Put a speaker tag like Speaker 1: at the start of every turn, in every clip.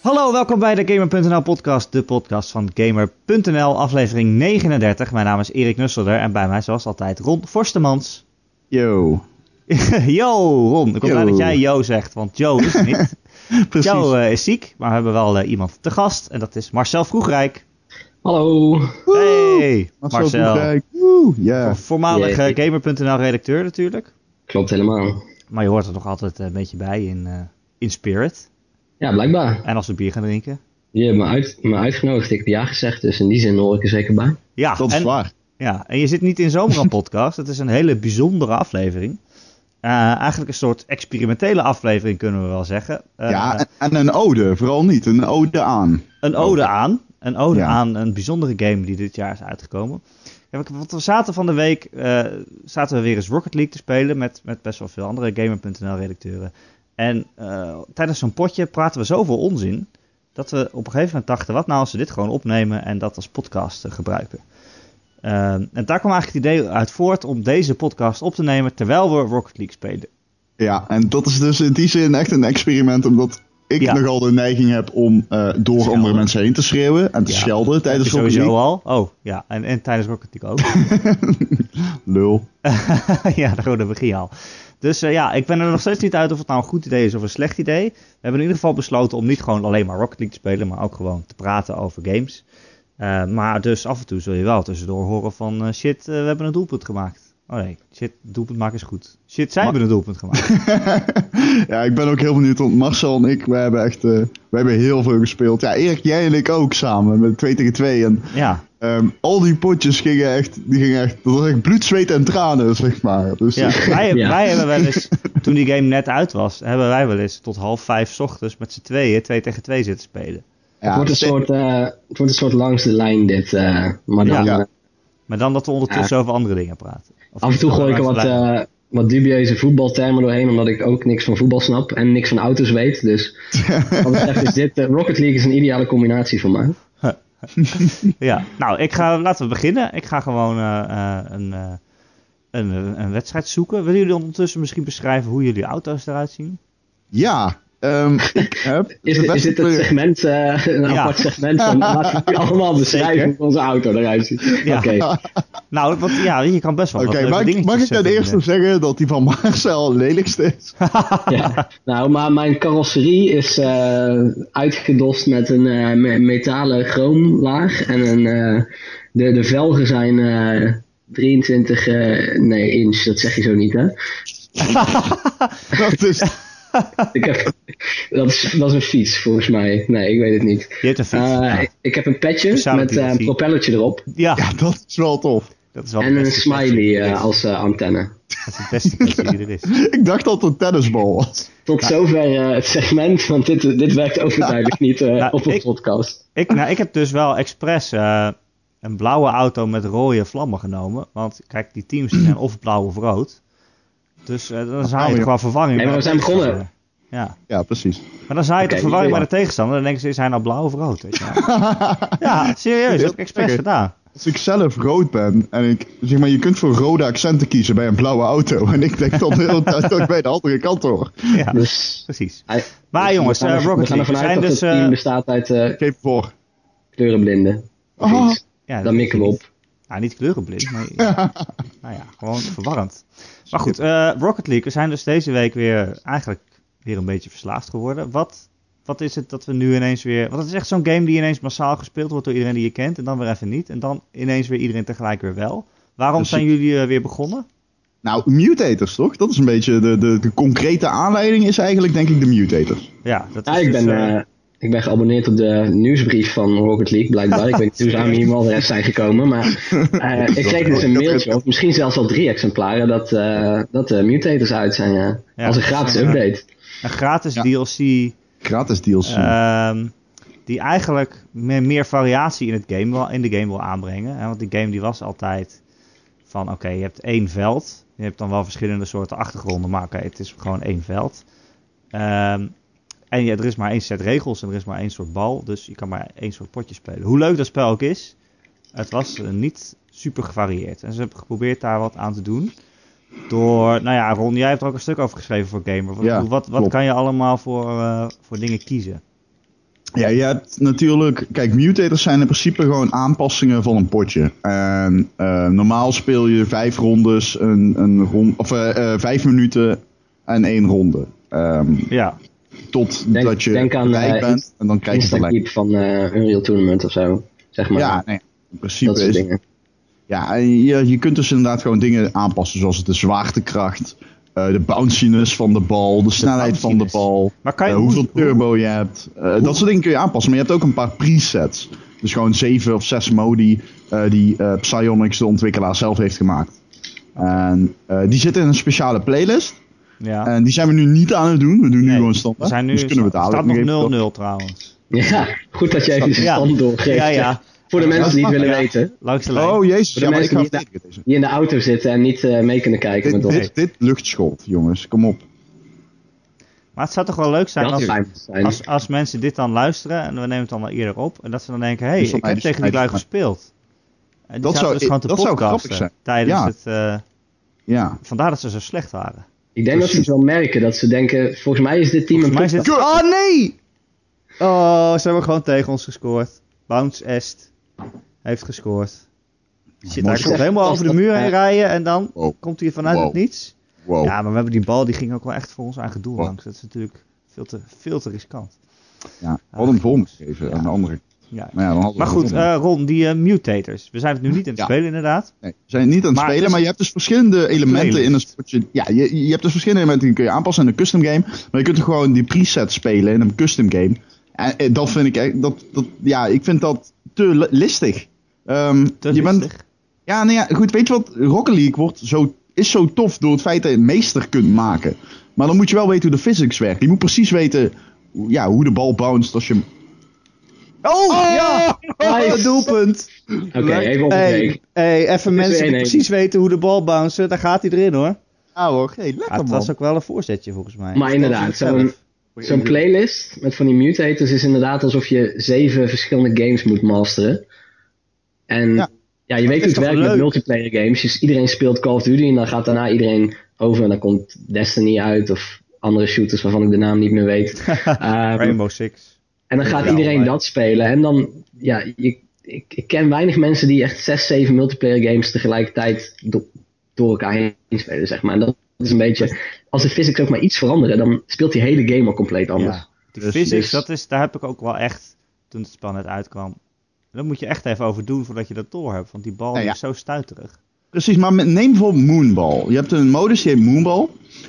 Speaker 1: Hallo, welkom bij de Gamer.nl podcast, de podcast van Gamer.nl, aflevering 39. Mijn naam is Erik Nusselder en bij mij zoals altijd Ron Forstemans.
Speaker 2: Yo.
Speaker 1: Yo, Ron, ik hoop
Speaker 2: Yo.
Speaker 1: blij dat jij Jo zegt, want Jo is er niet.
Speaker 2: Precies.
Speaker 1: Jo eh, is ziek, maar we hebben wel eh, iemand te gast en dat is Marcel Vroegrijk.
Speaker 3: Hallo.
Speaker 1: Hey,
Speaker 2: Marcel.
Speaker 1: Marcel.
Speaker 2: Koevrijk. Woe, ja.
Speaker 1: Voormalig
Speaker 3: Jee.
Speaker 1: eh, Gamer.nl redacteur natuurlijk,
Speaker 3: Klopt helemaal.
Speaker 1: maar je hoort er nog altijd een beetje bij in, eh, in spirit.
Speaker 3: Ja, blijkbaar.
Speaker 1: En als we bier gaan drinken.
Speaker 3: Je hebt me, uit, me uitgenodigd, ik heb ja gezegd, dus in die zin hoor ik er zeker bij.
Speaker 1: Ja,
Speaker 2: Dat is
Speaker 1: en,
Speaker 2: waar.
Speaker 1: Ja, en je zit niet in zomaar een podcast. Het is een hele bijzondere aflevering. Eh, eigenlijk een soort experimentele aflevering kunnen we wel zeggen. Eh,
Speaker 2: ja, en- en een ode, vooral niet. Een ode aan.
Speaker 1: een ode aan. Een ode
Speaker 2: Oh. Ja.
Speaker 1: aan een bijzondere game die dit jaar is uitgekomen. Ja, we- want we zaten van de week eh, zaten we weer eens Rocket League te spelen met, met best wel veel andere Gamer.nl-redacteuren. En eh, tijdens zo'n potje praten we zoveel onzin dat we op een gegeven moment dachten, wat nou als we dit gewoon opnemen en dat als podcast eh, gebruiken. Ehm, en daar kwam eigenlijk het idee uit voort om deze podcast op te nemen terwijl we Rocket League spelen.
Speaker 2: Ja, en dat is dus in die zin echt een experiment, omdat ik
Speaker 1: Ja.
Speaker 2: nogal de neiging heb om eh, door
Speaker 1: Schelden.
Speaker 2: andere mensen heen te schreeuwen en te
Speaker 1: Ja.
Speaker 2: schelden tijdens
Speaker 1: Heb je sowieso
Speaker 2: zo'n
Speaker 1: al. Oh, ja. En, en tijdens Rocket League ook.
Speaker 2: lul.
Speaker 1: ja, daar daar begin je al. Dus eh, ja, ik ben er nog steeds niet uit of het nou een goed idee is of een slecht idee. We hebben in ieder geval besloten om niet gewoon alleen maar Rocket League te spelen, maar ook gewoon te praten over games. Eh, maar dus af en toe zul je wel tussendoor horen van eh, shit, eh, we hebben een doelpunt gemaakt. Oh nee, shit, doelpunt maken is goed. Shit, zij
Speaker 2: Maar-
Speaker 1: hebben een doelpunt gemaakt.
Speaker 2: Ja, ik ben ook heel benieuwd, want Marcel en ik, we hebben echt eh, we hebben heel veel gespeeld. Ja, Erik, jij en ik ook samen, met 2 tegen 2. En
Speaker 1: ja,
Speaker 2: ehm, al die potjes gingen echt, die gingen echt, dat was echt bloed, zweet en tranen, zeg maar. Dus
Speaker 1: ja. Wij,
Speaker 3: Ja.
Speaker 1: wij hebben wel eens, toen die game net uit was, hebben wij wel eens tot half vijf 's ochtends met z'n tweeën, twee tegen twee zitten spelen.
Speaker 3: het, wordt een
Speaker 2: ste-
Speaker 3: soort, eh, het wordt een soort langs de lijn dit, eh, maar dan
Speaker 2: Ja.
Speaker 3: eh,
Speaker 1: Maar dan dat we ondertussen over andere dingen praten. Of
Speaker 3: af en toe gooi ik er wat,
Speaker 1: Wij-
Speaker 3: eh, wat dubieuze voetbaltermen doorheen, omdat ik ook niks van voetbal snap en niks van auto's weet. Dus wat dat betreft is dit, eh, Rocket League is een ideale combinatie voor mij.
Speaker 1: Ja, nou, ik ga, laten we beginnen. Ik ga gewoon eh, eh, een, eh, een, eh, een wedstrijd zoeken. Willen jullie ondertussen misschien beschrijven hoe jullie auto's eruit zien?
Speaker 2: Ja, ehm, ik heb
Speaker 3: Is,
Speaker 2: de
Speaker 3: dit- is
Speaker 2: beste
Speaker 3: dit het
Speaker 2: plek-
Speaker 3: segment, eh, een
Speaker 1: Ja.
Speaker 3: apart segment van laten we nu allemaal beschrijven
Speaker 2: Zeker.
Speaker 3: hoe onze auto eruit ziet?
Speaker 1: Ja.
Speaker 3: Oké,
Speaker 1: Nou, want ja, je kan best wel
Speaker 2: Oké,
Speaker 1: wat leuke
Speaker 2: mag, ik-
Speaker 1: dingetjes
Speaker 2: mag ik ten
Speaker 1: vinden.
Speaker 2: eerste zeggen dat die van Marcel het lelijkste is?
Speaker 3: Ja. Nou, maar mijn carrosserie is eh, uitgedost met een eh, me- metalen chroomlaag. En een, eh, de, de velgen zijn eh, 23 eh, nee, inch, dat zeg je zo niet, hè?
Speaker 2: Dat is,
Speaker 3: Ik heb, dat, is, dat is een fiets, volgens mij. Nee, ik weet het niet.
Speaker 1: Je hebt een fiets.
Speaker 3: Eh,
Speaker 1: ja.
Speaker 3: ik- Ik heb een petje
Speaker 1: Speciale
Speaker 3: met eh, een
Speaker 1: DLC.
Speaker 3: propellertje erop.
Speaker 1: Ja,
Speaker 2: ja, dat is wel tof.
Speaker 1: dat is wel
Speaker 3: en
Speaker 1: de
Speaker 3: een
Speaker 1: beste
Speaker 3: smiley
Speaker 1: petje.
Speaker 3: eh, als eh, antenne.
Speaker 1: Dat is de beste petje die er is.
Speaker 2: Ik dacht dat het een tennisbal was.
Speaker 3: Tot zover eh, het segment, want dit, dit werkt overduidelijk niet eh,
Speaker 1: Nou,
Speaker 3: op een
Speaker 1: ik-
Speaker 3: podcast.
Speaker 1: Ik, nou, ik heb dus wel expres eh, een blauwe auto met rode vlammen genomen. Want kijk, die teams die zijn of blauw of rood. Dus eh, dan zou
Speaker 2: Ah,
Speaker 1: je
Speaker 2: ja.
Speaker 1: toch wel vervanging
Speaker 3: Nee, maar
Speaker 1: bij de
Speaker 3: we zijn begonnen.
Speaker 1: tegenstander. Ja,
Speaker 2: Ja, precies.
Speaker 1: maar dan zou je
Speaker 3: Oké,
Speaker 1: toch verwarring bij
Speaker 3: ja.
Speaker 1: de tegenstander. Dan denken ze, is hij nou blauw of rood? Weet je wel. ja, serieus, dat heb ik expres
Speaker 2: Oké.
Speaker 1: gedaan.
Speaker 2: Als ik zelf rood ben en ik, zeg maar, je kunt voor rode accenten kiezen bij een blauwe auto. En ik denk dan de hele tijd dat ik bij de andere kant hoor.
Speaker 1: Ja,
Speaker 3: Dus
Speaker 1: precies.
Speaker 3: Hij-
Speaker 1: Maar jongens,
Speaker 3: we gaan,
Speaker 1: eh,
Speaker 3: er-
Speaker 1: Rocket
Speaker 3: we gaan
Speaker 1: League,
Speaker 3: ervan
Speaker 1: we zijn
Speaker 3: uit dat
Speaker 1: dus...
Speaker 3: het team
Speaker 1: eh,
Speaker 3: bestaat uit eh,
Speaker 2: Geef voor.
Speaker 3: kleurenblinden. Of
Speaker 2: Oh.
Speaker 3: iets.
Speaker 1: ja, dat-
Speaker 3: Dan mikken we op.
Speaker 1: Nou, niet kleurenblind, maar ja. nou ja, gewoon verwarrend. Maar goed, eh, Rocket League, we zijn dus deze week weer eigenlijk weer een beetje verslaafd geworden. Wat, wat is het dat we nu ineens weer... Want het is echt zo'n game die ineens massaal gespeeld wordt door iedereen die je kent en dan weer even niet. En dan ineens weer iedereen tegelijk weer wel. Waarom
Speaker 2: Precies.
Speaker 1: zijn jullie eh, weer begonnen?
Speaker 2: Nou, mutators toch? Dat is een beetje de, de, de concrete aanleiding is eigenlijk denk ik de mutators.
Speaker 1: Ja, dat
Speaker 3: Ja,
Speaker 1: is
Speaker 3: ik,
Speaker 1: dus,
Speaker 3: ben,
Speaker 1: eh,
Speaker 3: eh, ik ben geabonneerd op de nieuwsbrief van Rocket League, blijkbaar. Ik weet niet hoe ze aan die e-mailadres zijn gekomen, maar eh, ik kreeg dus een mailtje, of misschien zelfs al drie exemplaren, dat, eh, dat de mutators uit zijn. ja.
Speaker 1: Ja,
Speaker 3: als een
Speaker 1: dat is,
Speaker 3: gratis
Speaker 1: eh,
Speaker 3: update.
Speaker 1: een gratis
Speaker 2: Ja.
Speaker 1: DLC...
Speaker 2: Gratis DLC.
Speaker 1: Ehm, die eigenlijk meer, meer variatie in, het game wil, in de game wil aanbrengen. Hè? Want die game die was altijd van oké, je hebt één veld. Je hebt dan wel verschillende soorten achtergronden, maar oké, het is gewoon één veld. Ehm, en ja, er is maar één set regels en er is maar één soort bal. Dus je kan maar één soort potje spelen. Hoe leuk dat spel ook is, het was eh, niet super gevarieerd. En ze hebben geprobeerd daar wat aan te doen. Door, nou ja, Ron, jij hebt er ook een stuk over geschreven voor Gamer. Wat,
Speaker 2: Ja,
Speaker 1: wat, wat
Speaker 2: klopt.
Speaker 1: kan je allemaal voor, eh, voor dingen kiezen?
Speaker 2: Ja, je hebt natuurlijk. Kijk, mutators zijn in principe gewoon aanpassingen van een potje. En eh, normaal speel je vijf rondes, een, een rond, of eh, eh, vijf minuten en één ronde. Ehm
Speaker 1: Ja,
Speaker 2: Totdat
Speaker 3: Denk-
Speaker 2: je
Speaker 3: denk aan,
Speaker 2: gelijk
Speaker 3: eh,
Speaker 2: bent en dan krijg je gelijk.
Speaker 3: Instakeep van eh Unreal Tournament of zo. Zeg maar.
Speaker 2: Ja, nee, in
Speaker 3: dat
Speaker 2: principe
Speaker 3: soort
Speaker 2: is
Speaker 3: dingen.
Speaker 2: Ja, en je, je kunt dus inderdaad gewoon dingen aanpassen, zoals de zwaartekracht, eh, de bounciness van de bal, de snelheid van de
Speaker 1: bounciness.
Speaker 2: bal,
Speaker 1: Maar kan je-
Speaker 2: eh, hoeveel
Speaker 1: hoe-
Speaker 2: turbo je hebt. Eh, dat soort dingen kun je aanpassen, maar je hebt ook een paar presets. Dus gewoon zeven of zes modi eh, die eh Psyonix, de ontwikkelaar, zelf heeft gemaakt. En eh, die zitten in een speciale playlist.
Speaker 1: ja.
Speaker 2: En die zijn we nu niet aan het doen. We doen nu
Speaker 1: Nee,
Speaker 2: gewoon standaard.
Speaker 1: we zijn nu,
Speaker 2: dus kunnen we het
Speaker 1: staat
Speaker 2: dadelijk nog even-
Speaker 1: nog 0-0 trouwens.
Speaker 3: Ja, goed dat je even de
Speaker 1: Ja.
Speaker 3: stand doorgeeft. eh,
Speaker 1: Ja, ja.
Speaker 3: Voor de mensen die het willen
Speaker 1: Ja,
Speaker 3: weten.
Speaker 1: Langs de lijn.
Speaker 2: Oh jezus,
Speaker 3: Voor de
Speaker 2: ja, maar ik
Speaker 3: mensen
Speaker 2: ga
Speaker 3: die-
Speaker 2: verdedigen deze.
Speaker 3: Die in de auto zitten en niet eh, mee kunnen kijken
Speaker 2: Dit,
Speaker 3: met ons.
Speaker 2: dit, dit luchtschot, jongens. Kom op.
Speaker 1: Maar het zou toch wel leuk zijn
Speaker 3: Dat
Speaker 1: als,
Speaker 3: zou zijn.
Speaker 1: als, als mensen dit dan luisteren en we nemen het dan wel eerder op. En dat ze dan denken, hé, hey,
Speaker 2: Dus van
Speaker 1: ik
Speaker 2: mij,
Speaker 1: heb
Speaker 2: dus
Speaker 1: tegen
Speaker 2: van
Speaker 1: die
Speaker 2: mij,
Speaker 1: lui
Speaker 2: dus
Speaker 1: gespeeld. En die
Speaker 2: Dat
Speaker 1: zaten
Speaker 2: zou-
Speaker 1: dus gewoon te
Speaker 2: dat zou grappig
Speaker 1: podcasten
Speaker 2: zijn.
Speaker 1: tijdens
Speaker 2: Ja.
Speaker 1: het... eh,
Speaker 2: Ja.
Speaker 1: vandaar dat ze zo slecht waren.
Speaker 3: Ik denk dat ze het wel merken. Dat ze denken, volgens mij is dit team een
Speaker 1: Volgens mij
Speaker 3: podcast.
Speaker 1: zit... Oh nee! Oh, ze hebben gewoon tegen ons gescoord. Bounce Est heeft gescoord. Shit, hij
Speaker 2: mooi.
Speaker 1: komt helemaal over de muur heen rijden en dan
Speaker 2: Wow.
Speaker 1: komt hij vanuit
Speaker 2: Wow.
Speaker 1: het niets.
Speaker 2: Wow.
Speaker 1: Ja, maar we hebben die bal, die ging ook wel echt voor ons eigen doel
Speaker 2: Wow.
Speaker 1: langs. Dat is natuurlijk veel te, veel te riskant.
Speaker 2: Ja, wat een bom gegeven aan de andere kant.
Speaker 1: Ja.
Speaker 2: Maar, ja, dan hadden we
Speaker 1: Maar
Speaker 2: het
Speaker 1: goed,
Speaker 2: gewonnen.
Speaker 1: eh, Ron, die eh, mutators. We zijn het nu niet aan het
Speaker 2: Ja.
Speaker 1: spelen inderdaad.
Speaker 2: nee, we zijn niet aan het
Speaker 1: maar het
Speaker 2: spelen,
Speaker 1: is-
Speaker 2: maar je hebt dus verschillende elementen in een
Speaker 1: Playlist.
Speaker 2: spotje. Ja, je, je hebt dus verschillende elementen die kun je aanpassen in een custom game. Maar je kunt er gewoon die preset spelen in een custom game. En eh, dat vind ik echt, dat, dat, ja, ik vind dat te li- listig. Ehm,
Speaker 1: Te
Speaker 2: je bent,
Speaker 1: listig.
Speaker 2: ja, nou ja, goed, weet je wat? Rocket League wordt zo, is zo tof door het feit dat je het meester kunt maken. Maar dan moet je wel weten hoe de physics werkt. Je moet precies weten ja, hoe de bal bounced als je hem...
Speaker 1: Oh, ja!
Speaker 3: nice.
Speaker 1: Een doelpunt!
Speaker 3: Oké, even op de
Speaker 1: Hey, hey, even mensen die
Speaker 3: 1-1.
Speaker 1: precies weten hoe de bal bounce, daar gaat hij erin hoor.
Speaker 2: Ah hoor, hey, lekker
Speaker 1: Ja, het was ook wel een voorzetje volgens mij.
Speaker 3: Maar inderdaad, zo'n zo'n playlist met van die mutators is inderdaad alsof je zeven verschillende games moet masteren. En
Speaker 2: Ja.
Speaker 3: ja, je
Speaker 1: is
Speaker 3: weet hoe het
Speaker 1: toch
Speaker 3: werkt met
Speaker 1: leuk?
Speaker 3: multiplayer games. Dus iedereen speelt Call of Duty en dan gaat daarna iedereen over en dan komt Destiny uit of andere shooters waarvan ik de naam niet meer weet. Ehm,
Speaker 1: Rainbow Six.
Speaker 3: en dan gaat
Speaker 1: Ja,
Speaker 3: iedereen
Speaker 1: maar-
Speaker 3: dat spelen. En dan, ja, je, ik, ik ken weinig mensen die echt zes, zeven multiplayer games tegelijkertijd do- door elkaar heen spelen, zeg maar. En dat is een beetje, als de physics ook maar iets veranderen, dan speelt die hele game al compleet anders.
Speaker 1: Ja. Die
Speaker 2: Dus-
Speaker 1: physics,
Speaker 3: dus-
Speaker 1: dat is, daar heb ik ook wel echt, toen het spel net uitkwam. Daar moet je echt even over doen voordat je dat door hebt. Want die bal
Speaker 2: Nou ja.
Speaker 1: is zo stuiterig.
Speaker 2: Precies, maar met- neem bijvoorbeeld Moonball. Je hebt een modus die heet Moonball.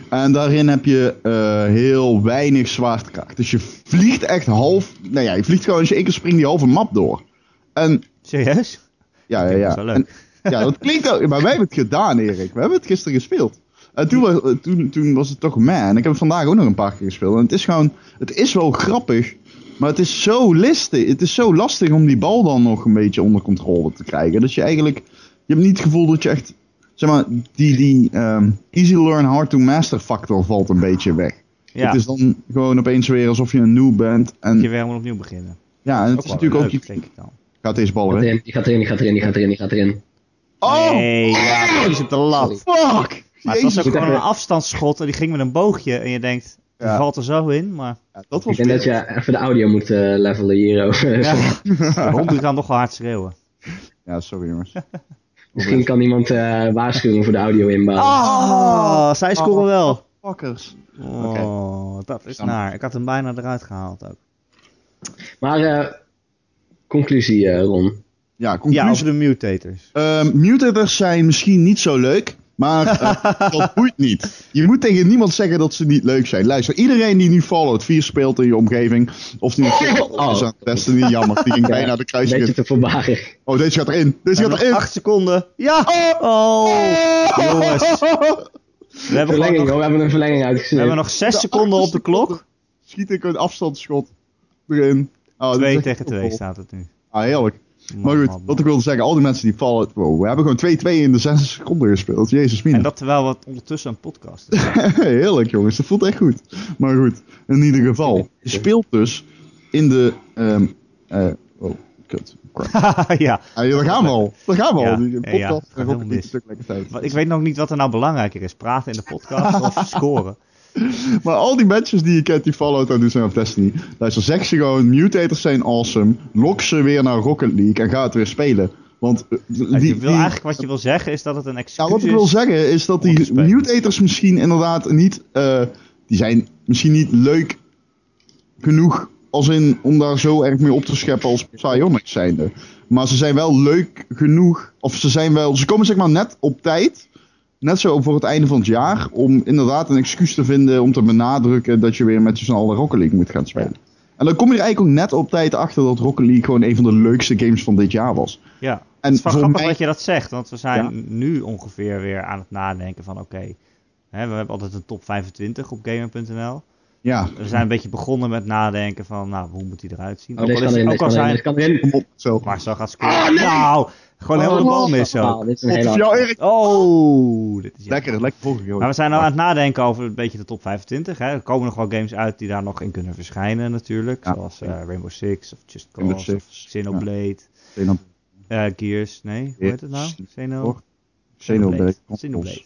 Speaker 2: En daarin heb je eh, heel weinig zwaartekracht. Dus je vliegt echt half... Nou ja, je vliegt gewoon als je één keer springt die halve map door. En
Speaker 1: Serieus?
Speaker 2: ja, ja,
Speaker 1: Dat is
Speaker 2: ja.
Speaker 1: wel
Speaker 2: En-
Speaker 1: leuk.
Speaker 2: ja, dat klinkt ook... Maar wij hebben het gedaan, Erik. We hebben het gisteren gespeeld. En toen was, eh, toen, toen was het toch man. Ik heb het vandaag ook nog een paar keer gespeeld. En het is gewoon... Het is wel grappig. Maar het is zo listig. Het is zo lastig om die bal dan nog een beetje onder controle te krijgen. Dat je eigenlijk... Je hebt niet het gevoel dat je echt... Zeg maar, die, die ehm, easy learn, hard to master factor valt een beetje weg.
Speaker 1: Ja,
Speaker 2: Het is dan gewoon opeens weer alsof je een noob bent.
Speaker 1: moet je
Speaker 2: En,
Speaker 1: weer helemaal opnieuw beginnen.
Speaker 2: ja, en het
Speaker 1: Ook
Speaker 2: is
Speaker 1: wel
Speaker 2: natuurlijk ook...
Speaker 1: leuk,
Speaker 2: Je,
Speaker 1: denk ik dan.
Speaker 2: gaat deze bal
Speaker 3: Die gaat
Speaker 2: erin?
Speaker 3: erin, die gaat erin, die gaat erin, die gaat erin, die gaat erin.
Speaker 2: Oh,
Speaker 1: Nee, ja, precies op de lat.
Speaker 2: fuck!
Speaker 1: Maar het was
Speaker 2: Jezus.
Speaker 1: ook gewoon een
Speaker 3: Even-
Speaker 1: afstandsschot en die ging met een boogje. En je denkt, die
Speaker 2: Ja.
Speaker 1: valt er zo in, maar...
Speaker 2: Ja, dat was
Speaker 3: Ik denk dat
Speaker 2: weer-
Speaker 3: je even de audio moet eh, levelen hierover.
Speaker 1: Ja. Waarom die dan nog wel hard schreeuwen?
Speaker 2: Ja, sorry jongens.
Speaker 3: Misschien kan iemand eh waarschuwen voor de audio inbouwen.
Speaker 1: Oh, zij scoren wel.
Speaker 2: Fuckers.
Speaker 1: Oh, dat is
Speaker 2: Dan-
Speaker 1: naar. Ik had hem bijna eruit gehaald ook.
Speaker 3: Maar eh, conclusie, eh, Ron.
Speaker 2: Ja,
Speaker 1: Ja,
Speaker 2: conclusie.
Speaker 1: over de mutators.
Speaker 2: Ehm, mutators zijn misschien niet zo leuk, maar eh, dat boeit niet. Je moet tegen niemand zeggen dat ze niet leuk zijn. Luister, iedereen die nu Fallout 4 speelt in je omgeving, of die een
Speaker 3: Oh.
Speaker 2: is aan het testen, niet jammer, die ging
Speaker 3: Ja,
Speaker 2: bijna de
Speaker 3: Een beetje
Speaker 2: kruising. in.
Speaker 3: te voorbarig.
Speaker 2: Oh, deze gaat erin. Deze gaat erin.
Speaker 1: Acht seconden. Ja! Oh! Jongens. We hebben, gewoon
Speaker 3: Verlenging,
Speaker 1: nog,
Speaker 3: hoor, we hebben een verlenging
Speaker 1: we
Speaker 3: uitgestuurd.
Speaker 1: hebben nog zes seconden op de klok.
Speaker 2: Oh, Schiet ik een afstandsschot erin. Oh, dit is
Speaker 1: 2
Speaker 2: echt
Speaker 1: tegen 2
Speaker 2: top.
Speaker 1: staat het nu.
Speaker 2: Ah, heerlijk.
Speaker 1: Man,
Speaker 2: Maar goed,
Speaker 1: man, man.
Speaker 2: wat ik wilde zeggen, al die mensen die Fallout... Wow, we hebben gewoon 2-2 in de 6 seconden gespeeld. Jezus, mina.
Speaker 1: En dat terwijl we ondertussen een podcast is.
Speaker 2: Heerlijk jongens, dat voelt echt goed. Maar goed, in ieder geval. Je speelt dus in de... ehm, eh, oh, kut. Crap.
Speaker 1: ja.
Speaker 2: Ah, ja, daar gaan we al. Daar gaan we
Speaker 1: Ja,
Speaker 2: al. Die
Speaker 1: ja, ja. Gaat
Speaker 2: podcast gaat ook
Speaker 1: helemaal
Speaker 2: niet een
Speaker 1: mis.
Speaker 2: stuk lekker tijd.
Speaker 1: Want Ik weet nog niet wat er nou belangrijker is. Praten in de podcast of scoren.
Speaker 2: Maar al die matches die je kent, die Fallout aan doen zijn of Destiny. Luister, zeg ze gewoon, mutators zijn awesome. Lok ze weer naar Rocket League en ga het weer spelen. Want eh,
Speaker 1: Ja,
Speaker 2: die-
Speaker 1: je wil
Speaker 2: die-
Speaker 1: eigenlijk wat je wil zeggen is dat het een excuus
Speaker 2: nou, wat ik
Speaker 1: is.
Speaker 2: wil zeggen is dat
Speaker 1: Om te
Speaker 2: die
Speaker 1: spelen.
Speaker 2: mutators misschien inderdaad niet... eh, die zijn misschien niet leuk genoeg als in om daar zo erg mee op te scheppen als Psionics zijnde. Maar ze zijn wel leuk genoeg, of ze zijn wel... Ze komen zeg maar net op tijd, net zo voor het einde van het jaar... om inderdaad een excuus te vinden om te benadrukken dat je weer met je z'n allen Rocket League moet gaan spelen. En dan kom je er eigenlijk ook net op tijd achter dat Rocket League gewoon een van de leukste games van dit jaar was.
Speaker 1: Ja. het
Speaker 2: En
Speaker 1: is wel
Speaker 2: voor
Speaker 1: grappig
Speaker 2: mij-
Speaker 1: dat je dat zegt, want we zijn
Speaker 2: Ja.
Speaker 1: nu ongeveer weer aan het nadenken van oké, hè, we hebben altijd een top 25 op gamer.nl.
Speaker 2: Ja,
Speaker 1: We zijn een beetje begonnen met nadenken van nou, hoe moet die eruit zien?
Speaker 3: Oh, deze kan
Speaker 1: is- ook
Speaker 3: erin, deze
Speaker 1: al
Speaker 3: kan erin,
Speaker 1: zijn
Speaker 3: deze kan erin.
Speaker 2: kom op, zo.
Speaker 1: maar zo gaat scoren.
Speaker 2: Ah,
Speaker 1: Nou, gewoon helemaal de bal mis
Speaker 3: Oh,
Speaker 1: zo.
Speaker 3: dit is een
Speaker 2: Op
Speaker 3: hele
Speaker 2: jou, Erik.
Speaker 1: Oh, dit is jammer.
Speaker 2: Lekker, lekker volgen,
Speaker 1: Maar we zijn nou aan het nadenken over een beetje de top 25. Hè. Er komen nog wel games uit die daar nog in kunnen verschijnen natuurlijk.
Speaker 2: Ja.
Speaker 1: Zoals eh, Rainbow Six of Just
Speaker 2: Rainbow
Speaker 1: Cause of
Speaker 2: Six,
Speaker 1: Xenoblade.
Speaker 2: joh.
Speaker 1: eh Gears, nee, hoe heet het nou?
Speaker 2: Gears,
Speaker 1: Xeno...
Speaker 2: toch? Xenoblade.
Speaker 1: Xenoblade.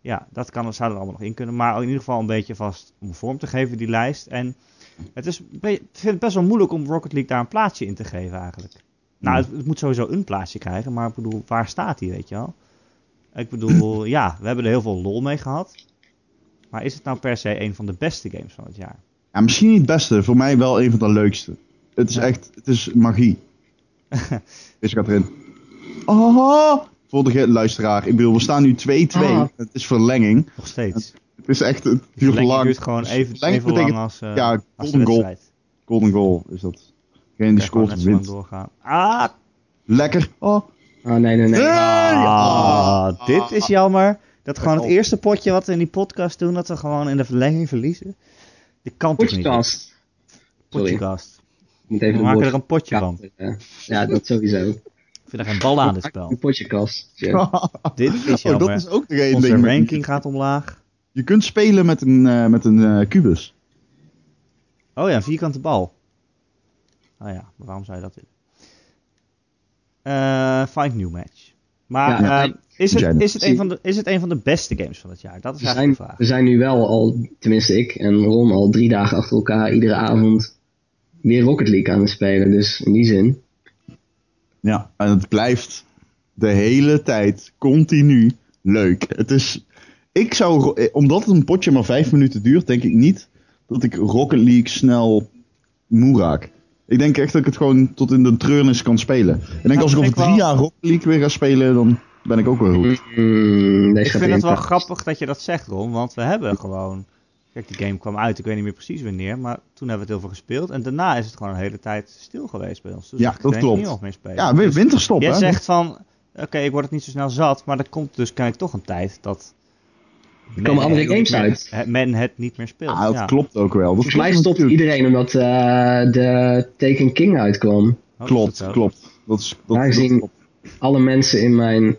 Speaker 1: Ja, dat kan, zou er allemaal nog in kunnen. Maar in ieder geval een beetje vast om vorm te geven, die lijst. En het is, een be- ik vind het best wel moeilijk om Rocket League daar een plaatsje in te geven eigenlijk. Nou,
Speaker 2: Ja.
Speaker 1: het, het moet sowieso een plaatsje krijgen, maar ik bedoel, waar staat die, weet je wel? Ik bedoel, ja, we hebben er heel veel lol mee gehad. Maar is het nou per se een van de beste games van het jaar?
Speaker 2: Ja, misschien niet het beste, voor mij wel een van de leukste. Het is echt, het is magie. Deze gaat erin. Oh, volgende luisteraar. Ik bedoel, we staan nu 2-2.
Speaker 3: Ah.
Speaker 2: Het is verlenging.
Speaker 1: Nog steeds.
Speaker 2: Het is echt, het duurt
Speaker 1: Het
Speaker 2: lang.
Speaker 1: duurt gewoon even,
Speaker 2: Verlenging
Speaker 1: even lang
Speaker 2: betekent-
Speaker 1: als, eh
Speaker 2: ja,
Speaker 1: als de
Speaker 2: golden goal.
Speaker 1: wedstrijd.
Speaker 2: Golden goal is dat. Geen
Speaker 1: Ja,
Speaker 2: die
Speaker 1: gewoon
Speaker 2: scoort
Speaker 1: net zo lang
Speaker 2: wint.
Speaker 1: doorgaan. Ah,
Speaker 2: Lekker. Oh.
Speaker 3: Oh, nee, nee, nee.
Speaker 1: ah, dit is jammer. Dat gewoon het
Speaker 2: Oh.
Speaker 1: eerste potje wat we in die podcast doen, dat we gewoon in de verlenging verliezen. Dit kan toch niet?
Speaker 3: Podcast. Sorry, ik
Speaker 1: Podcast.
Speaker 3: moet even
Speaker 1: We
Speaker 3: de
Speaker 1: maken
Speaker 3: woord-
Speaker 1: er een potje van.
Speaker 3: Ja, ja, dat sowieso.
Speaker 1: Ik vind er geen bal aan dit spel.
Speaker 3: Een potjekast. Ja.
Speaker 2: Oh,
Speaker 1: Dit is
Speaker 2: dat
Speaker 1: jammer.
Speaker 2: is ook nog één
Speaker 1: Onze
Speaker 2: ding.
Speaker 1: ranking gaat omlaag.
Speaker 2: Je kunt spelen met een, eh, met een eh, kubus.
Speaker 1: Oh ja, een vierkante bal. Oh ja, maar waarom zou je dat willen? Eh, find new match. Maar
Speaker 3: Ja.
Speaker 1: eh, is, het,
Speaker 2: Jane.
Speaker 1: is, het een van de, is het een van de beste games van het jaar? Dat is
Speaker 3: We
Speaker 1: eigenlijk
Speaker 3: zijn,
Speaker 1: de vraag.
Speaker 3: we zijn nu wel al, tenminste ik en Ron, al drie dagen achter elkaar iedere avond weer Rocket League aan het spelen. Dus in die zin.
Speaker 2: Ja, en het blijft de hele tijd continu leuk. Het is, ik zou, eh, omdat het een potje maar vijf minuten duurt, denk ik niet dat ik Rocket League snel moe raak. Ik denk echt dat ik het gewoon tot in de treurnis kan spelen. En denk
Speaker 1: Ja,
Speaker 2: als
Speaker 1: vind
Speaker 2: ik over
Speaker 1: ik wel-
Speaker 2: drie jaar Rocket League weer ga spelen, dan ben ik ook weer goed.
Speaker 3: Mm, deze
Speaker 1: Ik
Speaker 3: gaat
Speaker 1: vind het
Speaker 3: erin.
Speaker 1: wel grappig dat je dat zegt, Ron. Want we hebben gewoon. Kijk, die game kwam uit, ik weet niet meer precies wanneer. Maar toen hebben we het heel veel gespeeld. En daarna is het gewoon een hele tijd stil geweest bij ons. Dus
Speaker 2: Ja,
Speaker 1: ik
Speaker 2: dat
Speaker 1: denk
Speaker 2: klopt.
Speaker 1: niet nog meer spelen.
Speaker 2: Ja, win- winterstop
Speaker 1: Dus Jij
Speaker 2: hè.
Speaker 1: zegt van. Oké, ik word het niet zo snel zat. Maar er komt dus kijk toch een tijd dat. Er
Speaker 3: komen andere games uit.
Speaker 1: Men het niet meer speelt.
Speaker 2: Ja, Ah, dat
Speaker 1: ja.
Speaker 2: klopt ook wel. Dat
Speaker 3: Volgens mij
Speaker 2: klopt
Speaker 3: stopt
Speaker 2: natuurlijk.
Speaker 3: iedereen omdat eh, de Taken King uitkwam.
Speaker 1: Oh, is dat
Speaker 2: Klopt,
Speaker 1: zo?
Speaker 2: klopt. Dat is, dat, dat
Speaker 3: Aangezien-
Speaker 2: klopt.
Speaker 3: Alle mensen in mijn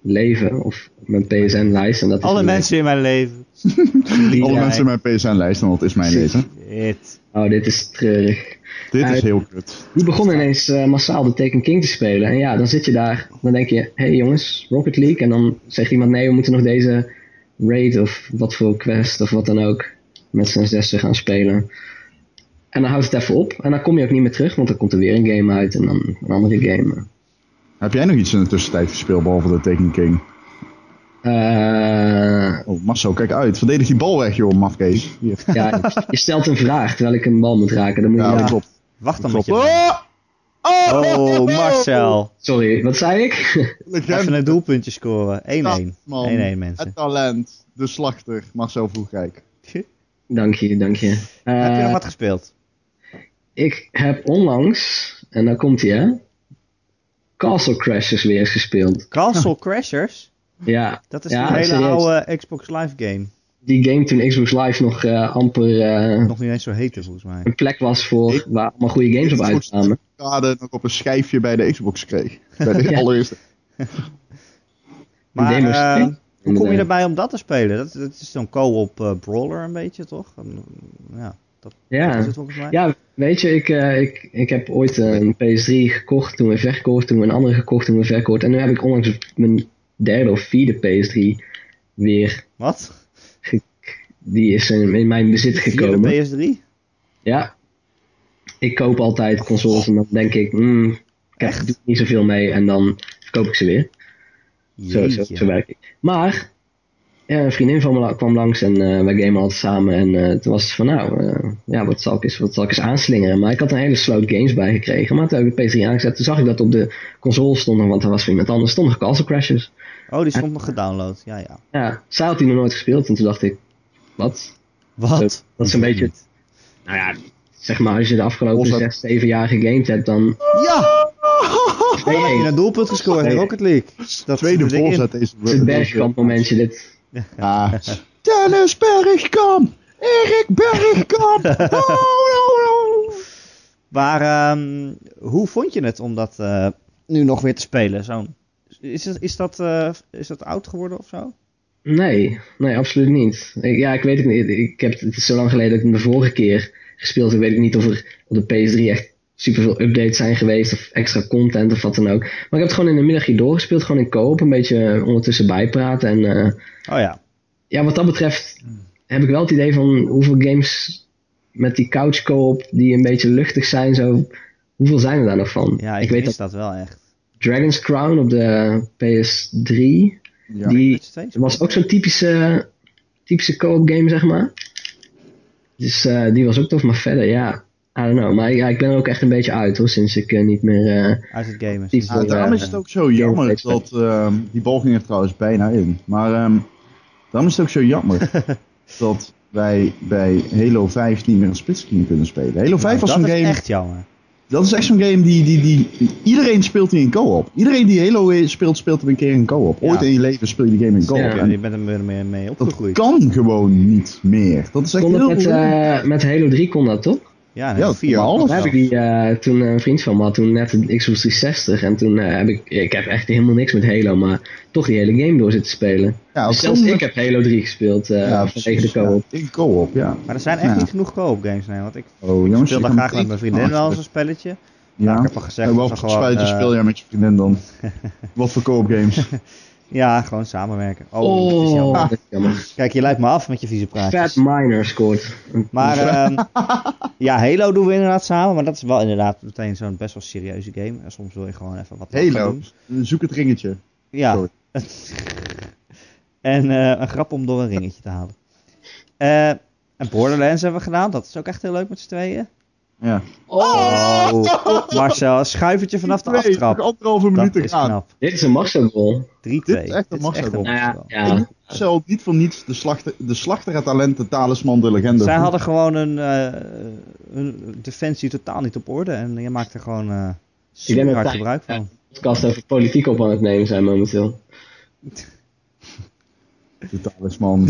Speaker 3: leven, of mijn PSN-lijst. en dat is
Speaker 1: Alle
Speaker 3: een-
Speaker 1: mensen in mijn leven. die
Speaker 2: Alle
Speaker 1: zijn-
Speaker 2: mensen in mijn PSN-lijst, en dat is mijn lezen.
Speaker 1: Shit.
Speaker 3: Oh, dit is treurig.
Speaker 2: Dit
Speaker 3: Ja,
Speaker 2: is heel kut.
Speaker 3: Die begon ineens eh, massaal de Taken King te spelen. En ja, dan zit je daar. Dan denk je, hé hey jongens, Rocket League. En dan zegt iemand, nee, we moeten nog deze raid of wat voor quest of wat dan ook met z'n zessen gaan spelen. En dan houdt het even op. En dan kom je ook niet meer terug, want dan komt er weer een game uit en dan een andere game.
Speaker 2: Heb jij nog iets in de tussentijd gespeeld behalve de Taken King?
Speaker 3: Eh,
Speaker 2: Oh, Marcel, kijk uit. Verdedig die bal weg, joh, mafkees. Hier.
Speaker 3: ja, je stelt een vraag terwijl ik een bal moet raken. Dan moet je
Speaker 2: Ja,
Speaker 3: ja.
Speaker 2: dat klopt.
Speaker 1: Wacht dan met
Speaker 2: klopt.
Speaker 1: je.
Speaker 2: Oh! Oh!
Speaker 1: Oh, Marcel.
Speaker 3: Sorry, wat zei ik?
Speaker 2: Legende,
Speaker 1: Even een doelpuntje scoren. 1-1. 1-1
Speaker 2: man.
Speaker 1: mensen.
Speaker 2: Het talent. De slachter. Marcel Vroegrijk.
Speaker 3: dank je, dank je. Eh,
Speaker 1: Heb je nog wat gespeeld?
Speaker 3: Ik heb onlangs, en daar komt hij hè, Castle Crashers weer eens gespeeld.
Speaker 1: Castle Crashers?
Speaker 3: Ja,
Speaker 1: Dat is
Speaker 3: Ja,
Speaker 1: een hele
Speaker 3: serieus.
Speaker 1: oude Xbox Live game.
Speaker 3: die game toen Xbox Live nog eh, amper eh,
Speaker 1: Nog niet eens zo heette volgens mij.
Speaker 3: een plek was voor
Speaker 2: Ik-
Speaker 3: waar allemaal goede games op
Speaker 2: Ik-
Speaker 3: uitkwamen.
Speaker 2: Kade nog op een schijfje bij de Xbox kreeg. Bij de
Speaker 3: Ja.
Speaker 2: allereerste.
Speaker 1: Maar
Speaker 3: game was-
Speaker 1: eh, hoe kom je
Speaker 3: Inderdaad.
Speaker 1: erbij om dat te spelen? Dat, dat is zo'n co-op eh, brawler een beetje, toch? Um, ja, dat dat is
Speaker 3: Ja.
Speaker 1: het volgens mij.
Speaker 3: ja, weet je, ik, eh, ik, ik heb ooit een PS3 gekocht, toen weer verkocht, toen weer een andere gekocht, toen weer verkocht. En nu heb ik onlangs mijn derde of vierde PS3 weer
Speaker 1: Wat?
Speaker 3: Die is in, in mijn bezit
Speaker 1: Via
Speaker 3: gekomen.
Speaker 1: de PS3?
Speaker 3: Ja. Ik koop altijd consoles en dan denk ik, hmm, kijk, ik doe niet zoveel mee en dan verkoop ik ze weer. Zo, zo, zo werk ik. Maar ja, een vriendin van me la- kwam langs en eh, wij gamen altijd samen. En eh, toen was het van nou, eh, ja, wat zal, ik eens, wat zal ik eens aanslingeren? Maar ik had een hele sloot games bij gekregen. Maar toen heb ik de PS3 aangezet. Toen zag ik dat op de console stond, want er was van iemand anders. Stond nog Castle Crashers.
Speaker 1: Oh, die stond nog gedownload. Ja, ja.
Speaker 3: Ja, zij had die nog nooit gespeeld. En toen dacht ik, wat?
Speaker 1: Wat?
Speaker 3: Dat is een beetje- Nou ja, zeg maar als je de afgelopen
Speaker 1: Bos-
Speaker 3: 6, 7 jaar gegamed hebt, dan...
Speaker 1: Ja!
Speaker 3: Nee,
Speaker 1: Hij heeft
Speaker 3: nee,
Speaker 1: een doelpunt gescoord in
Speaker 3: Nee.
Speaker 1: Rocket League. Dat
Speaker 2: Tweede
Speaker 1: zit er in.
Speaker 2: voorzet deze
Speaker 3: het is het bergkamp momentje dit.
Speaker 1: Ah.
Speaker 2: Ja. Dennis Bergkamp! Erik Bergkamp! Oh, no, no.
Speaker 1: Maar ehm, hoe vond je het om dat eh, nu nog weer te spelen? Zo'n- is, dat, is, dat, eh, is dat oud geworden of zo?
Speaker 3: Nee, nee, absoluut niet. Ik, ja, ik weet het niet. Ik heb, het het is zo lang geleden dat ik hem de vorige keer gespeeld heb. Weet ik niet of er op de PS3 echt superveel updates zijn geweest. Of extra content of wat dan ook. Maar ik heb het gewoon in de middag hier doorgespeeld. Gewoon in co-op. Een beetje eh, ondertussen bijpraten. En eh,
Speaker 1: Oh ja.
Speaker 3: ja, wat dat betreft heb ik wel het idee van hoeveel games met die couch co-op die een beetje luchtig zijn. Zo, hoeveel zijn er daar nog van?
Speaker 1: Ja, ik,
Speaker 3: weet
Speaker 1: weet
Speaker 3: dat
Speaker 1: dat wel echt.
Speaker 3: Dragon's Crown op de PS3.
Speaker 2: Ja.
Speaker 3: die
Speaker 1: Met z'n tweeën
Speaker 3: het was ook zo'n typische, typische co-op game, zeg maar. Dus eh, die was ook tof, maar verder, ja. I don't know. Maar ja, ik ben er ook echt een beetje uit hoor, sinds ik eh, niet meer. eh,
Speaker 1: uit het Ah, game.
Speaker 3: Die-
Speaker 2: Ja, daarom is het ook zo jammer dat... ehm, die bal ging er trouwens bijna in. Maar ehm, daarom is het ook zo jammer dat wij bij Halo 5 niet meer een splitscreen kunnen spelen. Halo 5 was
Speaker 1: Nou, dat
Speaker 2: zo'n
Speaker 1: is
Speaker 2: game...
Speaker 1: echt jammer.
Speaker 2: Dat is echt zo'n game die, die, die... Iedereen speelt die in co-op. Iedereen die Halo speelt, speelt hem een keer in co-op. Ooit
Speaker 1: Ja.
Speaker 2: in je leven speel je die game in co-op.
Speaker 3: Ja.
Speaker 1: Ja,
Speaker 2: En
Speaker 1: je bent er meer mee, mee
Speaker 2: dat
Speaker 1: opgegroeid.
Speaker 2: kan gewoon niet meer. Dat is echt
Speaker 3: kon dat
Speaker 2: heel...
Speaker 3: met, eh, met Halo 3 kon dat toch?
Speaker 1: Ja,
Speaker 2: Ja,
Speaker 1: nee, vier.
Speaker 2: maar alles-
Speaker 3: Daar heb ik die, eh, toen eh, een vriend van me had, toen net een Xbox 360. En toen eh, heb ik. Ik heb echt helemaal niks met Halo, maar toch die hele game door zitten spelen.
Speaker 2: ja,
Speaker 3: Dus
Speaker 2: op
Speaker 3: zelfs
Speaker 2: sommige-
Speaker 3: ik heb Halo 3 gespeeld eh
Speaker 2: Ja,
Speaker 3: vanwege de
Speaker 2: precies,
Speaker 3: co-op.
Speaker 2: ja. In co-op, ja.
Speaker 1: Maar er zijn echt
Speaker 2: Ja.
Speaker 1: niet genoeg co-op games, nee. Want ik
Speaker 2: Oh, jongens,
Speaker 1: speel
Speaker 2: ik
Speaker 1: daar
Speaker 2: kan
Speaker 1: graag met mijn vriendin wel eens een spelletje.
Speaker 2: Ja.
Speaker 1: ik heb al gezegd,
Speaker 2: En
Speaker 1: dat
Speaker 2: welke
Speaker 1: we gewoon,
Speaker 2: spelletjes
Speaker 1: eh,
Speaker 2: speel jij met je vriendin dan? Wat voor co-op games?
Speaker 1: Ja, gewoon samenwerken. Oh, dat is
Speaker 3: Oh,
Speaker 1: jammer.
Speaker 3: dat is jammer.
Speaker 1: Kijk, je lijkt me af met je vieze
Speaker 3: Fat
Speaker 1: praatjes.
Speaker 3: Miner scoort.
Speaker 1: Maar ehm, ja, Halo doen we inderdaad samen. Maar dat is wel inderdaad meteen zo'n best wel serieuze game. En soms wil je gewoon even wat leuks
Speaker 2: Halo.
Speaker 1: doen.
Speaker 2: Zoek het ringetje.
Speaker 1: Ja.
Speaker 2: Sorry.
Speaker 1: en eh, een grap om door een ringetje te halen. Eh, en Borderlands hebben we gedaan. Dat is ook echt heel leuk met z'n tweeën.
Speaker 2: Ja.
Speaker 1: Oh, Marcel, een schuivertje vanaf de
Speaker 2: Twee, nog
Speaker 1: aftrap.
Speaker 2: anderhalve
Speaker 1: Dat
Speaker 2: minuut te
Speaker 1: is
Speaker 2: gaan.
Speaker 1: knap. 3-2.
Speaker 3: Dit is een Marcel goal.
Speaker 1: 3-2. Dit
Speaker 2: Dit is echt een
Speaker 1: een
Speaker 2: Marcel.
Speaker 3: Nou ja,
Speaker 1: Marcel.
Speaker 3: ja.
Speaker 2: Zelf niet voor niets de slachter, de slachter het talent, de talisman, de legende.
Speaker 1: Zij hadden gewoon een, eh, hun defensie totaal niet op orde. En je maakte er gewoon eh super
Speaker 3: dat
Speaker 1: hard
Speaker 3: zij-
Speaker 1: gebruik van.
Speaker 3: podcast over politiek op aan het nemen zijn momenteel.
Speaker 2: De talisman.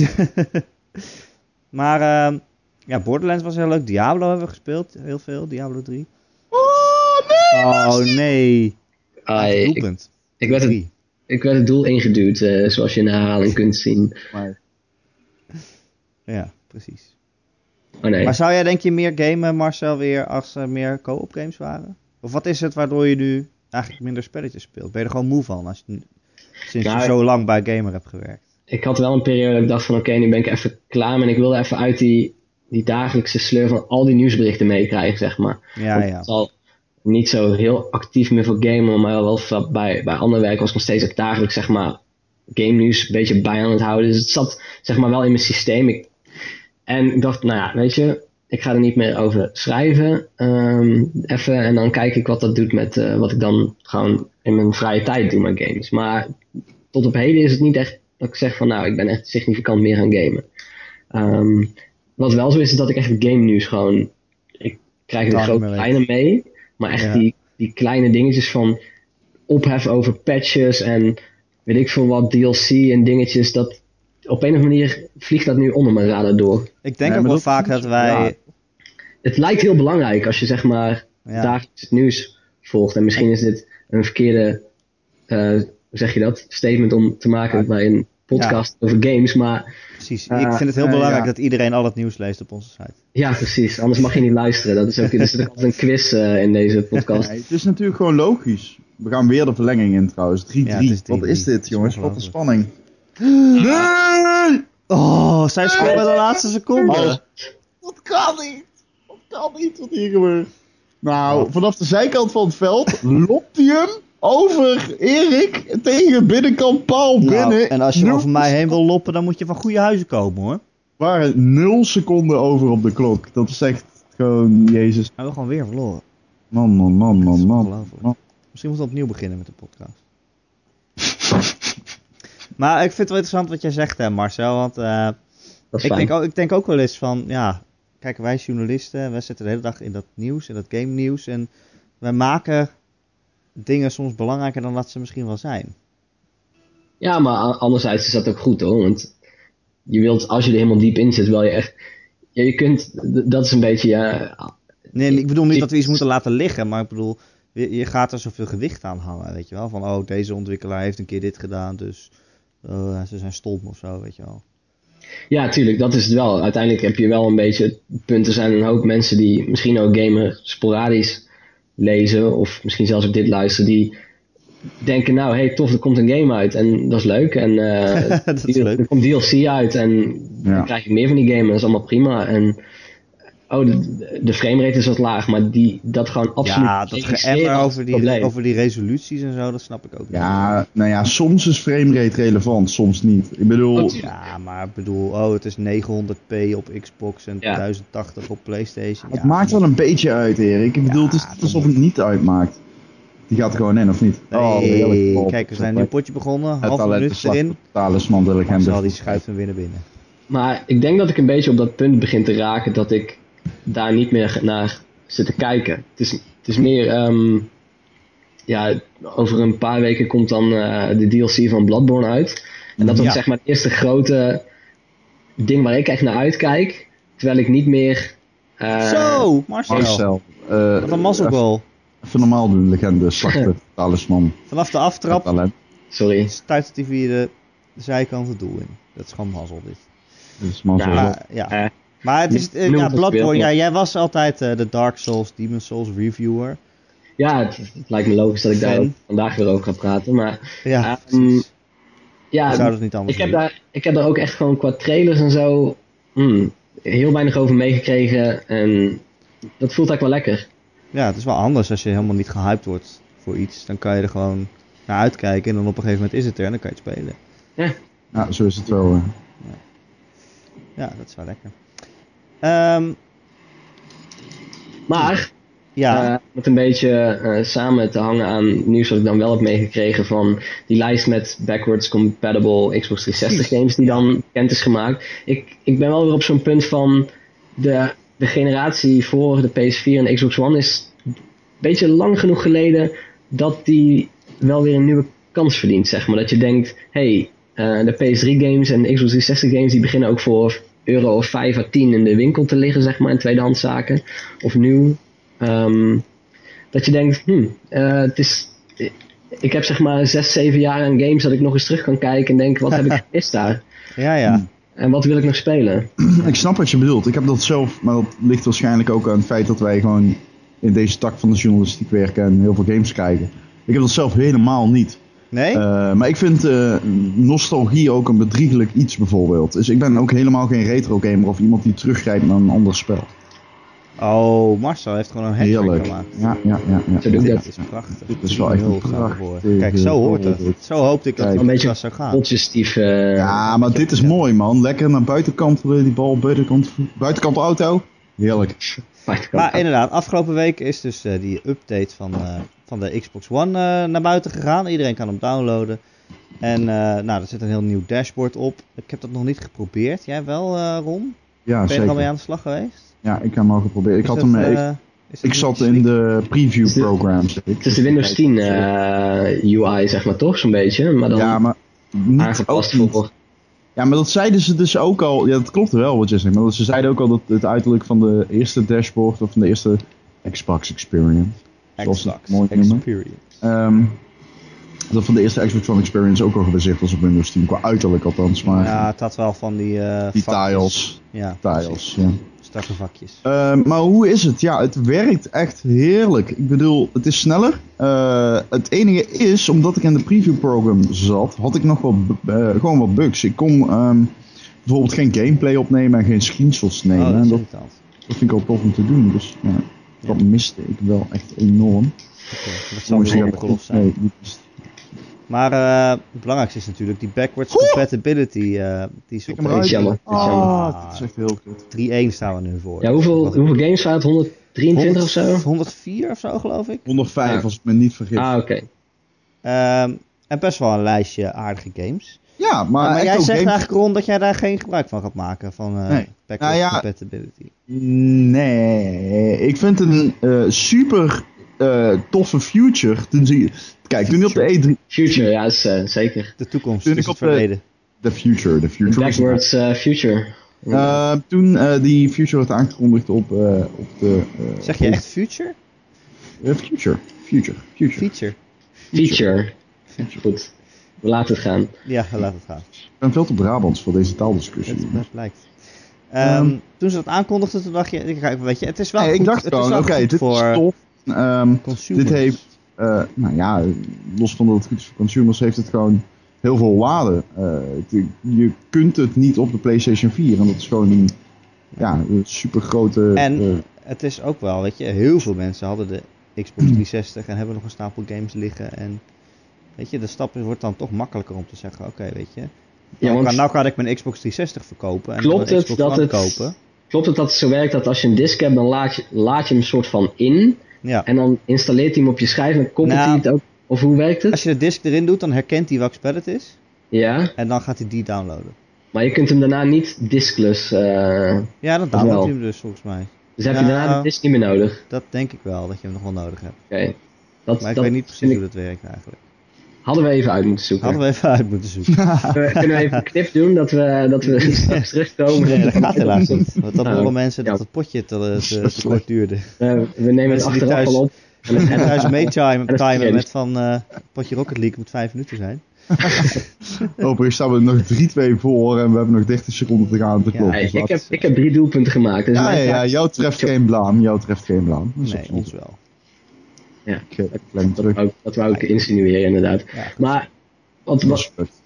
Speaker 1: Maar ehm, ja, Borderlands was heel leuk. Diablo hebben we gespeeld. Heel veel. Diablo 3.
Speaker 2: Oh, nee!
Speaker 1: Oh nee.
Speaker 3: Ah, ik,
Speaker 1: Doelpunt.
Speaker 3: ik, werd het,
Speaker 1: Drie.
Speaker 3: ik werd het doel ingeduwd, eh, zoals je in de herhaling kunt zien.
Speaker 2: Maar,
Speaker 1: Ja, precies.
Speaker 3: Oh nee.
Speaker 1: Maar zou jij denk je meer gamen, Marcel, weer als er meer co-op games waren? Of wat is het waardoor je nu eigenlijk minder spelletjes speelt? Ben je er gewoon moe van als je, nu- sinds
Speaker 3: Nou,
Speaker 1: je zo lang bij Gamer hebt gewerkt?
Speaker 3: Ik had wel een periode dat ik dacht van oké, nu ben ik even klaar. En ik wilde even uit die, die dagelijkse sleur van al die nieuwsberichten meekrijgen, zeg maar.
Speaker 1: Ja,
Speaker 3: Want
Speaker 1: ja.
Speaker 3: Ik zal niet zo heel actief meer voor gamen, maar wel va- bij, bij ander werk was ik nog steeds ook dagelijks, zeg maar, game nieuws een beetje bij aan het houden. Dus het zat, zeg maar, wel in mijn systeem. Ik, en ik dacht, nou ja, weet je, ik ga er niet meer over schrijven. ehm, even, en dan kijk ik wat dat doet met eh, wat ik dan gewoon in mijn vrije tijd doe met games. Maar tot op heden is het niet echt dat ik zeg van, nou, ik ben echt significant meer gaan gamen. Ehm, wat wel zo is, is dat ik echt game nieuws gewoon... Ik krijg er
Speaker 1: Totaal niet
Speaker 3: grote
Speaker 1: meer weet.
Speaker 3: lijnen mee, maar echt
Speaker 1: Ja.
Speaker 3: die, die kleine dingetjes van ophef over patches en weet ik veel wat, DLC en dingetjes, dat op een of andere manier vliegt dat nu onder mijn radar door.
Speaker 1: Ik denk
Speaker 2: Ja,
Speaker 1: ook
Speaker 2: maar
Speaker 1: wel
Speaker 2: dat-
Speaker 1: vaak dat wij...
Speaker 3: Het lijkt heel belangrijk als je zeg maar
Speaker 1: Ja,
Speaker 3: dagelijks het nieuws volgt. En misschien is dit een verkeerde, eh, hoe zeg je dat, statement om te maken bij een podcast over games. Maar
Speaker 1: precies.
Speaker 3: Ja,
Speaker 1: Ik vind het heel
Speaker 2: ja,
Speaker 1: belangrijk
Speaker 2: ja.
Speaker 1: dat iedereen al het nieuws leest op onze site.
Speaker 3: ja, precies. Anders mag je niet luisteren. Dat is ook, er zit ook altijd een quiz eh, in deze podcast.
Speaker 2: nee, het is natuurlijk gewoon logisch. We gaan weer de verlenging in trouwens. 3-3.
Speaker 1: Ja, het is
Speaker 2: Wat
Speaker 1: 3-3.
Speaker 2: is dit, jongens? Wat een
Speaker 1: Ongelooflijk.
Speaker 2: spanning. Nee!
Speaker 1: Oh, zij scoorde de laatste seconde.
Speaker 2: Oh. Dat kan niet. Dat kan niet wat hier gebeurt. Nou, vanaf de zijkant van het veld lopt hij hem over Erik tegen binnenkant Paul
Speaker 1: Nou,
Speaker 2: binnen.
Speaker 1: en als je
Speaker 2: Nul-
Speaker 1: over mij heen wil loppen, dan moet je van goede huizen komen hoor.
Speaker 2: waren nul seconden over op de klok. Dat is echt gewoon, jezus.
Speaker 1: Nou, we gewoon weer verloren.
Speaker 2: Man, man, man,
Speaker 1: Dat is
Speaker 2: man, man.
Speaker 1: ongelooflijk. Misschien moeten we opnieuw beginnen met de podcast. maar ik vind het wel interessant wat jij zegt, hè, Marcel. Want eh,
Speaker 3: Dat is
Speaker 1: ik,
Speaker 3: fijn.
Speaker 1: denk ook, ik denk ook wel eens van, ja, kijk, wij journalisten, wij zitten de hele dag in dat nieuws, in dat game nieuws. En wij maken dingen soms belangrijker dan dat ze misschien wel zijn.
Speaker 3: Ja, maar a- anderzijds is dat ook goed hoor. Want je wilt, als je er helemaal diep in zit, wil je echt. Ja, je kunt, d- dat is een beetje. Ja,
Speaker 1: Nee, ik bedoel niet
Speaker 3: Ik-
Speaker 1: dat we iets moeten laten liggen, maar ik bedoel, je, je gaat er zoveel gewicht aan hangen, weet je wel. Van, oh, deze ontwikkelaar heeft een keer dit gedaan, dus eh, ze zijn stom of zo, weet je wel.
Speaker 3: ja, tuurlijk, dat is het wel. Uiteindelijk heb je wel een beetje. het punt, er zijn een hoop mensen die misschien ook gamen sporadisch lezen. Of misschien zelfs op dit luisteren. Die denken, nou, hey, tof, er komt een game uit. En dat is leuk. En eh,
Speaker 1: Dat is leuk.
Speaker 3: er komt DLC uit. En dan
Speaker 2: Ja.
Speaker 3: krijg ik meer van die game. En dat is allemaal prima. En. Oh, de, de framerate is wat laag, maar die, dat gewoon absoluut.
Speaker 1: Ja, dat
Speaker 3: registreren
Speaker 1: geëmmer
Speaker 3: als
Speaker 1: over
Speaker 3: probleem.
Speaker 1: die, over die resoluties en zo, dat snap ik ook niet.
Speaker 2: Ja, nou ja, soms is framerate relevant, soms niet. Ik bedoel,
Speaker 3: Natuurlijk.
Speaker 1: Ja, maar ik bedoel, oh, het is 900p op Xbox en
Speaker 3: Ja.
Speaker 1: 1080 op PlayStation.
Speaker 2: het
Speaker 1: Ja,
Speaker 2: maakt wel een beetje uit, Erik. Ik bedoel, het is
Speaker 1: Ja,
Speaker 2: niet alsof het niet uitmaakt. Die gaat er gewoon in, of niet? Oh,
Speaker 1: Nee, kijk, we zijn nu een potje begonnen,
Speaker 2: Het
Speaker 1: half
Speaker 2: talent is
Speaker 1: minuut erin.
Speaker 2: talisman de
Speaker 1: En
Speaker 2: legende.
Speaker 1: zal die schuift hem weer naar binnen.
Speaker 3: Maar ik denk dat ik een beetje op dat punt begin te raken dat ik daar niet meer naar zit te kijken. Het is, het is meer, ehm, ja, over een paar weken komt dan eh, de DLC van Bloodborne uit. En dat wordt
Speaker 1: Ja.
Speaker 3: zeg maar het eerste grote ding waar ik echt naar uitkijk. Terwijl ik niet meer. eh,
Speaker 1: Zo, Marcel.
Speaker 2: Marcel. eh,
Speaker 1: Wat een mazzelgoal.
Speaker 2: Even normaal doen, legende, slachter, talisman,
Speaker 1: Vanaf de aftrap
Speaker 2: talent.
Speaker 3: Sorry.
Speaker 1: stuit hij via de, de zijkant het doel in. Dat is gewoon mazzel dit.
Speaker 2: Dit is mazzel.
Speaker 3: Ja.
Speaker 1: Maar, ja. maar het is, eh,
Speaker 3: Noem
Speaker 1: ja,
Speaker 3: het
Speaker 1: Bloodborne,
Speaker 3: beeld nog.
Speaker 1: ja, jij was altijd eh, de Dark Souls, Demon Souls reviewer.
Speaker 3: Ja, het, het lijkt me logisch dat ik daar
Speaker 1: Fan.
Speaker 3: ook vandaag weer over ga praten. Maar
Speaker 1: Ja,
Speaker 3: Ehm,
Speaker 1: precies.
Speaker 3: ja,
Speaker 1: Ik zou dat niet anders
Speaker 3: Ik heb,
Speaker 1: doen.
Speaker 3: daar, ik heb daar ook echt gewoon qua trailers en zo hmm, heel weinig over meegekregen. En dat voelt eigenlijk wel lekker.
Speaker 1: Ja, het is wel anders als je helemaal niet gehyped wordt voor iets. Dan kan je er gewoon naar uitkijken en dan op een gegeven moment is het er en dan kan je het spelen.
Speaker 2: Ja, zo is het wel. eh. hè.
Speaker 1: Ja, dat is wel lekker. Ehm,
Speaker 3: Maar
Speaker 1: ja,
Speaker 3: eh, om het een beetje eh, samen te hangen aan nieuws wat ik dan wel heb meegekregen van die lijst met backwards compatible Xbox 360 games die dan bekend is gemaakt. Ik, ik ben wel weer op zo'n punt van de, de generatie voor de PS4 en de Xbox One is een beetje lang genoeg geleden dat die wel weer een nieuwe kans verdient, zeg maar. Dat je denkt, hey, eh, de PS3 games en de Xbox 360 games die beginnen ook voor euro of 5 à 10 in de winkel te liggen, zeg maar, in tweedehandszaken. Of nieuw. Ehm, dat je denkt, hmm, eh, het is... Ik heb zeg maar 6, 7 jaar aan games dat ik nog eens terug kan kijken en denk, wat heb ik gemist daar?
Speaker 1: ja,
Speaker 2: hmm.
Speaker 1: ja.
Speaker 3: En wat wil ik nog spelen?
Speaker 2: Ik snap wat je bedoelt. Ik heb dat zelf, maar dat ligt waarschijnlijk ook aan het feit dat wij gewoon in deze tak van de journalistiek werken en heel veel games kijken. Ik heb dat zelf helemaal niet.
Speaker 1: Nee?
Speaker 2: Eh, maar ik vind eh, nostalgie ook een bedriegelijk iets bijvoorbeeld. Dus ik ben ook helemaal geen retro gamer of iemand die teruggrijpt naar een ander spel.
Speaker 1: Oh, Marcel heeft gewoon een hack
Speaker 2: Heel leuk.
Speaker 1: gemaakt.
Speaker 2: Ja, ja, ja.
Speaker 3: Zo
Speaker 2: ja.
Speaker 3: doe ik
Speaker 1: Dit
Speaker 3: dat.
Speaker 1: is prachtig.
Speaker 2: Dit is wel echt
Speaker 1: 3-0
Speaker 2: een
Speaker 1: staat ervoor.
Speaker 2: prachtige-
Speaker 1: Kijk, zo hoort het. Zo hoopte ik dat het
Speaker 2: Kijk.
Speaker 1: een beetje zou gaan.
Speaker 3: Potjestief. eh
Speaker 2: Ja, maar dit is mooi man. Lekker naar buitenkant eh, die bal, buitenkant, buitenkant auto. Heerlijk.
Speaker 3: Maar,
Speaker 1: Maar inderdaad, afgelopen week is dus eh, die update van, eh, van de Xbox One eh, naar buiten gegaan. Iedereen kan hem downloaden. En eh, nou, er zit een heel nieuw dashboard op. Ik heb dat nog niet geprobeerd. Jij wel, eh Ron?
Speaker 2: Ja,
Speaker 1: Ben je er al mee
Speaker 2: zeker.
Speaker 1: aan de slag geweest?
Speaker 2: Ja, ik heb hem al geprobeerd. Ik
Speaker 1: Is
Speaker 2: had
Speaker 1: dat,
Speaker 2: hem... eh, ik-
Speaker 1: eh, is dat
Speaker 2: Ik zat
Speaker 1: niet-
Speaker 2: in de preview
Speaker 3: Is dit-
Speaker 2: programs.
Speaker 3: het is de Windows 10 eh, UI, zeg maar toch, zo'n beetje. Maar dan
Speaker 2: Ja, maar niet ook
Speaker 3: aangepast
Speaker 2: niet.
Speaker 3: voor.
Speaker 2: Ja, maar dat zeiden ze dus ook al. Ja, dat klopt wel wat je zegt. Maar ze zeiden ook al dat het uiterlijk van de eerste dashboard of van de eerste Xbox Experience. zoals ze het
Speaker 1: Xbox
Speaker 2: mooi noemen.
Speaker 1: Experience.
Speaker 2: ehm, dat van de eerste Xbox One Experience ook al gebaseerd was op Windows 10. Qua uiterlijk althans, maar
Speaker 1: Ja, het had wel van die... eh,
Speaker 2: die
Speaker 1: vakjes.
Speaker 2: tiles.
Speaker 1: Ja, precies.
Speaker 2: Tiles, ja.
Speaker 1: strakke vakjes.
Speaker 2: Eh, maar hoe is het? Ja, het werkt echt heerlijk. Ik bedoel, het is sneller. Eh, het enige is, omdat ik in de preview program zat, had ik nog wel bu- eh, gewoon wat bugs. Ik kon ehm, bijvoorbeeld geen gameplay opnemen en geen screenshots nemen.
Speaker 1: oh,
Speaker 2: En
Speaker 1: dat is
Speaker 2: dat,
Speaker 1: irritant.
Speaker 2: dat vind ik ook tof om te doen. Dus ja, dat miste ik wel echt enorm.
Speaker 1: Oké, dat zal misschien een kolf zijn.
Speaker 2: Nee, dit is-
Speaker 1: Maar eh, het belangrijkste is natuurlijk die backwards compatibility. eh, die is
Speaker 2: Tik
Speaker 1: op
Speaker 2: hem
Speaker 1: de-
Speaker 2: eruit.
Speaker 3: jammer, dat is
Speaker 1: jammer.
Speaker 2: Ah, dat is echt heel kut.
Speaker 1: 3-1 staan we nu voor.
Speaker 3: Ja, hoeveel,
Speaker 1: Wat-
Speaker 3: hoeveel games waren het? 123 of zo?
Speaker 1: 104 of zo, geloof ik.
Speaker 2: 105
Speaker 3: Ja.
Speaker 2: als ik me niet vergis.
Speaker 3: Ah, oké.
Speaker 1: Ehm, en best wel een lijstje aardige games.
Speaker 2: ja, maar,
Speaker 1: maar
Speaker 2: echt
Speaker 1: jij
Speaker 2: ook
Speaker 1: zegt
Speaker 2: games-
Speaker 1: eigenlijk, Ron, dat jij daar geen gebruik van gaat maken, van eh,
Speaker 2: Nee.
Speaker 1: backwards
Speaker 2: Nou ja,
Speaker 1: compatibility.
Speaker 2: Nee, ik vind het een eh, super eh, toffe future. Toen zie je, kijk, toen op de E E3...
Speaker 3: Future, ja, is, eh, zeker.
Speaker 1: De toekomst,
Speaker 2: Toen ik
Speaker 1: dus het
Speaker 2: op de-
Speaker 1: verleden.
Speaker 2: De future, de future. is-
Speaker 3: Backwards eh, Future.
Speaker 2: Eh, toen eh, die future werd aangekondigd op, eh, op de... eh,
Speaker 1: Zeg je echt future?
Speaker 2: eh, future, future, future.
Speaker 1: Feature?
Speaker 3: Feature. Goed, we laten het gaan.
Speaker 1: Ja, laat het gaan.
Speaker 2: Ik ben veel te Brabants voor deze taaldiscussie.
Speaker 1: Dat,
Speaker 2: jongens.
Speaker 1: dat lijkt. Ehm,
Speaker 2: Ehm,
Speaker 1: toen ze dat aankondigden, toen dacht je, ik ga even- weet je, het is wel
Speaker 2: Nee,
Speaker 1: goed.
Speaker 2: ik dacht
Speaker 1: het is
Speaker 2: gewoon,
Speaker 1: wel
Speaker 2: oké,
Speaker 1: goed
Speaker 2: dit is
Speaker 1: voor
Speaker 2: tof. Ehm,
Speaker 1: consumers.
Speaker 2: dit heeft- Eh, nou ja, los van dat het goed is voor consumers, heeft het gewoon heel veel waarde. Eh, het- je kunt het niet op de PlayStation 4 en dat is gewoon een, ja, een super grote.
Speaker 3: Mm,
Speaker 1: En- Het is ook wel, weet je, heel veel mensen hadden de
Speaker 3: Mm.
Speaker 1: Xbox 360 en hebben nog een stapel games liggen. En weet je, de stap wordt dan toch makkelijker om te zeggen, oké, weet je.
Speaker 3: Ja,
Speaker 1: nou,
Speaker 3: want-
Speaker 1: kan, nou kan ik mijn Xbox 360 verkopen en
Speaker 3: Klopt
Speaker 1: dan een
Speaker 3: het
Speaker 1: Xbox
Speaker 3: dat
Speaker 1: One
Speaker 3: het-
Speaker 1: kopen.
Speaker 3: Klopt het dat het zo werkt dat als je een disk hebt, dan laat je, laat je hem soort van in.
Speaker 1: Ja.
Speaker 3: En dan installeert hij hem op je schijf en koppelt
Speaker 1: Nou.
Speaker 3: hij het ook. Of hoe werkt het?
Speaker 1: Als je de disc erin doet, dan herkent hij welk spel het is.
Speaker 3: Ja,
Speaker 1: En dan gaat hij die downloaden.
Speaker 3: maar je kunt hem daarna niet diskless. eh,
Speaker 1: Ja, dan
Speaker 3: Wel.
Speaker 1: downloadt hij hem dus volgens mij.
Speaker 3: dus heb je
Speaker 1: Ja.
Speaker 3: daarna de disk niet meer nodig. Oké.
Speaker 1: Dat denk ik wel, dat je hem nog wel nodig hebt.
Speaker 3: Dat,
Speaker 1: Maar ik
Speaker 3: dat
Speaker 1: weet niet precies
Speaker 3: vind
Speaker 1: hoe
Speaker 3: ik-
Speaker 1: dat werkt eigenlijk.
Speaker 3: hadden we even uit moeten zoeken.
Speaker 1: Hadden we even uit moeten zoeken.
Speaker 3: Kunnen we- kunnen we even een knip doen dat we, dat we straks terugkomen? Eh,
Speaker 1: Nee, dat gaat helaas niet. Want dan
Speaker 3: Nou,
Speaker 1: rollen mensen dat
Speaker 3: ja.
Speaker 1: het potje te, te, te kort duurde.
Speaker 3: Eh, we nemen het
Speaker 1: Mensen die
Speaker 3: achteraf
Speaker 1: thuis-
Speaker 3: al op. En het-
Speaker 1: En thuis meetimen
Speaker 3: is
Speaker 1: timen
Speaker 3: vervelend.
Speaker 1: met van eh, potje Rocket League moet vijf minuten zijn.
Speaker 2: Overigens eh, staan we nog 3-2 voor en we hebben nog 30 seconden te gaan op de
Speaker 1: Ja,
Speaker 2: klok.
Speaker 3: Nee,
Speaker 2: dus
Speaker 3: ik,
Speaker 2: laat-
Speaker 3: heb, ik heb drie doelpunten gemaakt. Dus
Speaker 2: ja,
Speaker 3: mijn
Speaker 2: ja, ja,
Speaker 3: taak-
Speaker 2: jou treft geen blaam. Jou treft geen blaam. Dat is
Speaker 1: Nee,
Speaker 2: absoluut
Speaker 1: ons wel.
Speaker 2: geen klem terug.
Speaker 3: Ook, dat wou ik insinueren, inderdaad.
Speaker 1: Ja, goed.
Speaker 3: Maar wat,
Speaker 2: Dat
Speaker 3: wat,
Speaker 2: is perfect.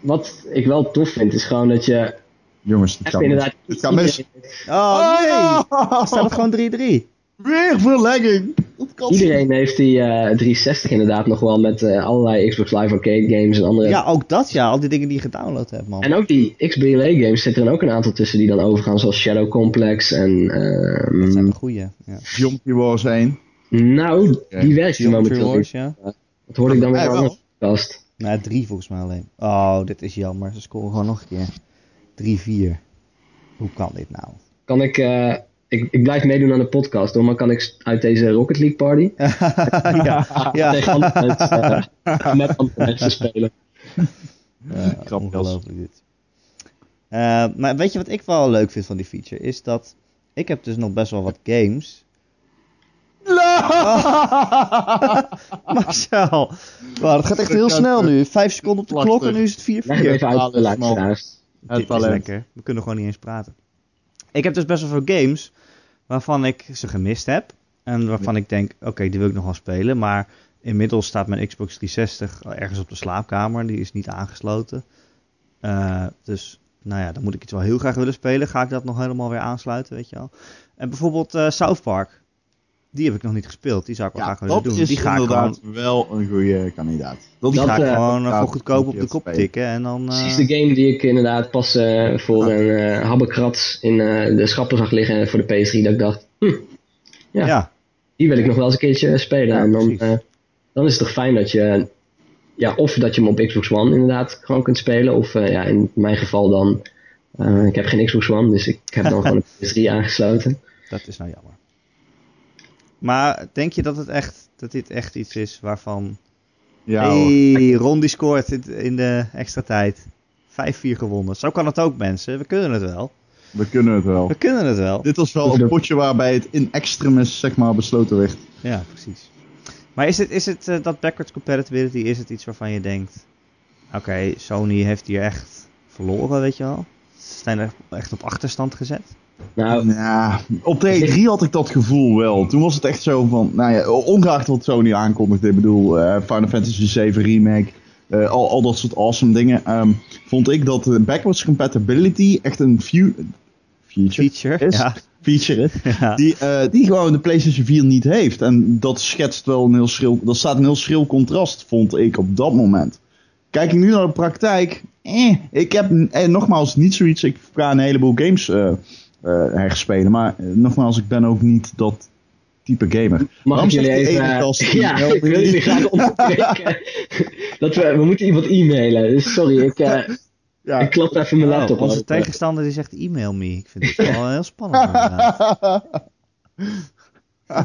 Speaker 3: wat ik wel tof vind, is gewoon dat je
Speaker 2: Jongens, dit
Speaker 3: echt
Speaker 2: gaat mis.
Speaker 3: inderdaad...
Speaker 2: Dit gaat mis.
Speaker 3: iedereen,
Speaker 1: Oh nee!
Speaker 2: Ah,
Speaker 1: Staat het gewoon 3-3?
Speaker 2: Weer verlegging. Dat kan
Speaker 3: iedereen heeft die eh, 360 inderdaad nog wel met eh, allerlei Xbox Live Arcade games en andere...
Speaker 1: Ja, ook dat ja. Al die dingen die je gedownload hebt, man.
Speaker 3: En ook die XBLA games zitten er ook een aantal tussen die dan overgaan, zoals Shadow Complex en... ehm,
Speaker 1: Dat zijn de goeie. Ja.
Speaker 2: Jumpy Wars 1.
Speaker 3: nou, die werkt
Speaker 1: Geometry
Speaker 3: hier momenteel
Speaker 1: Wars,
Speaker 3: niet.
Speaker 1: ja.
Speaker 3: Dat hoorde ik dan weer
Speaker 2: Ja,
Speaker 3: aan
Speaker 2: wel.
Speaker 3: de podcast.
Speaker 1: Nou, drie volgens mij alleen. Oh, dit is jammer. Ze scoren gewoon nog een keer. 3-4. Hoe kan dit nou?
Speaker 3: Kan ik... eh, ik, ik blijf meedoen aan de podcast, hoor, maar kan ik s- uit deze Rocket League party...
Speaker 1: ja, ja.
Speaker 3: tegen andere mensen, eh, met andere mensen spelen.
Speaker 1: Ja,
Speaker 2: Grappig.
Speaker 1: Eh, ongelooflijk dit. Eh, maar weet je wat ik wel leuk vind van die feature? Is dat ik heb dus nog best wel wat games. Marcel! Wow, dat gaat echt heel snel
Speaker 2: eh,
Speaker 1: nu. Vijf seconden op de klok en nu is het 4
Speaker 3: Leg het even uit voor de
Speaker 2: alles, man.
Speaker 3: luisteraars.
Speaker 1: Dit is lekker. We kunnen gewoon niet eens praten. Ik heb dus best wel veel games waarvan ik ze gemist heb. En waarvan ik denk, oké, die wil ik nog wel spelen. Maar inmiddels staat mijn Xbox 360 al ergens op de slaapkamer. Die is niet aangesloten. Eh, dus, nou ja, dan moet ik iets wel heel graag willen spelen. Ga ik dat nog helemaal weer aansluiten, weet je wel. En bijvoorbeeld eh, South Park. Die heb ik nog niet gespeeld. Die zou ik wel
Speaker 2: Ja,
Speaker 1: graag willen
Speaker 2: dat
Speaker 1: doen.
Speaker 2: is
Speaker 1: Die ga ik gewoon,
Speaker 2: inderdaad wel een goede kandidaat. Dat
Speaker 1: die
Speaker 3: dat,
Speaker 1: ga ik
Speaker 3: eh,
Speaker 1: gewoon eh,
Speaker 2: ja,
Speaker 1: voor goedkoop
Speaker 2: moet
Speaker 1: op
Speaker 2: je
Speaker 1: de
Speaker 2: het
Speaker 1: kop
Speaker 2: spelen.
Speaker 1: tikken. En dan, eh,
Speaker 3: Precies de game die ik inderdaad pas eh,
Speaker 2: Ah.
Speaker 3: voor een eh habbekrats in eh, de schappen zag liggen voor de PS3. Dat ik dacht, ja.
Speaker 1: ja,
Speaker 3: die wil ik nog wel eens een keertje spelen.
Speaker 1: Ja,
Speaker 3: en dan,
Speaker 1: precies.
Speaker 3: eh, dan is het toch fijn dat je, ja, of dat je hem op Xbox One inderdaad gewoon kunt spelen. Of eh, ja, in mijn geval dan, eh, ik heb geen Xbox One, dus ik heb dan gewoon een PS3 aangesloten.
Speaker 1: Dat is nou jammer. Maar denk je dat, het echt, dat dit echt iets is waarvan...
Speaker 2: Ja, hoor.
Speaker 1: hey, Ron die scoort in- in de extra tijd. 5-4 gewonnen. Zo kan het ook, mensen. We kunnen het wel.
Speaker 2: we kunnen het wel.
Speaker 1: We kunnen het wel.
Speaker 2: Dit was wel een potje waarbij het in extremis zeg maar, besloten werd.
Speaker 1: Ja, precies. Maar is het, is het eh, dat backwards compatibility, is het iets waarvan je denkt... Oké, Sony heeft hier echt verloren, weet je wel. Ze zijn er echt op achterstand gezet.
Speaker 3: Nou,
Speaker 2: Nou, op de E3 had ik dat gevoel wel. Toen was het echt zo van, nou ja, ongeacht wat Sony aankondigde. Ik bedoel, eh, Final Fantasy VII Remake, eh, al, al dat soort awesome dingen. ehm, vond ik dat de backwards compatibility echt een few- feature,
Speaker 1: Feature.
Speaker 2: is.
Speaker 1: Ja.
Speaker 2: feature is.
Speaker 1: ja.
Speaker 2: Die, eh, die gewoon de PlayStation 4 niet heeft. En dat schetst wel een heel schril. Dat staat een heel schril contrast, vond ik op dat moment. Kijk ik nu naar de praktijk. Eh, ik heb eh, nogmaals niet zoiets. Ik ga een heleboel games eh, eh, herspelen. Maar eh, nogmaals, ik ben ook niet dat type gamer.
Speaker 3: Mag
Speaker 2: Waarom
Speaker 3: ik jullie
Speaker 2: zegt die
Speaker 3: even...
Speaker 2: ene gast
Speaker 3: eh,
Speaker 2: die
Speaker 3: ja,
Speaker 2: wel-
Speaker 3: ik wil jullie graag onderbreken. dat we, we moeten iemand e-mailen. Dus sorry, ik, eh, ik
Speaker 2: Ja.
Speaker 3: klap even mijn laptop
Speaker 1: Oh, onze
Speaker 3: open.
Speaker 1: tegenstander die zegt e-mail me. Ik vind het wel heel spannend. inderdaad.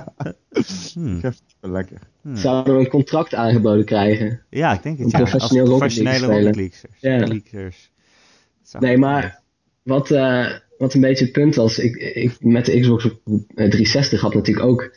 Speaker 1: Hmm,
Speaker 2: Lekker.
Speaker 3: Zouden we een contract aangeboden krijgen?
Speaker 1: Ja, ik denk het.
Speaker 3: Een
Speaker 1: Ja.
Speaker 3: professioneel
Speaker 1: Als
Speaker 3: Rocket
Speaker 1: professionele
Speaker 3: League
Speaker 1: Rocket League'sers.
Speaker 3: Ja.
Speaker 1: League'sers. Dat zou
Speaker 3: Nee,
Speaker 1: goed
Speaker 3: maar wat, eh, wat een beetje het punt was, ik, ik, met de Xbox eh, 360 had natuurlijk ook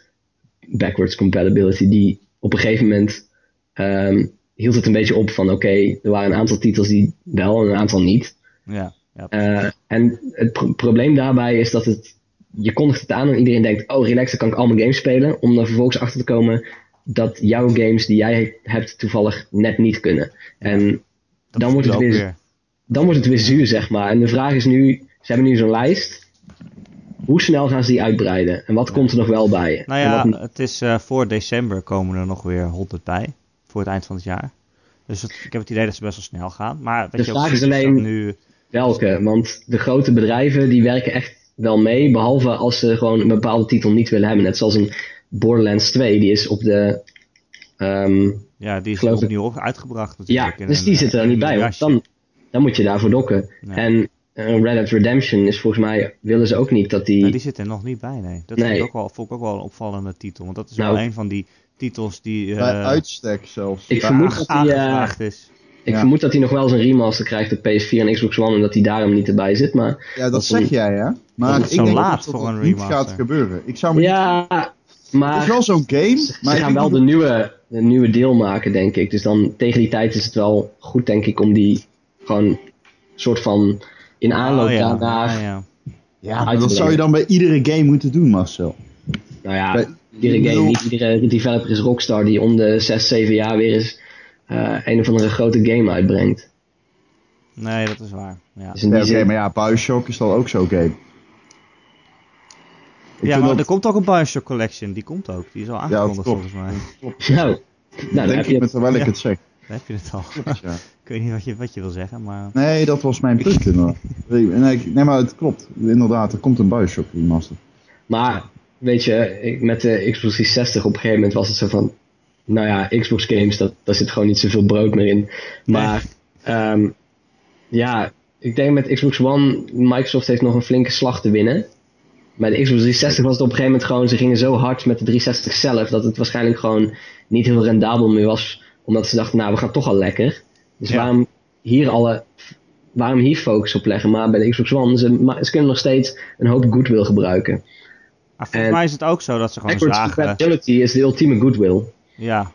Speaker 3: backwards compatibility, die op een gegeven moment ehm, hield het een beetje op van oké, er waren een aantal titels die wel en een aantal niet.
Speaker 1: zijn. Ja, ja.
Speaker 3: Eh, en het pro- probleem daarbij is dat het, je kondigt het aan en iedereen denkt, oh relax, dan kan ik al mijn games spelen, om er vervolgens achter te komen dat jouw games die jij hebt toevallig net niet kunnen. En
Speaker 1: Dat
Speaker 3: dan wordt het
Speaker 1: ook
Speaker 3: weer-
Speaker 1: weer.
Speaker 3: dan wordt het weer zuur, zeg maar. En de vraag is nu, ze hebben nu zo'n lijst. Hoe snel gaan ze die uitbreiden? En wat komt er nog wel bij?
Speaker 1: Nou
Speaker 3: En wat
Speaker 1: ja,
Speaker 3: niet?
Speaker 1: het is eh, voor december komen er nog weer 100 bij. Voor het eind van het jaar. Dus het- ik heb het idee dat ze best wel snel gaan. Maar
Speaker 3: De
Speaker 1: weet je,
Speaker 3: vraag
Speaker 1: ook,
Speaker 3: is alleen-
Speaker 1: Nu,
Speaker 3: welke? Want de grote bedrijven die werken echt wel mee, behalve als ze gewoon een bepaalde titel niet willen hebben. Net zoals een Borderlands 2, die is op de... ehm,
Speaker 1: ja, die is
Speaker 3: Geloof ik.
Speaker 1: opnieuw op- uitgebracht
Speaker 3: ja,
Speaker 1: natuurlijk. in
Speaker 3: dus
Speaker 1: een,
Speaker 3: die
Speaker 1: eh,
Speaker 3: zit er
Speaker 1: in
Speaker 3: niet
Speaker 1: een
Speaker 3: bij, want
Speaker 1: jasje.
Speaker 3: dan, dan moet je daarvoor dokken.
Speaker 1: Nee.
Speaker 3: En eh, Red Dead Redemption is volgens mij, willen ze ook niet dat die...
Speaker 1: Nou, die zit er nog niet bij, nee. Dat Vond,
Speaker 3: Nee.
Speaker 1: ik ook wel, vond ik ook wel een opvallende titel. Want dat is
Speaker 3: Nou.
Speaker 1: wel een van die titels die eh,
Speaker 2: Bij uitstek zelfs.
Speaker 3: Ik
Speaker 1: waar aange-
Speaker 3: vermoed dat die, eh,
Speaker 1: aangevraagd is.
Speaker 3: Ik
Speaker 2: Ja.
Speaker 3: vermoed dat hij nog wel eens een remaster krijgt op PS4 en Xbox One en dat hij daarom niet erbij zit. Maar
Speaker 2: Ja, dat zeg jij, hè? Maar
Speaker 1: Dat is
Speaker 2: ik
Speaker 1: zo
Speaker 2: denk
Speaker 1: laat
Speaker 2: dat dat
Speaker 1: voor een
Speaker 2: niet
Speaker 1: remaster.
Speaker 2: gaat gebeuren. Ik zou me niet-
Speaker 3: ja,
Speaker 2: Het is
Speaker 3: maar
Speaker 2: wel zo'n game, maar
Speaker 3: ze
Speaker 2: ik
Speaker 3: gaan
Speaker 2: denk
Speaker 3: wel
Speaker 2: niet
Speaker 3: de nieuwe, de nieuwe deel maken, denk ik. Dus dan tegen die tijd is het wel goed, denk ik, om die gewoon soort van in aanloop
Speaker 1: Oh, ja.
Speaker 3: daarna.
Speaker 1: Ja, ja.
Speaker 2: Ja, maar
Speaker 3: uit te
Speaker 2: dat zou je
Speaker 3: brengen.
Speaker 2: dan bij iedere game moeten doen, Marcel.
Speaker 3: Nou ja,
Speaker 2: Bij-
Speaker 3: iedere game,
Speaker 2: Nul.
Speaker 3: niet iedere developer is Rockstar die om de 6, 7 jaar weer eens eh, een of andere grote game uitbrengt.
Speaker 1: Nee, dat is waar. Ja,
Speaker 3: Dus in
Speaker 2: Ja,
Speaker 3: die
Speaker 2: Oké,
Speaker 3: zin,
Speaker 2: maar ja, Bioshock is dan ook zo'n game. Ik
Speaker 1: ja
Speaker 2: vind
Speaker 1: maar
Speaker 2: dat-
Speaker 1: er komt ook een Bioshock Collection. Die komt ook. Die is al aangekondigd
Speaker 2: klopt.
Speaker 1: volgens mij.
Speaker 3: nou, nou dan
Speaker 2: denk
Speaker 3: heb
Speaker 2: ik
Speaker 3: je
Speaker 2: met terwijl ik
Speaker 1: Ja.
Speaker 2: het zeg.
Speaker 1: Daar heb je het al.
Speaker 2: Ja.
Speaker 1: ik weet niet wat je, wat je wil zeggen, maar...
Speaker 2: Nee, dat was mijn punt inderdaad. Nee, ik- nee, maar het klopt. Inderdaad, er komt een Bioshock remaster.
Speaker 3: Maar weet je, ik- met de Xbox 360 op een gegeven moment was het zo van. Nou ja, Xbox games, dat, daar zit gewoon niet zoveel brood meer in. Maar ehm, ja, ik denk met Xbox One, Microsoft heeft nog een flinke slag te winnen. Bij de Xbox 360 was het op een gegeven moment gewoon, ze gingen zo hard met de 360 zelf, dat het waarschijnlijk gewoon niet heel rendabel meer was. Omdat ze dachten, nou we gaan toch al lekker. Dus
Speaker 1: Ja.
Speaker 3: waarom hier alle, waarom hier focus op leggen? Maar bij de Xbox One, ze, ma- ze kunnen nog steeds een hoop goodwill gebruiken.
Speaker 1: Ah, volgens
Speaker 3: En-
Speaker 1: mij is het ook zo dat ze gewoon
Speaker 3: Backwards
Speaker 1: zagen.
Speaker 3: compatibility is de ultieme goodwill.
Speaker 1: Ja.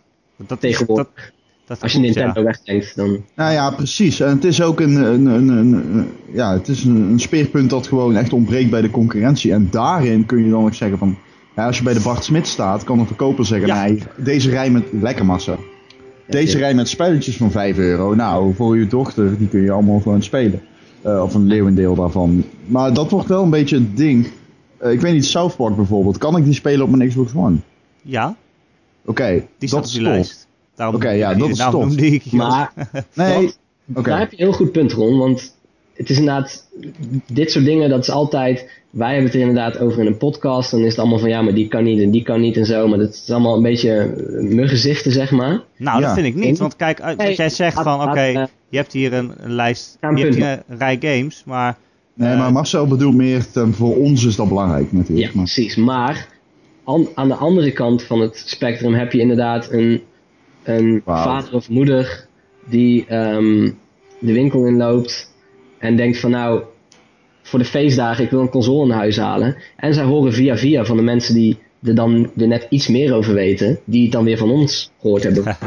Speaker 1: Dat,
Speaker 3: Tegenwoordig.
Speaker 1: Dat, dat
Speaker 3: Als je
Speaker 1: klopt,
Speaker 3: Nintendo
Speaker 1: ja.
Speaker 3: wegdenkt, dan...
Speaker 2: Nou ja, precies. En het is ook een, een, een, een- een- ja, het is een, een speerpunt dat gewoon echt ontbreekt bij de concurrentie. En daarin kun je dan ook zeggen van... Ja, als je bij de Bart Smit staat, kan een verkoper zeggen...
Speaker 1: Ja.
Speaker 2: Nee, deze rij met... Lekker massa. Deze rij met spelletjes van 5 euro. Nou, voor je dochter, die kun je allemaal gewoon spelen. Eh, of een leeuwendeel daarvan. Maar dat wordt wel een beetje het ding. Eh, ik weet niet, South Park bijvoorbeeld. Kan ik die spelen op mijn Xbox One?
Speaker 1: Ja,
Speaker 2: Oké,
Speaker 1: die
Speaker 2: dat
Speaker 1: staat op
Speaker 2: is
Speaker 1: die
Speaker 2: tof.
Speaker 1: lijst. Daarom-
Speaker 2: Oké, ja, dat is
Speaker 1: daarom
Speaker 2: tof.
Speaker 1: noemde ik je.
Speaker 3: Maar
Speaker 2: Nee,
Speaker 3: Dat-
Speaker 2: oké.
Speaker 3: daar heb je een heel goed punt, Ron. Want het is inderdaad... Dit soort dingen, dat is altijd... Wij hebben het er inderdaad over in een podcast. Dan is het allemaal van... Ja, maar die kan niet en die kan niet en zo. Maar dat is allemaal een beetje eh, muggenzichten, zeg maar.
Speaker 1: Nou, dat
Speaker 2: Ja.
Speaker 1: vind ik niet. Want kijk, uit- als
Speaker 3: Nee,
Speaker 1: jij zegt
Speaker 3: laat-
Speaker 1: van, oké,
Speaker 3: laat, eh,
Speaker 1: je hebt hier een, een lijst, je
Speaker 3: gaan
Speaker 1: hebt
Speaker 3: punten.
Speaker 1: hier een rij games, maar
Speaker 2: Nee,
Speaker 1: Eh,
Speaker 2: maar Marcel bedoelt meer, ten- voor ons is dat belangrijk natuurlijk.
Speaker 3: Ja,
Speaker 2: maar-
Speaker 3: precies. Maar an- aan de andere kant van het spectrum heb je inderdaad een, een
Speaker 2: Wauw.
Speaker 3: vader of moeder die ehm, de winkel inloopt en denkt van nou, voor de feestdagen, ik wil een console in huis halen. En zij horen via via van de mensen die er dan er net iets meer over weten, die het dan weer van ons gehoord hebben.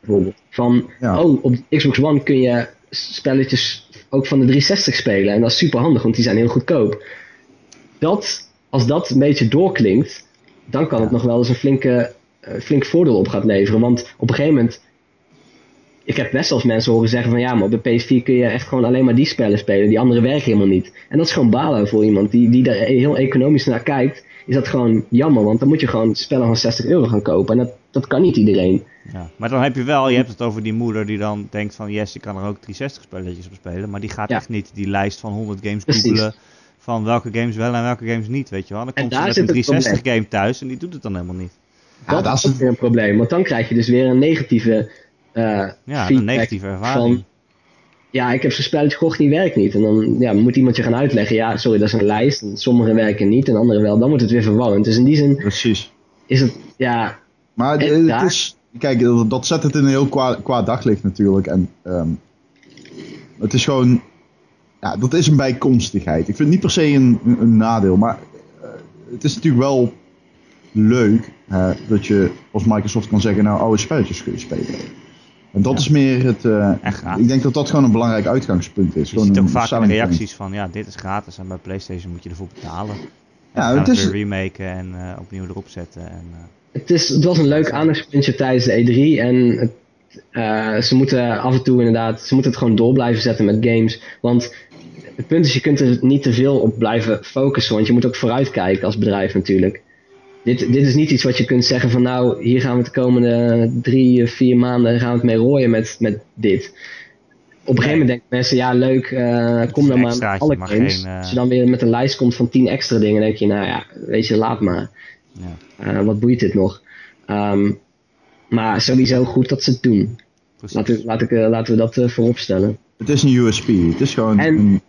Speaker 3: Bijvoorbeeld. Van,
Speaker 2: Ja.
Speaker 3: oh, op Xbox One kun je spelletjes ook van de 360 spelen. En dat is super handig, want die zijn heel goedkoop. Dat, als dat een beetje doorklinkt, dan kan het nog wel eens een flinke, eh, flink voordeel op gaan leveren. Want op een gegeven moment ik heb best wel eens mensen horen zeggen van ja, maar op de PS4 kun je echt gewoon alleen maar die spellen spelen. Die andere werken helemaal niet. En dat is gewoon balen voor iemand die, die daar heel economisch naar kijkt. Is dat gewoon jammer, want dan moet je gewoon spellen van 60 euro gaan kopen. En dat, dat kan niet iedereen.
Speaker 1: Ja. Maar dan heb je wel, je hebt het over die moeder die dan denkt van yes, ik kan er ook 360 spelletjes op spelen. Maar die gaat
Speaker 3: Ja.
Speaker 1: echt niet die lijst van 100 games
Speaker 3: Precies.
Speaker 1: googelen van welke games wel en welke games niet, weet je wel. Dan
Speaker 3: En
Speaker 1: komt ze
Speaker 3: daar
Speaker 1: met een
Speaker 3: zit het
Speaker 1: 360 game thuis en die doet het dan helemaal niet.
Speaker 2: Ja,
Speaker 3: dat,
Speaker 2: dat
Speaker 3: is
Speaker 2: is-
Speaker 3: ook weer een probleem. Want dan krijg je dus weer een negatieve eh
Speaker 1: Ja, een
Speaker 3: feedback
Speaker 1: negatieve ervaring.
Speaker 3: van- ja, ik heb zo'n spelletje gekocht, die werkt niet. En dan ja, moet iemand je gaan uitleggen, ja, sorry, dat is een lijst. En Sommige werken niet en andere wel. Dan wordt het weer verwarrend. Dus in die zin
Speaker 2: Precies.
Speaker 3: is het, ja,
Speaker 2: Maar
Speaker 3: En
Speaker 2: eh,
Speaker 3: daar-
Speaker 2: het is, kijk, dat- dat zet het in een heel qua, qua daglicht natuurlijk. En ehm, het is gewoon, ja, dat is een bijkomstigheid. Ik vind het niet per se een, een- een nadeel, maar eh, het is natuurlijk wel leuk hè, dat je als Microsoft kan zeggen, nou, oude spelletjes kun je spelen. En dat
Speaker 1: Ja.
Speaker 2: is meer het. eh,
Speaker 1: Echt gratis.
Speaker 2: ik denk dat dat gewoon een belangrijk uitgangspunt is.
Speaker 1: Je
Speaker 2: Gewoon
Speaker 1: ziet ook
Speaker 2: een
Speaker 1: vaak in de
Speaker 2: selling point.
Speaker 1: reacties van ja, dit is gratis en bij PlayStation moet je ervoor betalen.
Speaker 2: Ja,
Speaker 1: Ja,
Speaker 2: het is,
Speaker 1: weer remaken en eh, opnieuw erop zetten. En, eh,
Speaker 3: het, is, het was een leuk aandachtspuntje tijdens de E3. En het, eh, ze moeten af en toe inderdaad, ze moeten het gewoon door blijven zetten met games. Want het punt is, je kunt er niet te veel op blijven focussen. Want je moet ook vooruitkijken als bedrijf natuurlijk. Dit, dit is niet iets wat je kunt zeggen van nou, hier gaan we de komende drie, vier maanden gaan we het mee rooien met, met dit. Op een gegeven moment denken mensen, ja leuk, eh, kom
Speaker 1: een
Speaker 3: dan maar met
Speaker 1: extraatje,
Speaker 3: alle
Speaker 1: maar
Speaker 3: games.
Speaker 1: geen, eh,
Speaker 3: Als je dan weer met een lijst komt van tien extra dingen, denk je, nou ja, weet je, laat maar.
Speaker 1: ja.
Speaker 3: Eh, wat boeit dit nog? Ehm, maar sowieso goed dat ze het doen.
Speaker 1: Precies.
Speaker 3: Laat ik, laat ik, eh, laten we dat eh, vooropstellen.
Speaker 2: het is een USP. Het is gewoon.
Speaker 3: En-
Speaker 2: een-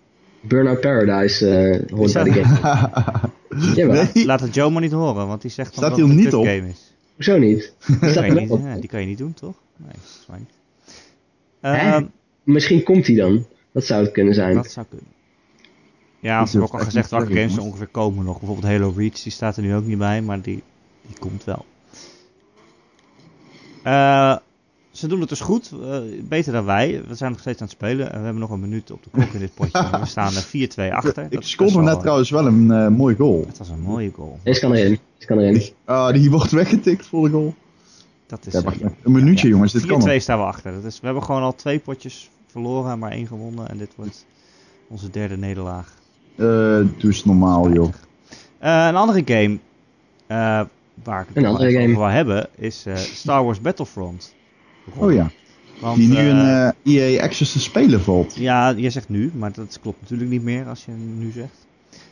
Speaker 3: Burnout Paradise eh, hoort
Speaker 1: Is
Speaker 3: bij
Speaker 1: dat-
Speaker 3: de game. Jawel,
Speaker 2: Nee,
Speaker 1: Laat het Joe maar niet horen, want die zegt dan
Speaker 2: Staat
Speaker 1: dat
Speaker 2: hij
Speaker 1: het
Speaker 2: hem
Speaker 1: een
Speaker 2: niet op?
Speaker 1: game is.
Speaker 3: hoezo niet? Is
Speaker 1: Die
Speaker 3: dat
Speaker 1: kan, je
Speaker 3: er
Speaker 1: niet,
Speaker 3: wel?
Speaker 1: ja, die kan je niet doen, toch? Nee, volgens mij niet.
Speaker 3: Hè?
Speaker 1: Ehm,
Speaker 3: Misschien komt die dan. Dat zou het kunnen zijn.
Speaker 1: dat zou kunnen. Ja, als
Speaker 2: durf
Speaker 1: ik ook al
Speaker 2: echt
Speaker 1: gezegd
Speaker 2: niet
Speaker 1: welke
Speaker 2: te zeggen,
Speaker 1: games er ongeveer komen nog. Bijvoorbeeld Halo Reach, die staat er nu ook niet bij, maar die, die komt wel. Eh, ze doen het dus goed, eh, beter dan wij. We zijn nog steeds aan het spelen en we hebben nog een minuut op de klok in dit potje. We staan er 4-2 achter. Dat
Speaker 2: ik
Speaker 1: is best
Speaker 2: scoorde
Speaker 1: wel-
Speaker 2: net trouwens wel een eh, mooi goal.
Speaker 1: Het was een mooie goal.
Speaker 3: Deze kan erin. Deze kan erin.
Speaker 2: Ah, die wordt weggetikt voor de goal.
Speaker 1: Dat is
Speaker 2: Ja,
Speaker 1: eh,
Speaker 2: wacht, een minuutje
Speaker 1: ja.
Speaker 2: jongens, dit kan
Speaker 1: 4-2
Speaker 2: nog.
Speaker 1: staan we achter. Dat is, we hebben gewoon al twee potjes verloren en maar één gewonnen. En dit wordt onze derde nederlaag.
Speaker 2: Eh, doe eens normaal joh.
Speaker 1: Eh, een andere game eh, waar ik het
Speaker 3: Een
Speaker 1: nog
Speaker 3: andere
Speaker 1: even
Speaker 3: game.
Speaker 1: over wil hebben is eh, Star Wars Battlefront.
Speaker 2: Oh ja,
Speaker 1: Want,
Speaker 2: die nu
Speaker 1: eh,
Speaker 2: een eh, EA Access te spelen valt.
Speaker 1: ja, je zegt nu, maar dat klopt natuurlijk niet meer als je nu zegt.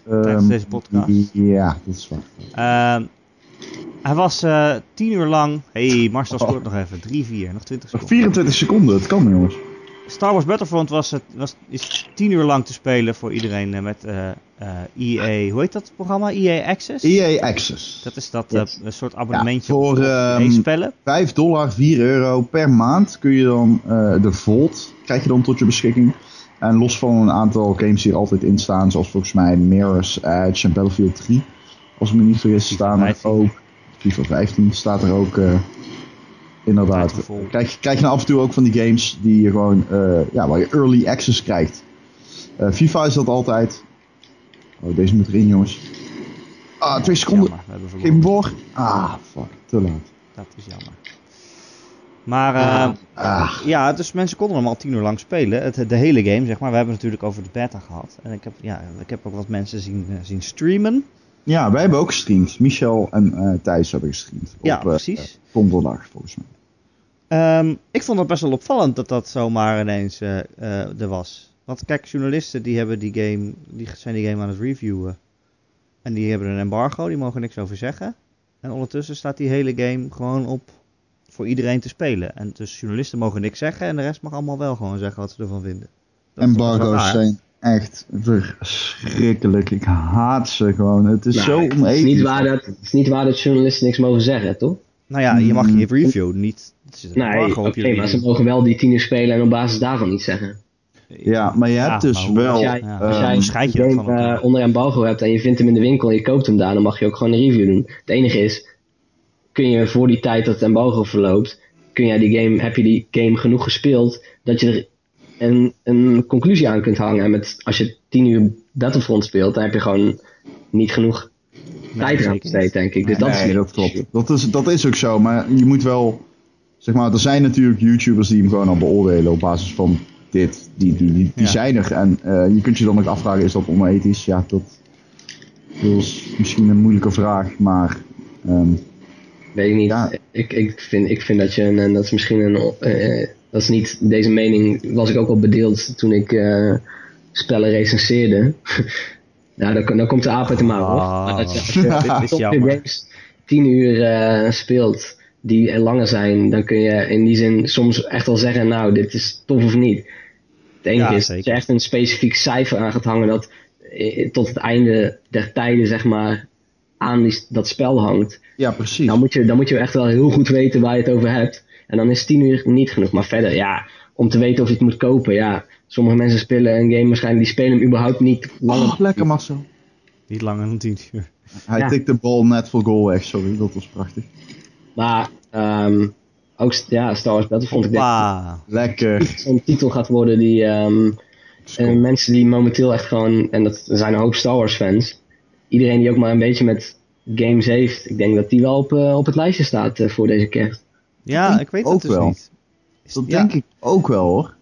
Speaker 2: Ehm,
Speaker 1: deze podcast.
Speaker 2: Ja, dat is waar.
Speaker 1: Ehm, hij was eh, tien uur lang. hey, Marcel scoort nog even. 3-4, nog 20
Speaker 2: Oh. Nog
Speaker 1: seconden.
Speaker 2: 24 seconden, het kan jongens.
Speaker 1: Star Wars Battlefront was, het, was, is tien uur lang te spelen voor iedereen eh, met eh, eh, EA. Hoe heet dat programma? EA Access?
Speaker 2: EA E Access.
Speaker 1: Dat is dat eh,
Speaker 3: Yes.
Speaker 1: een soort abonnementje
Speaker 2: Ja, voor,
Speaker 1: op E EA
Speaker 2: ehm,
Speaker 1: spellen.
Speaker 2: 5 dollar, 4 euro per maand kun je dan eh, de Vault, krijg je dan tot je beschikking. En los van een aantal games die er altijd in staan, zoals volgens mij Mirror's Edge en Battlefield 3. Als ik me niet vergis staan er
Speaker 1: 15.
Speaker 2: ook, FIFA 15 staat er ook eh, inderdaad.
Speaker 1: Titanfall.
Speaker 2: Krijg, krijg je nou af en toe ook van die games die je gewoon, eh, ja, waar je early access krijgt. Eh, FIFA is dat altijd. Oh, deze moet erin jongens. Ah, twee seconden.
Speaker 1: Jammer, we hebben
Speaker 2: Geen
Speaker 1: verloren.
Speaker 2: boor. Ah, fuck, te laat.
Speaker 1: Dat is jammer. Maar
Speaker 3: Ah.
Speaker 1: eh,
Speaker 2: Ah.
Speaker 1: ja, dus mensen konden hem al tien uur lang spelen. Het, de hele game, zeg maar. We hebben het natuurlijk over de beta gehad. En ik heb, ja, ik heb ook wat mensen zien, eh, zien streamen.
Speaker 2: Ja, wij hebben ook gestreamd. Michel en eh, Thijs hebben gestreamd.
Speaker 1: Ja,
Speaker 2: eh,
Speaker 1: precies.
Speaker 2: eh, donderdag, volgens mij.
Speaker 1: Ehm, ik vond het best wel opvallend dat dat zomaar ineens eh, eh, er was. Want kijk, journalisten die, hebben die game, die zijn die game aan het reviewen. En die hebben een embargo, die mogen niks over zeggen. En ondertussen staat die hele game gewoon op voor iedereen te spelen. En dus journalisten mogen niks zeggen en de rest mag allemaal wel gewoon zeggen wat ze ervan vinden. Dat is toch best wel
Speaker 2: Embargo's
Speaker 1: raar?
Speaker 2: zijn echt verschrikkelijk. Ik haat ze gewoon. Het is
Speaker 3: Nou,
Speaker 2: Dus zo
Speaker 3: het
Speaker 2: onethisch.
Speaker 3: is niet waar dat- Het is niet waar dat journalisten niks mogen zeggen, toch?
Speaker 1: Nou ja, je
Speaker 2: Mm.
Speaker 1: mag je review niet. Er zit een
Speaker 3: Nee,
Speaker 1: embargo
Speaker 3: oké,
Speaker 1: op je review.
Speaker 3: maar ze mogen wel die tien uur spelen en op basis daarvan iets zeggen.
Speaker 2: Ja, maar je hebt
Speaker 1: Ja,
Speaker 2: dus
Speaker 1: maar hoe-
Speaker 2: wel...
Speaker 3: Als jij-
Speaker 1: ja,
Speaker 2: eh,
Speaker 3: als jij-
Speaker 1: onderscheid je
Speaker 3: een
Speaker 1: dat
Speaker 3: game,
Speaker 1: van elkaar?
Speaker 3: eh, onder embargo hebt en je vindt hem in de winkel en je koopt hem daar, dan mag je ook gewoon een review doen. Het enige is, kun je voor die tijd dat het embargo verloopt, kun jij die game, heb je die game genoeg gespeeld dat je er een, een conclusie aan kunt hangen. En met, als je 10 uur Battlefront speelt, dan heb je gewoon niet genoeg tijd aan
Speaker 1: zeker
Speaker 3: besteed, denk ik. Dus dat
Speaker 2: nee,
Speaker 3: is
Speaker 2: dat klopt. Dat is, dat is ook zo, maar je moet wel Zeg maar, er zijn natuurlijk YouTubers die hem gewoon al beoordelen op basis van dit, die, die, die, die
Speaker 1: Ja.
Speaker 2: zijn er. En eh, je kunt je dan ook afvragen, is dat onethisch? Ja, dat is misschien een moeilijke vraag, maar... ehm,
Speaker 3: Weet ik niet.
Speaker 2: Ja.
Speaker 3: Ik, ik, vind, ik vind dat je, een- en dat is misschien een, eh, dat is niet, deze mening was ik ook al bedeeld toen ik eh, spellen recenseerde. nou, dan, dan komt de aap uit de mouw, hoor.
Speaker 1: Ah.
Speaker 3: Maar dat je- als je
Speaker 2: Dit
Speaker 1: is
Speaker 3: top
Speaker 1: jammer.
Speaker 3: games 10 uur eh, speelt, die langer zijn, dan kun je in die zin soms echt wel zeggen, nou, dit is tof of niet. Het enige
Speaker 1: Ja,
Speaker 3: is dat je
Speaker 1: zeker.
Speaker 3: echt een specifiek cijfer aan gaat hangen dat eh, tot het einde der tijden, zeg maar, aan die, dat spel hangt.
Speaker 2: ja, precies.
Speaker 3: Dan moet, je, dan moet je echt wel heel goed weten waar je het over hebt. En dan is 10 uur niet genoeg. Maar verder, ja, om te weten of je het moet kopen, ja. Sommige mensen spelen een game waarschijnlijk, die spelen hem überhaupt niet lang.
Speaker 2: Oh, lekker Marcel.
Speaker 1: Niet langer dan 10 uur.
Speaker 2: Hij
Speaker 3: Ja.
Speaker 2: tikt de bal net voor goal weg, sorry. Dat was prachtig.
Speaker 3: Maar ehm, ook ja, Star Wars Battlefront, ik denk dat
Speaker 1: Hoppa.
Speaker 2: Lekker.
Speaker 3: het zo'n titel gaat worden die ehm, eh, mensen die momenteel echt gewoon, en dat zijn een hoop Star Wars fans, iedereen die ook maar een beetje met games heeft, ik denk dat die wel op, eh, op het lijstje staat eh, voor deze kerst.
Speaker 1: Ja,
Speaker 2: denk
Speaker 1: ik weet
Speaker 2: ook
Speaker 1: het dus
Speaker 2: wel.
Speaker 1: niet. Is-
Speaker 2: Dat
Speaker 1: ja,
Speaker 2: denk ik ook wel hoor.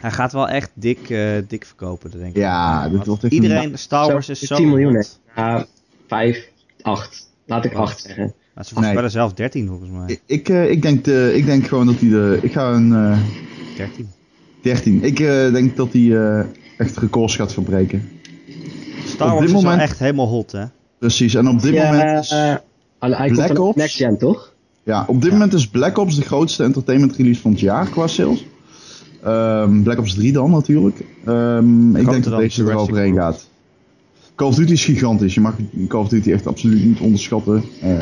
Speaker 1: Hij gaat wel echt dik, eh, dik verkopen, dat denk ik.
Speaker 2: Ja, dit
Speaker 1: Want
Speaker 2: wordt echt
Speaker 1: Iedereen, Star Wars
Speaker 3: Zo,
Speaker 1: is zo...
Speaker 3: 10 miljoen,
Speaker 1: hot.
Speaker 3: Ja, 5, 8. Laat ik 8 zeggen.
Speaker 1: Maar ze nee.
Speaker 2: Nee.
Speaker 1: spelen zelf 13 volgens mij.
Speaker 2: Ik, ik, eh, ik, denk, de, ik denk gewoon dat hij de. Ik ga een eh,
Speaker 1: 13.
Speaker 2: 13. Ik eh, denk dat hij eh, echt records gaat verbreken.
Speaker 1: Star
Speaker 2: Op
Speaker 1: Wars
Speaker 2: dit
Speaker 1: is wel
Speaker 2: moment-
Speaker 1: echt helemaal hot, hè?
Speaker 2: Precies. En op dit
Speaker 3: Ja,
Speaker 2: moment. Is,
Speaker 3: eh, Hij hij
Speaker 2: Black
Speaker 3: komt van
Speaker 2: Ops.
Speaker 3: Next Gen, toch?
Speaker 2: ja, op dit moment is Black Ops de grootste entertainment release van het jaar qua sales. Ehm, Black Ops 3 dan natuurlijk. Ehm, ik
Speaker 1: Groter
Speaker 2: denk dat
Speaker 1: dan
Speaker 2: deze er wel
Speaker 1: Jurassic
Speaker 2: overheen
Speaker 1: World.
Speaker 2: gaat. Call of Duty is gigantisch. Je mag Call of Duty echt absoluut niet onderschatten. Eh,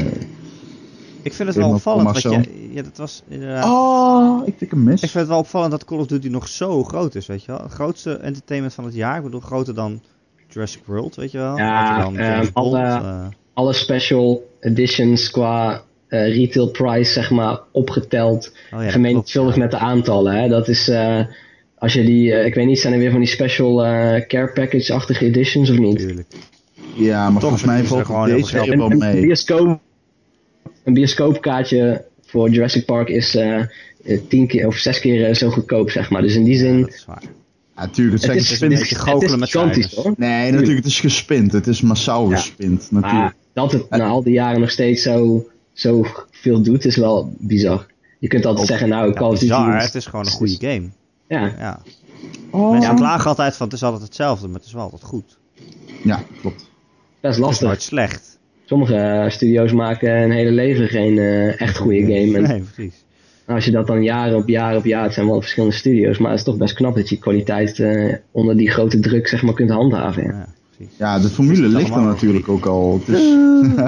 Speaker 1: Ik vind het wel
Speaker 2: Helemaal
Speaker 1: opvallend dat
Speaker 2: Marcel.
Speaker 1: je... Ja, dat was inderdaad...
Speaker 2: Oh, ik tik hem mis.
Speaker 1: Ik vind het wel opvallend dat Call of Duty nog zo groot is, weet je wel. Het grootste entertainment van het jaar. Ik bedoel, groter dan Jurassic World, weet je wel.
Speaker 3: Ja,
Speaker 1: Groter dan
Speaker 3: ehm,
Speaker 1: James Bond,
Speaker 3: alle-
Speaker 1: eh.
Speaker 3: Alle special editions qua eh, retail price, zeg maar, opgeteld.
Speaker 1: oh, ja,
Speaker 3: gemeenschuldig
Speaker 1: klopt,
Speaker 3: met de aantallen. Hè? Dat is, eh, als je die, eh, ik weet niet, zijn er weer van die special eh, care package-achtige editions of
Speaker 1: ja,
Speaker 3: niet?
Speaker 1: tuurlijk.
Speaker 2: Ja, maar
Speaker 1: Toch
Speaker 2: volgens mij
Speaker 1: verdienen
Speaker 2: valt
Speaker 1: ze er gewoon heel
Speaker 2: deze
Speaker 1: veel
Speaker 2: keer
Speaker 1: geld
Speaker 2: wel
Speaker 3: Een, een,
Speaker 2: mee.
Speaker 3: bioscoop, een bioscoopkaartje voor Jurassic Park is eh, eh, tien keer of zes keer eh, zo goedkoop, zeg maar. Dus in die zin,
Speaker 1: Ja, dat is waar.
Speaker 2: Ja, tuurlijk, het
Speaker 3: het,
Speaker 2: zijn
Speaker 3: is,
Speaker 1: is een
Speaker 2: gespin-
Speaker 3: het,
Speaker 1: beetje
Speaker 3: is, het is
Speaker 1: goochelen met
Speaker 3: gigantisch
Speaker 1: cijfers.
Speaker 3: hoor.
Speaker 2: Nee, natuurlijk, het is gespind. Het is massaal
Speaker 3: Ja.
Speaker 2: gespind,
Speaker 3: Maar
Speaker 2: natuurlijk.
Speaker 3: dat het na al die jaren nog steeds zo, zo veel doet, is wel bizar. Je kunt altijd zeggen, nou,
Speaker 1: Ja,
Speaker 3: Call of Duty...
Speaker 1: bizar,
Speaker 3: is-
Speaker 1: het is gewoon een goede game.
Speaker 3: Ja,
Speaker 1: Ja.
Speaker 2: Oh.
Speaker 1: Mensen klagen altijd van het is altijd hetzelfde, maar het is wel altijd goed.
Speaker 2: Ja, klopt.
Speaker 3: best
Speaker 1: Het is
Speaker 3: lastig.
Speaker 1: nooit slecht.
Speaker 3: Sommige eh, studio's maken een hele leven geen eh, echt goede game. En
Speaker 1: Nee, precies.
Speaker 3: als je dat dan jaar op jaar op jaar, het zijn wel verschillende studio's, maar het is toch best knap dat je kwaliteit eh, onder die grote druk zeg maar kunt handhaven. ja.
Speaker 1: Ja, precies.
Speaker 2: Ja, de formule
Speaker 1: Dus Het is
Speaker 2: ligt er
Speaker 1: allemaal
Speaker 2: natuurlijk ook al. Het is-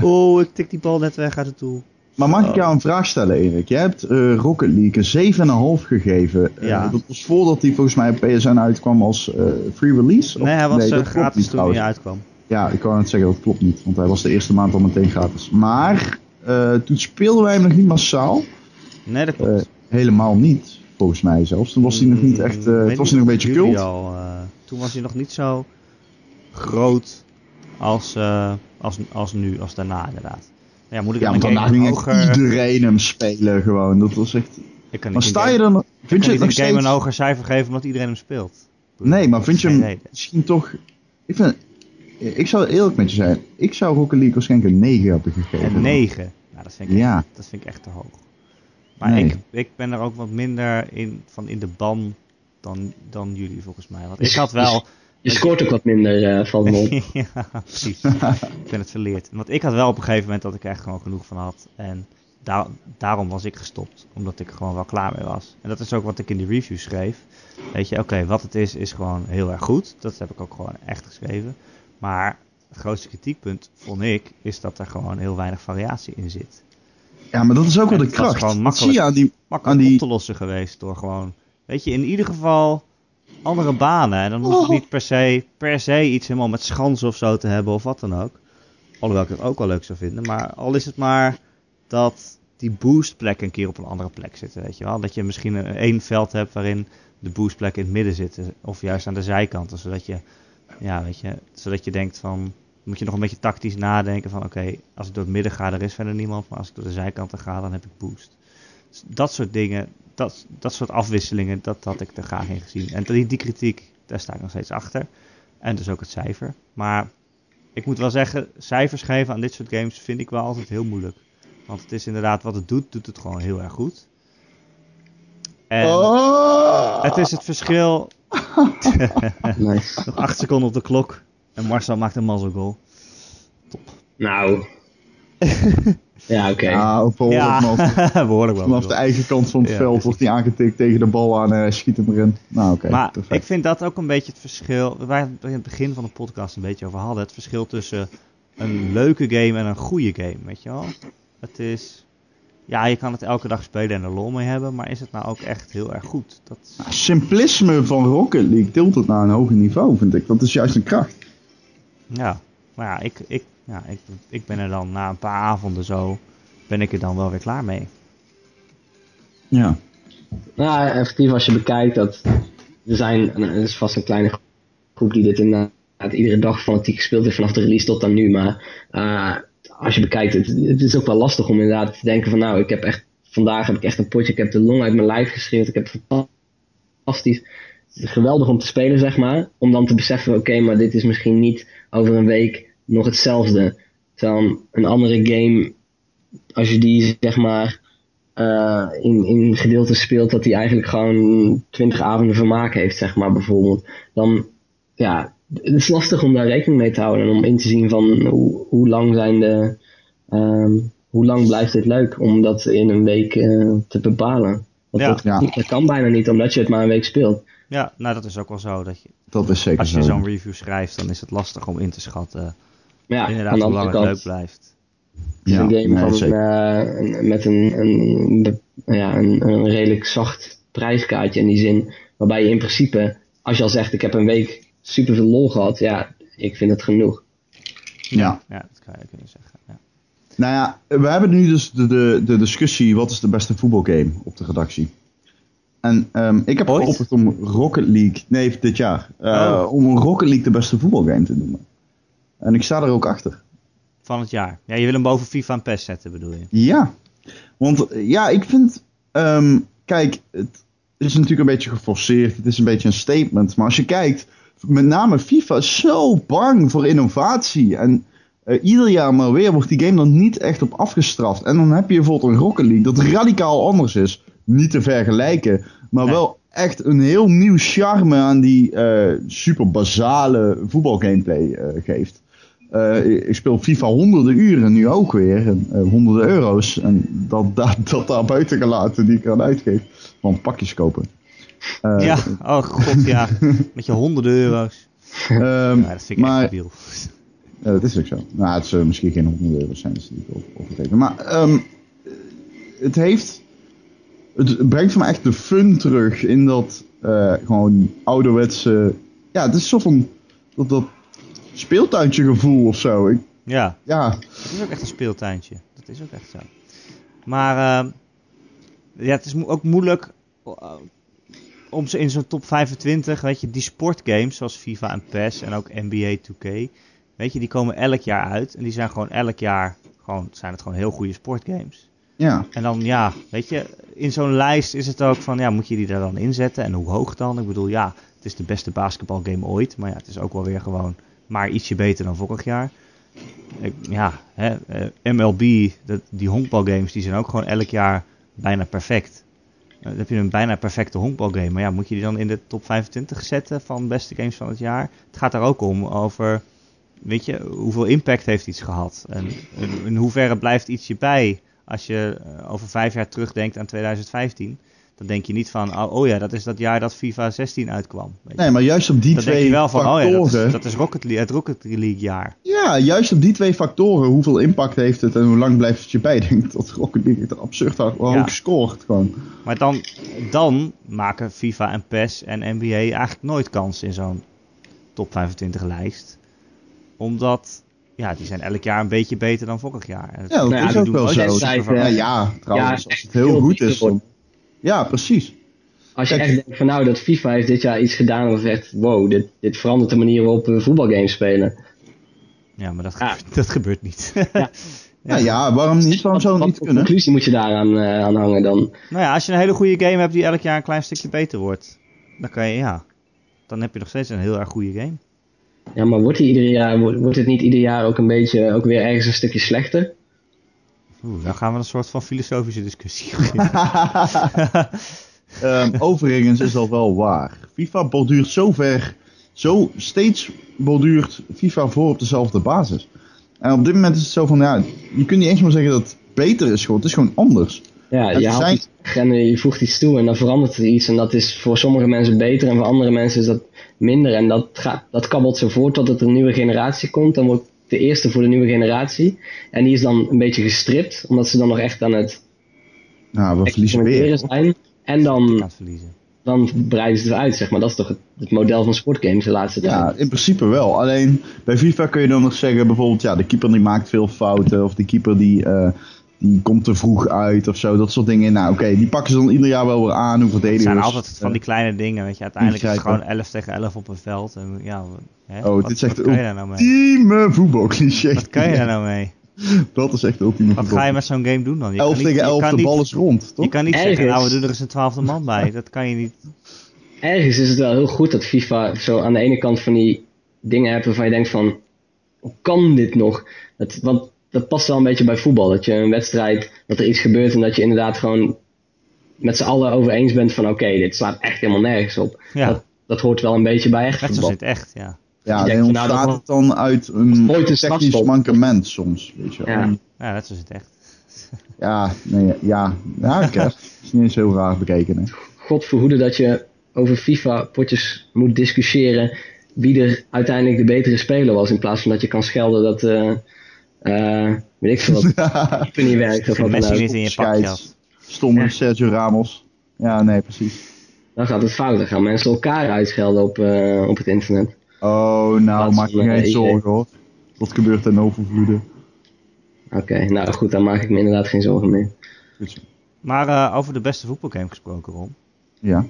Speaker 1: Oh, ik tik die bal net weg uit het doel.
Speaker 2: Maar mag
Speaker 1: Oh.
Speaker 2: ik jou een vraag stellen, Erik? Jij hebt eh, Rocket League een 7,5 gegeven. Eh,
Speaker 1: Ja.
Speaker 2: dat was voordat die volgens mij op PSN uitkwam als eh, free release. Of-
Speaker 1: Nee, hij was eh,
Speaker 2: dat klopt
Speaker 1: gratis
Speaker 2: niet
Speaker 1: toen
Speaker 2: trouwens.
Speaker 1: hij uitkwam.
Speaker 2: Ja, ik wou net zeggen, dat klopt niet. Want hij was de eerste maand al meteen gratis. Maar eh, toen speelden wij hem nog niet massaal.
Speaker 1: Nee, dat klopt.
Speaker 2: Eh, helemaal niet, volgens mij zelfs. Toen was hij nog niet echt. eh,
Speaker 1: Mm,
Speaker 2: het was
Speaker 1: weet
Speaker 2: hij nog een
Speaker 1: niet,
Speaker 2: beetje
Speaker 1: jullie
Speaker 2: kult.
Speaker 1: al, eh, toen was hij nog niet zo groot als, eh, als, als nu, als daarna inderdaad. Ja, moet ik
Speaker 2: Ja,
Speaker 1: dan een
Speaker 2: want daarna
Speaker 1: game
Speaker 2: ging echt
Speaker 1: hoger...
Speaker 2: iedereen hem spelen gewoon. Dat was echt.
Speaker 1: Ik kan
Speaker 2: Maar
Speaker 1: niet
Speaker 2: sta
Speaker 1: een
Speaker 2: je
Speaker 1: game-
Speaker 2: dan.
Speaker 1: ik
Speaker 2: Vind
Speaker 1: kan
Speaker 2: je het nog
Speaker 1: niet een game een
Speaker 2: steeds?
Speaker 1: hoger cijfer geven omdat iedereen hem speelt?
Speaker 2: Nee, maar vind je
Speaker 1: Geen
Speaker 2: hem
Speaker 1: reden.
Speaker 2: misschien toch. Ik vind. Ik zou eerlijk met je zijn. Ik zou Rocket League waarschijnlijk een 9 hebben gegeven.
Speaker 1: Een 9? Nou, dat vind ik
Speaker 2: Ja.
Speaker 1: Dat vind ik echt te hoog. Maar
Speaker 2: Nee.
Speaker 1: ik, ik ben er ook wat minder in, van in de ban dan, dan jullie volgens mij. Want ik
Speaker 3: Dus-
Speaker 1: had wel.
Speaker 3: Je scoort ook wat minder eh, van mond.
Speaker 1: ja, precies. ik ben het verleerd. Want ik had wel op een gegeven moment dat ik er echt gewoon genoeg van had. En daar- daarom was ik gestopt. Omdat ik er gewoon wel klaar mee was. En dat is ook wat ik in die review schreef. Weet je, oké, wat het is, is gewoon heel erg goed. Dat heb ik ook gewoon echt geschreven. Maar het grootste kritiekpunt, vond ik, is dat er gewoon heel weinig variatie in zit.
Speaker 2: Ja, maar dat is ook wel de
Speaker 1: Het was
Speaker 2: kracht.
Speaker 1: gewoon
Speaker 2: Dat zie
Speaker 1: makkelijk.
Speaker 2: je aan die.
Speaker 1: makkelijk
Speaker 2: Aan die-
Speaker 1: op te lossen geweest door gewoon, weet je, in ieder geval andere banen. En dan hoef je niet per se, per se iets helemaal met schansen of zo te hebben of wat dan ook. Alhoewel ik het ook wel leuk zou vinden, maar al is het maar dat die boostplekken een keer op een andere plek zitten, weet je wel. Dat je misschien een, één veld hebt waarin de boostplekken in het midden zitten of juist aan de zijkanten, zodat je, ja, weet je, zodat je denkt van... Moet je nog een beetje tactisch nadenken van oké, als ik door het midden ga, er is verder niemand. Maar als ik door de zijkanten ga, dan heb ik boost. S- Dat soort dingen, dat, dat soort afwisselingen, dat had ik er graag in gezien. En die, die kritiek, daar sta ik nog steeds achter. En dus ook het cijfer. Maar ik moet wel zeggen, cijfers geven aan dit soort games vind ik wel altijd heel moeilijk. Want het is inderdaad, wat het doet, doet het gewoon heel erg goed. En
Speaker 2: Oh.
Speaker 1: het is het verschil
Speaker 3: Nice.
Speaker 1: nog 8 seconden op de klok. En Marcel maakt een muzzle goal.
Speaker 3: Nou. ja, oké.
Speaker 2: Ja, op
Speaker 1: ja,
Speaker 2: vanaf,
Speaker 1: behoorlijk wel.
Speaker 2: vanaf de eigen kant van het
Speaker 1: Ja,
Speaker 2: veld wordt hij aangetikt tegen de bal aan en hij schiet hem erin. Nou, oké.
Speaker 1: maar
Speaker 2: perfect.
Speaker 1: ik vind dat ook een beetje het verschil. Waar we in het begin van de podcast een beetje over hadden. Het verschil tussen een leuke game en een goede game. Weet je wel? Het is. Ja, je kan het elke dag spelen en er lol mee hebben. Maar is het nou ook echt heel erg goed? Dat is-
Speaker 2: Nou, Simplisme van Rocket League tilt het naar een hoger niveau, vind ik. Dat is juist een kracht.
Speaker 1: ja. Maar ja, ik, ik, ja ik, ik ben er dan na een paar avonden zo. Ben ik er dan wel weer klaar mee.
Speaker 2: Ja.
Speaker 3: Nou, effectief als je bekijkt dat er zijn, nou, er is vast een kleine groep die dit inderdaad iedere dag fanatiek gespeeld heeft vanaf de release tot aan nu. Maar eh, als je bekijkt, het, het is ook wel lastig om inderdaad te denken van nou, ik heb echt, vandaag heb ik echt een potje, ik heb de long uit mijn lijf geschreeuwd, ik heb fantastisch, het is geweldig om te spelen zeg maar. Om dan te beseffen, oké, maar dit is misschien niet over een week nog hetzelfde. Terwijl een andere game, als je die zeg maar eh, in, in gedeeltes speelt dat hij eigenlijk gewoon 20 avonden vermaak heeft, zeg maar bijvoorbeeld. Dan, ja, het is lastig om daar rekening mee te houden en om in te zien van hoe, hoe lang zijn de, ehm, hoe lang blijft dit leuk om dat in een week eh, te bepalen. Want
Speaker 1: Ja.
Speaker 3: dat,
Speaker 2: Ja.
Speaker 3: dat kan bijna niet omdat je het maar een week speelt.
Speaker 1: Ja, nou dat is ook wel zo. Dat je,
Speaker 2: Dat is zeker
Speaker 1: als je
Speaker 2: zo.
Speaker 1: zo'n review schrijft, dan is het lastig om in te schatten.
Speaker 3: Maar ja, aan
Speaker 1: inderdaad,
Speaker 3: de
Speaker 1: hoe
Speaker 3: andere
Speaker 1: lang het
Speaker 3: kant,
Speaker 1: leuk blijft.
Speaker 3: Het is
Speaker 2: Ja,
Speaker 3: dus een game
Speaker 2: nee,
Speaker 3: van,
Speaker 2: zeker.
Speaker 3: eh, een- met een, een, be- ja, een, een redelijk zacht prijskaartje in die zin. Waarbij je in principe, als je al zegt ik heb een week super veel lol gehad, ja, ik vind het genoeg.
Speaker 2: ja.
Speaker 1: Ja, dat kan je kunnen zeggen. Ja.
Speaker 2: Nou ja, we hebben nu dus de, de, de discussie wat is de beste voetbalgame op de redactie. En ehm, ik heb
Speaker 1: Ooit?
Speaker 2: geopperd om Rocket League, nee dit jaar, eh,
Speaker 1: Oh.
Speaker 2: om Rocket League de beste voetbalgame te noemen. En ik sta er ook achter.
Speaker 1: Van het jaar. Ja, je wil hem boven FIFA en PES zetten, bedoel je?
Speaker 2: Ja, want eh, ja, ik vind, ehm, kijk, het is natuurlijk een beetje geforceerd, het is een beetje een statement. Maar als je kijkt, met name FIFA is zo bang voor innovatie. En eh, ieder jaar maar weer wordt die game dan niet echt op afgestraft. En dan heb je bijvoorbeeld een Rocket League dat radicaal anders is. Niet te vergelijken, maar
Speaker 1: Nee.
Speaker 2: wel echt een heel nieuw charme aan die eh super basale voetbalgameplay eh, geeft. Eh, ik speel FIFA honderden uren nu ook weer, en, eh, honderden euro's. En dat, dat, dat daar buiten gelaten die ik aan uitgeef. Want pakjes kopen. Eh,
Speaker 1: ja, oh god ja. Met je honderden euro's.
Speaker 2: ehm,
Speaker 1: Ja, dat vind ik
Speaker 2: maar-
Speaker 1: echt debiel.
Speaker 2: Ja, dat is ook zo. Nou, het zullen misschien geen 100 euro zijn, dat is niet over- overdreven. Maar ehm, het heeft. Het brengt voor mij echt de fun terug in dat eh, gewoon ouderwetse. Ja, het is zo van. Dat, dat speeltuintje gevoel of zo. Ik,
Speaker 1: Ja,
Speaker 2: ja,
Speaker 1: het is ook echt een speeltuintje. Dat is ook echt zo. Maar ehm, ja, het is mo- ook moeilijk eh, om ze in zo'n top 25, weet je, die sportgames zoals FIFA en PES en ook NBA 2K, weet je, die komen elk jaar uit. En die zijn gewoon elk jaar, gewoon, zijn het gewoon heel goede sportgames.
Speaker 2: ja.
Speaker 1: En dan, ja, weet je, in zo'n lijst is het ook van, ja, moet je die er dan inzetten? En hoe hoog dan? Ik bedoel, ja, het is de beste basketbalgame ooit. Maar ja, het is ook wel weer gewoon maar ietsje beter dan vorig jaar. Ik- ja, hè, eh, MLB, dat, die honkbalgames, die zijn ook gewoon elk jaar bijna perfect. Eh, Dan heb je een bijna perfecte honkbalgame. Maar ja, moet je die dan in de top 25 zetten van beste games van het jaar? Het gaat daar ook om over, weet je, hoeveel impact heeft iets gehad? En in, in hoeverre blijft iets je bij? Als je eh, over vijf jaar terugdenkt aan 2015, dan denk je niet van, oh, oh ja, dat is dat jaar dat FIFA 16 uitkwam. Weet je.
Speaker 2: Nee, maar juist op die
Speaker 1: dan
Speaker 2: twee
Speaker 1: denk je wel van, oh
Speaker 2: factoren.
Speaker 1: ja, dat is, dat is Rocket League, het Rocket League jaar.
Speaker 2: Ja, juist op die twee factoren. Hoeveel impact heeft het en hoe lang blijft het je bij? Ik denk dat Rocket League het absurd hard hoog
Speaker 1: Ja.
Speaker 2: scoort gewoon.
Speaker 1: Maar dan, dan maken FIFA en PES en NBA eigenlijk nooit kans in zo'n top 25 lijst. Omdat, ja, die zijn elk jaar een beetje beter dan vorig jaar. En het-
Speaker 2: Ja, dat
Speaker 3: Nou ja,
Speaker 2: is
Speaker 3: die
Speaker 2: ook
Speaker 1: doen
Speaker 2: wel
Speaker 1: ook
Speaker 2: zo.
Speaker 1: geen
Speaker 3: tijd,
Speaker 2: Ja,
Speaker 3: eh,
Speaker 2: ja, trouwens,
Speaker 3: ja,
Speaker 2: als het
Speaker 3: heel
Speaker 2: heel goed
Speaker 3: goed
Speaker 2: is. Dan... Ja, precies.
Speaker 3: Als je
Speaker 2: Kijk.
Speaker 3: echt denkt van nou, dat FIFA heeft dit jaar iets gedaan dat echt, wow, dit, dit verandert de manier waarop we voetbalgames spelen.
Speaker 1: Ja, maar dat,
Speaker 3: Ja.
Speaker 1: gebeurt- dat gebeurt niet.
Speaker 3: Ja.
Speaker 2: Ja, ja waarom niet? Waarom zou het
Speaker 3: Wat
Speaker 2: niet
Speaker 3: voor
Speaker 2: kunnen?
Speaker 3: conclusie moet je daaraan eh, aan hangen dan?
Speaker 1: Nou ja, als je een hele goede game hebt die elk jaar een klein stukje beter wordt, dan kan je, ja, dan heb je nog steeds een heel erg goede game.
Speaker 3: Ja, maar wordt, die ieder jaar, wordt, wordt het niet ieder jaar ook een beetje, ook weer ergens een stukje slechter?
Speaker 1: Oeh, dan gaan we een soort van filosofische discussie beginnen.
Speaker 2: Ehm, overigens is dat wel waar. FIFA borduurt zo ver, zo steeds borduurt FIFA voor op dezelfde basis. En op dit moment is het zo van, ja, je kunt niet eens meer zeggen dat het beter is, gewoon. het is gewoon anders.
Speaker 3: Ja,
Speaker 2: Het
Speaker 3: je haalt
Speaker 2: zijn-
Speaker 3: iets weg en eh, je voegt iets toe en dan verandert er iets. En dat is voor sommige mensen beter en voor andere mensen is dat minder. En dat, gaat, dat kabbelt zo voort tot er een nieuwe generatie komt. Dan wordt de eerste voor de nieuwe generatie. En die is dan een beetje gestript, omdat ze dan nog echt aan het
Speaker 2: Nou, we verliezen weer.
Speaker 3: experimenteren zijn. En
Speaker 1: Kan
Speaker 3: dan,
Speaker 1: het verliezen.
Speaker 3: dan breiden ze het uit, zeg maar. Dat is toch het, het model van sportgames de laatste tijd.
Speaker 2: Ja, in principe wel. Alleen bij FIFA kun je dan nog zeggen, bijvoorbeeld, ja, de keeper die maakt veel fouten. Of de keeper die, eh, die komt te vroeg uit of zo. Dat soort dingen. Nou, oké, die pakken ze dan ieder jaar wel weer aan. Hoe
Speaker 1: Het
Speaker 2: verdedigers.
Speaker 1: zijn altijd van
Speaker 2: eh,
Speaker 1: die kleine dingen, weet je. Uiteindelijk is het
Speaker 2: ingrijpen.
Speaker 1: gewoon 11 tegen 11 op een veld. En, ja, hè,
Speaker 2: Oh,
Speaker 1: wat,
Speaker 2: dit is echt
Speaker 1: wat kan je daar nou mee?
Speaker 2: ultieme voetbalcliché.
Speaker 1: Wat kan je daar nou mee?
Speaker 2: Dat is echt de ultieme
Speaker 1: Wat
Speaker 2: voetbal.
Speaker 1: ga je met zo'n game doen dan? Je kan
Speaker 2: 11
Speaker 1: niet-
Speaker 2: tegen
Speaker 1: je
Speaker 2: 11,
Speaker 1: kan
Speaker 2: de
Speaker 1: niet-
Speaker 2: bal is rond, toch?
Speaker 1: Je kan niet
Speaker 3: Ergens.
Speaker 1: zeggen, nou we doen er eens een twaalfde man bij. Dat kan je niet.
Speaker 3: ergens is het wel heel goed dat FIFA zo aan de ene kant van die dingen hebt waarvan je denkt van, hoe kan dit nog? Dat, want dat past wel een beetje bij voetbal. Dat je een wedstrijd, dat er iets gebeurt en dat je inderdaad gewoon met z'n allen over eens bent van oké, dit slaat echt helemaal nergens op.
Speaker 1: Ja.
Speaker 3: Dat, dat hoort wel een beetje bij echt
Speaker 1: Net zoals
Speaker 3: voetbal.
Speaker 1: in het echt, ja.
Speaker 2: Ja,
Speaker 3: Ik denk
Speaker 2: dan
Speaker 3: van, nou,
Speaker 2: ontstaat
Speaker 3: dat-
Speaker 2: het dan uit een
Speaker 3: Ooit een
Speaker 2: technisch
Speaker 3: strafschop.
Speaker 2: mankement soms, weet je wel.
Speaker 3: Ja.
Speaker 2: Ja,
Speaker 1: Ja, net zoals in het echt.
Speaker 2: nee, ja, ja, oké. Dat is niet eens heel raar bekeken, hè.
Speaker 3: God verhoede dat je over FIFA potjes moet discussiëren wie er uiteindelijk de betere speler was. In plaats van dat je kan schelden dat, eh eh, weet ik veel wat, keeper niet werkt of wat dan
Speaker 1: Messi
Speaker 3: ook.
Speaker 1: niet in je pakje had.
Speaker 2: Stomme
Speaker 3: Ja.
Speaker 2: Sergio Ramos. Ja, nee, precies.
Speaker 3: Dan gaat het fout. Dan gaan mensen elkaar uitschelden op, eh, op het internet.
Speaker 2: Oh, nou,
Speaker 3: Laatst
Speaker 2: maak je
Speaker 3: van, eh,
Speaker 2: geen
Speaker 3: EA.
Speaker 2: zorgen, hoor. Dat gebeurt ten overvloede.
Speaker 3: Oké, nou goed, daar maak ik me inderdaad geen zorgen meer.
Speaker 2: Goed zo.
Speaker 1: Maar eh, over de beste voetbalgame gesproken, Ron.
Speaker 2: Ja.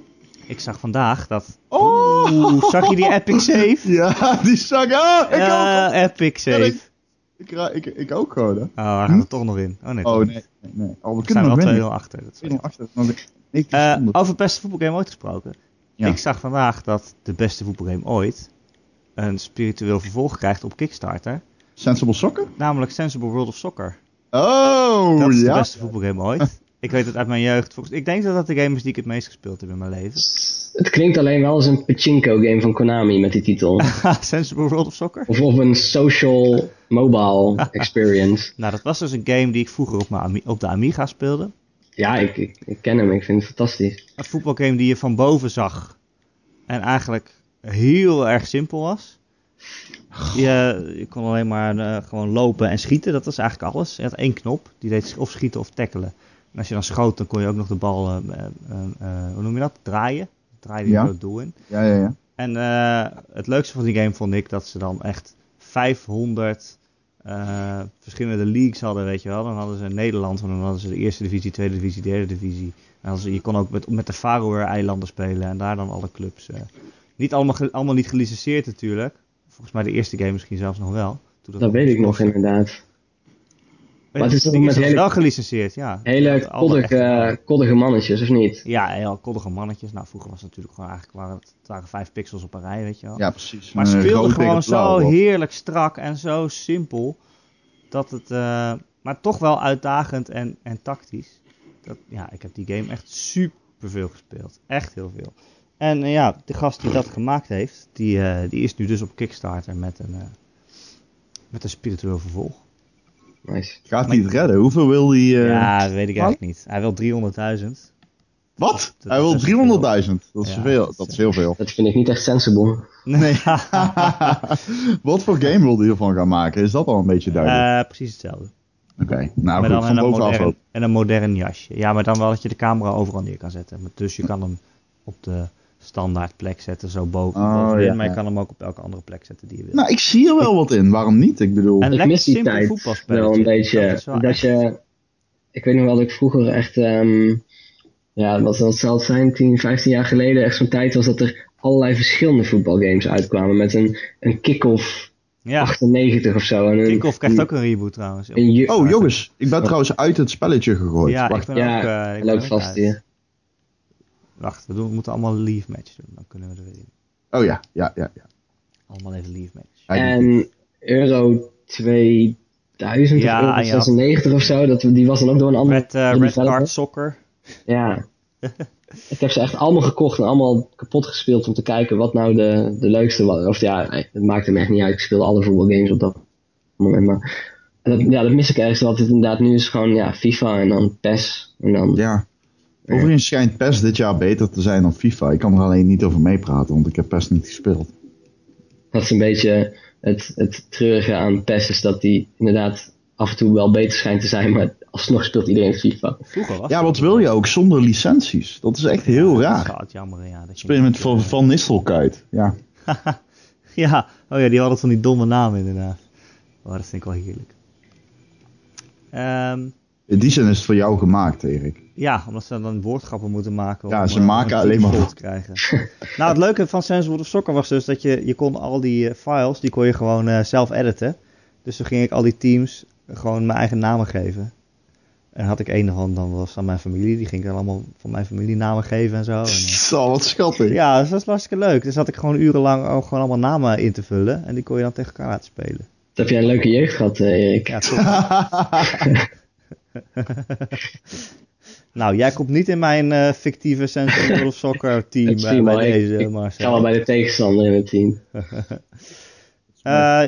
Speaker 1: Ik zag vandaag dat...
Speaker 2: Oh!
Speaker 1: Oeh, zag je die epic save?
Speaker 2: Ja, die zag... Ah, ik ook!
Speaker 1: Ja, epic save.
Speaker 2: Ik, ra- ik, ik ook gewoon, hè.
Speaker 1: Oh, daar gaat het toch nog in. Oh nee,
Speaker 2: Oh,
Speaker 1: we
Speaker 2: nee, nee, nee. Oh, we
Speaker 1: zijn
Speaker 2: kunnen
Speaker 1: wel
Speaker 2: nog
Speaker 1: 2-0
Speaker 2: winnen.
Speaker 1: achter. Dat is
Speaker 2: 2-0 achter. Nog een- nee,
Speaker 1: Eh,
Speaker 2: het is onder.
Speaker 1: over beste voetbalgame ooit gesproken.
Speaker 2: Ja.
Speaker 1: Ik zag vandaag dat de beste voetbalgame ooit een spiritueel vervolg krijgt op Kickstarter.
Speaker 2: Sensible Soccer?
Speaker 1: Namelijk Sensible World of Soccer.
Speaker 2: Oh,
Speaker 1: Dat is
Speaker 2: ja.
Speaker 1: de beste voetbalgame ooit. Ik weet het uit mijn jeugd. Volgens, ik denk dat dat de game is die ik het meest gespeeld heb in mijn leven.
Speaker 3: Het klinkt alleen wel als een pachinko game van Konami met die titel.
Speaker 1: Haha, Sensible World of Soccer.
Speaker 3: of, of een social mobile experience.
Speaker 1: Nou, dat was dus een game die ik vroeger op, mijn Ami- op de Amiga speelde.
Speaker 3: Ja, ik, ik, ik ken hem. Ik vind het fantastisch.
Speaker 1: Een voetbalgame die je van boven zag. En eigenlijk heel erg simpel was. Je, je kon alleen maar eh, gewoon lopen en schieten. Dat was eigenlijk alles. Je had één knop. Die deed of schieten of tackelen. En als je dan schoot, dan kon je ook nog de bal, eh, eh, eh, hoe noem je dat? Draaien. Draaien die
Speaker 2: Ja.
Speaker 1: ja. het doel in.
Speaker 2: Ja, ja, ja.
Speaker 1: En eh, het leukste van die game vond ik dat ze dan echt 500 eh, verschillende leagues hadden, weet je wel. Dan hadden ze Nederland, en dan hadden ze de eerste divisie, tweede divisie, derde divisie. En hadden ze- je kon ook met, met de Faroe-eilanden spelen en daar dan alle clubs. eh. niet allemaal, ge- allemaal niet gelicenseerd natuurlijk. Volgens mij de eerste game misschien zelfs nog wel. Toen
Speaker 3: Dat weet ik nog inderdaad.
Speaker 1: Maar
Speaker 3: het
Speaker 1: het
Speaker 3: is
Speaker 1: is
Speaker 3: toch met hele-
Speaker 1: wel gelicenseerd, ja.
Speaker 3: Hele
Speaker 1: Dat alle
Speaker 3: koddige,
Speaker 1: echte-
Speaker 3: koddige mannetjes, of niet?
Speaker 1: eh, Ja, heel koddige mannetjes. Nou, vroeger was het natuurlijk gewoon eigenlijk, waren het, het waren vijf pixels op een rij, weet je wel.
Speaker 2: Ja, precies.
Speaker 1: Maar
Speaker 2: Een
Speaker 1: het
Speaker 2: rood
Speaker 1: speelde
Speaker 2: tegen
Speaker 1: gewoon
Speaker 2: blauw,
Speaker 1: zo
Speaker 2: hoor.
Speaker 1: heerlijk strak en zo simpel. Dat het, eh, maar toch wel uitdagend en, en tactisch. Dat, ja, ik heb die game echt super veel gespeeld. Echt heel veel. En eh, ja, de gast die dat gemaakt heeft, die, eh, die is nu dus op Kickstarter met een, eh, met een spiritueel vervolg.
Speaker 3: Nice.
Speaker 2: Gaat hij het redden? Hoeveel wil hij... eh,
Speaker 1: ja, dat weet ik eigenlijk niet. Hij wil 300.000.
Speaker 2: Wat?
Speaker 1: dat
Speaker 2: Hij
Speaker 1: is
Speaker 2: wil 300.000.
Speaker 1: best
Speaker 2: Dat is,
Speaker 1: Ja,
Speaker 2: veel.
Speaker 1: dat
Speaker 2: Dat,
Speaker 1: is,
Speaker 2: is heel veel.
Speaker 3: Dat vind ik niet echt sensible.
Speaker 1: Nee,
Speaker 2: Wat voor game wil hij ervan gaan maken? Is dat al een beetje duidelijk?
Speaker 1: Eh, precies hetzelfde.
Speaker 2: Oké. Nou,
Speaker 1: Eh, maar
Speaker 2: goed.
Speaker 1: dan
Speaker 2: Van
Speaker 1: en een,
Speaker 2: bovenaf
Speaker 1: modern,
Speaker 2: ook.
Speaker 1: en een modern jasje. Ja, maar dan wel dat je de camera overal neer kan zetten. Maar Dus je kan hem op de standaard plek zetten, zo boven.
Speaker 2: Oh,
Speaker 1: bovenin,
Speaker 2: ja,
Speaker 1: maar je
Speaker 2: ja.
Speaker 1: kan hem ook op elke andere plek zetten die je wil.
Speaker 2: Nou, ik zie er wel wat in. Waarom niet? Ik bedoel...
Speaker 1: en
Speaker 3: ik
Speaker 1: lekker
Speaker 3: mis die
Speaker 1: simpel
Speaker 3: tijd
Speaker 1: voetbalspelletje.
Speaker 3: wel een
Speaker 1: Dat
Speaker 3: beetje.
Speaker 1: is wel
Speaker 3: Dat,
Speaker 1: echt-
Speaker 3: je, ik weet nog wel dat ik vroeger echt, ehm, ja, wat, wat zal het zijn, 10, 15 jaar geleden, echt zo'n tijd was dat er allerlei verschillende voetbalgames uitkwamen. Met een, een kick-off
Speaker 1: Ja,
Speaker 3: 98 of zo. En een-
Speaker 1: Tinkoff krijgt ook een reboot trouwens.
Speaker 3: een ju-
Speaker 2: Oh, jongens, ik ben trouwens uit het spelletje gegooid.
Speaker 1: Ja, ik
Speaker 2: Wacht,
Speaker 1: ben
Speaker 3: Ja,
Speaker 1: ook... eh, ik
Speaker 3: hij
Speaker 1: ben
Speaker 3: loopt
Speaker 1: ook
Speaker 3: vast
Speaker 1: uit.
Speaker 3: hier.
Speaker 1: Wacht, we, doen, we moeten allemaal een leave match doen. Dan kunnen we er weer in.
Speaker 2: oh ja, ja, ja. ja.
Speaker 1: Allemaal even leave match.
Speaker 2: Hij-
Speaker 3: En euro 2000
Speaker 1: Ja,
Speaker 3: of euro
Speaker 1: ja.
Speaker 3: 96 of zo, dat, die was dan ook door een andere.
Speaker 1: Met eh,
Speaker 3: die
Speaker 1: Red
Speaker 3: developer.
Speaker 1: Card Soccer.
Speaker 3: Ja. ik heb ze echt allemaal gekocht en allemaal kapot gespeeld om te kijken wat nou de, de leukste was. Of ja, nee, het maakte me echt niet uit. Ik speelde alle voetbalgames op dat moment. Maar en dat, ja, dat mis ik ergens altijd inderdaad. Nu is het gewoon ja, FIFA en dan PES. En dan,
Speaker 2: Ja. Overigens schijnt PES dit jaar beter te zijn dan FIFA. Ik kan er alleen niet over meepraten, want ik heb PES niet gespeeld.
Speaker 3: Dat is een beetje het, het treurige aan PES is dat die inderdaad af en toe wel beter schijnt te zijn. Maar alsnog speelt iedereen FIFA.
Speaker 1: Vroeger was
Speaker 2: Ja,
Speaker 1: dat
Speaker 2: wat wil je ook zonder licenties? Dat is echt heel
Speaker 1: Dat
Speaker 2: raar.
Speaker 1: gaat jammer, ja. Dat je
Speaker 2: Spelen
Speaker 1: niet-
Speaker 2: met Van, van Nistelkuit. Ja.
Speaker 1: Ja, oh ja, die hadden van die domme naam inderdaad. Maar dat vind ik wel heerlijk. Ehm,
Speaker 2: In die zin is het voor jou gemaakt, Erik.
Speaker 1: ja, omdat ze dan woordgrappen moeten maken.
Speaker 2: Ja,
Speaker 1: om,
Speaker 2: ze
Speaker 1: eh, om
Speaker 2: maken
Speaker 1: een
Speaker 2: alleen
Speaker 1: team
Speaker 2: maar
Speaker 1: vol te krijgen. nou, het leuke van Sensible of Soccer was dus dat je, je kon al die eh, files, die kon je gewoon eh, zelf editen. Dus toen ging ik al die teams gewoon mijn eigen namen geven. En had ik een van, dan was aan mijn familie. Die ging ik dan allemaal van mijn familie namen geven en zo. En, eh,
Speaker 2: Zo, wat schattig.
Speaker 1: Ja, dus dat was hartstikke leuk. Dus had ik gewoon urenlang ook gewoon allemaal namen in te vullen. En die kon je dan tegen elkaar laten spelen.
Speaker 3: Dat heb jij een leuke jeugd gehad, eh, Erik.
Speaker 1: Ja, top. nou, jij komt niet in mijn eh, fictieve Central World of Soccer team
Speaker 3: Het
Speaker 1: eh,
Speaker 3: team,
Speaker 1: bij
Speaker 3: hoor. Ik-
Speaker 1: deze,
Speaker 3: ik Ik ga
Speaker 1: Marcel.
Speaker 3: wel bij de tegenstander in het team.
Speaker 1: Eh,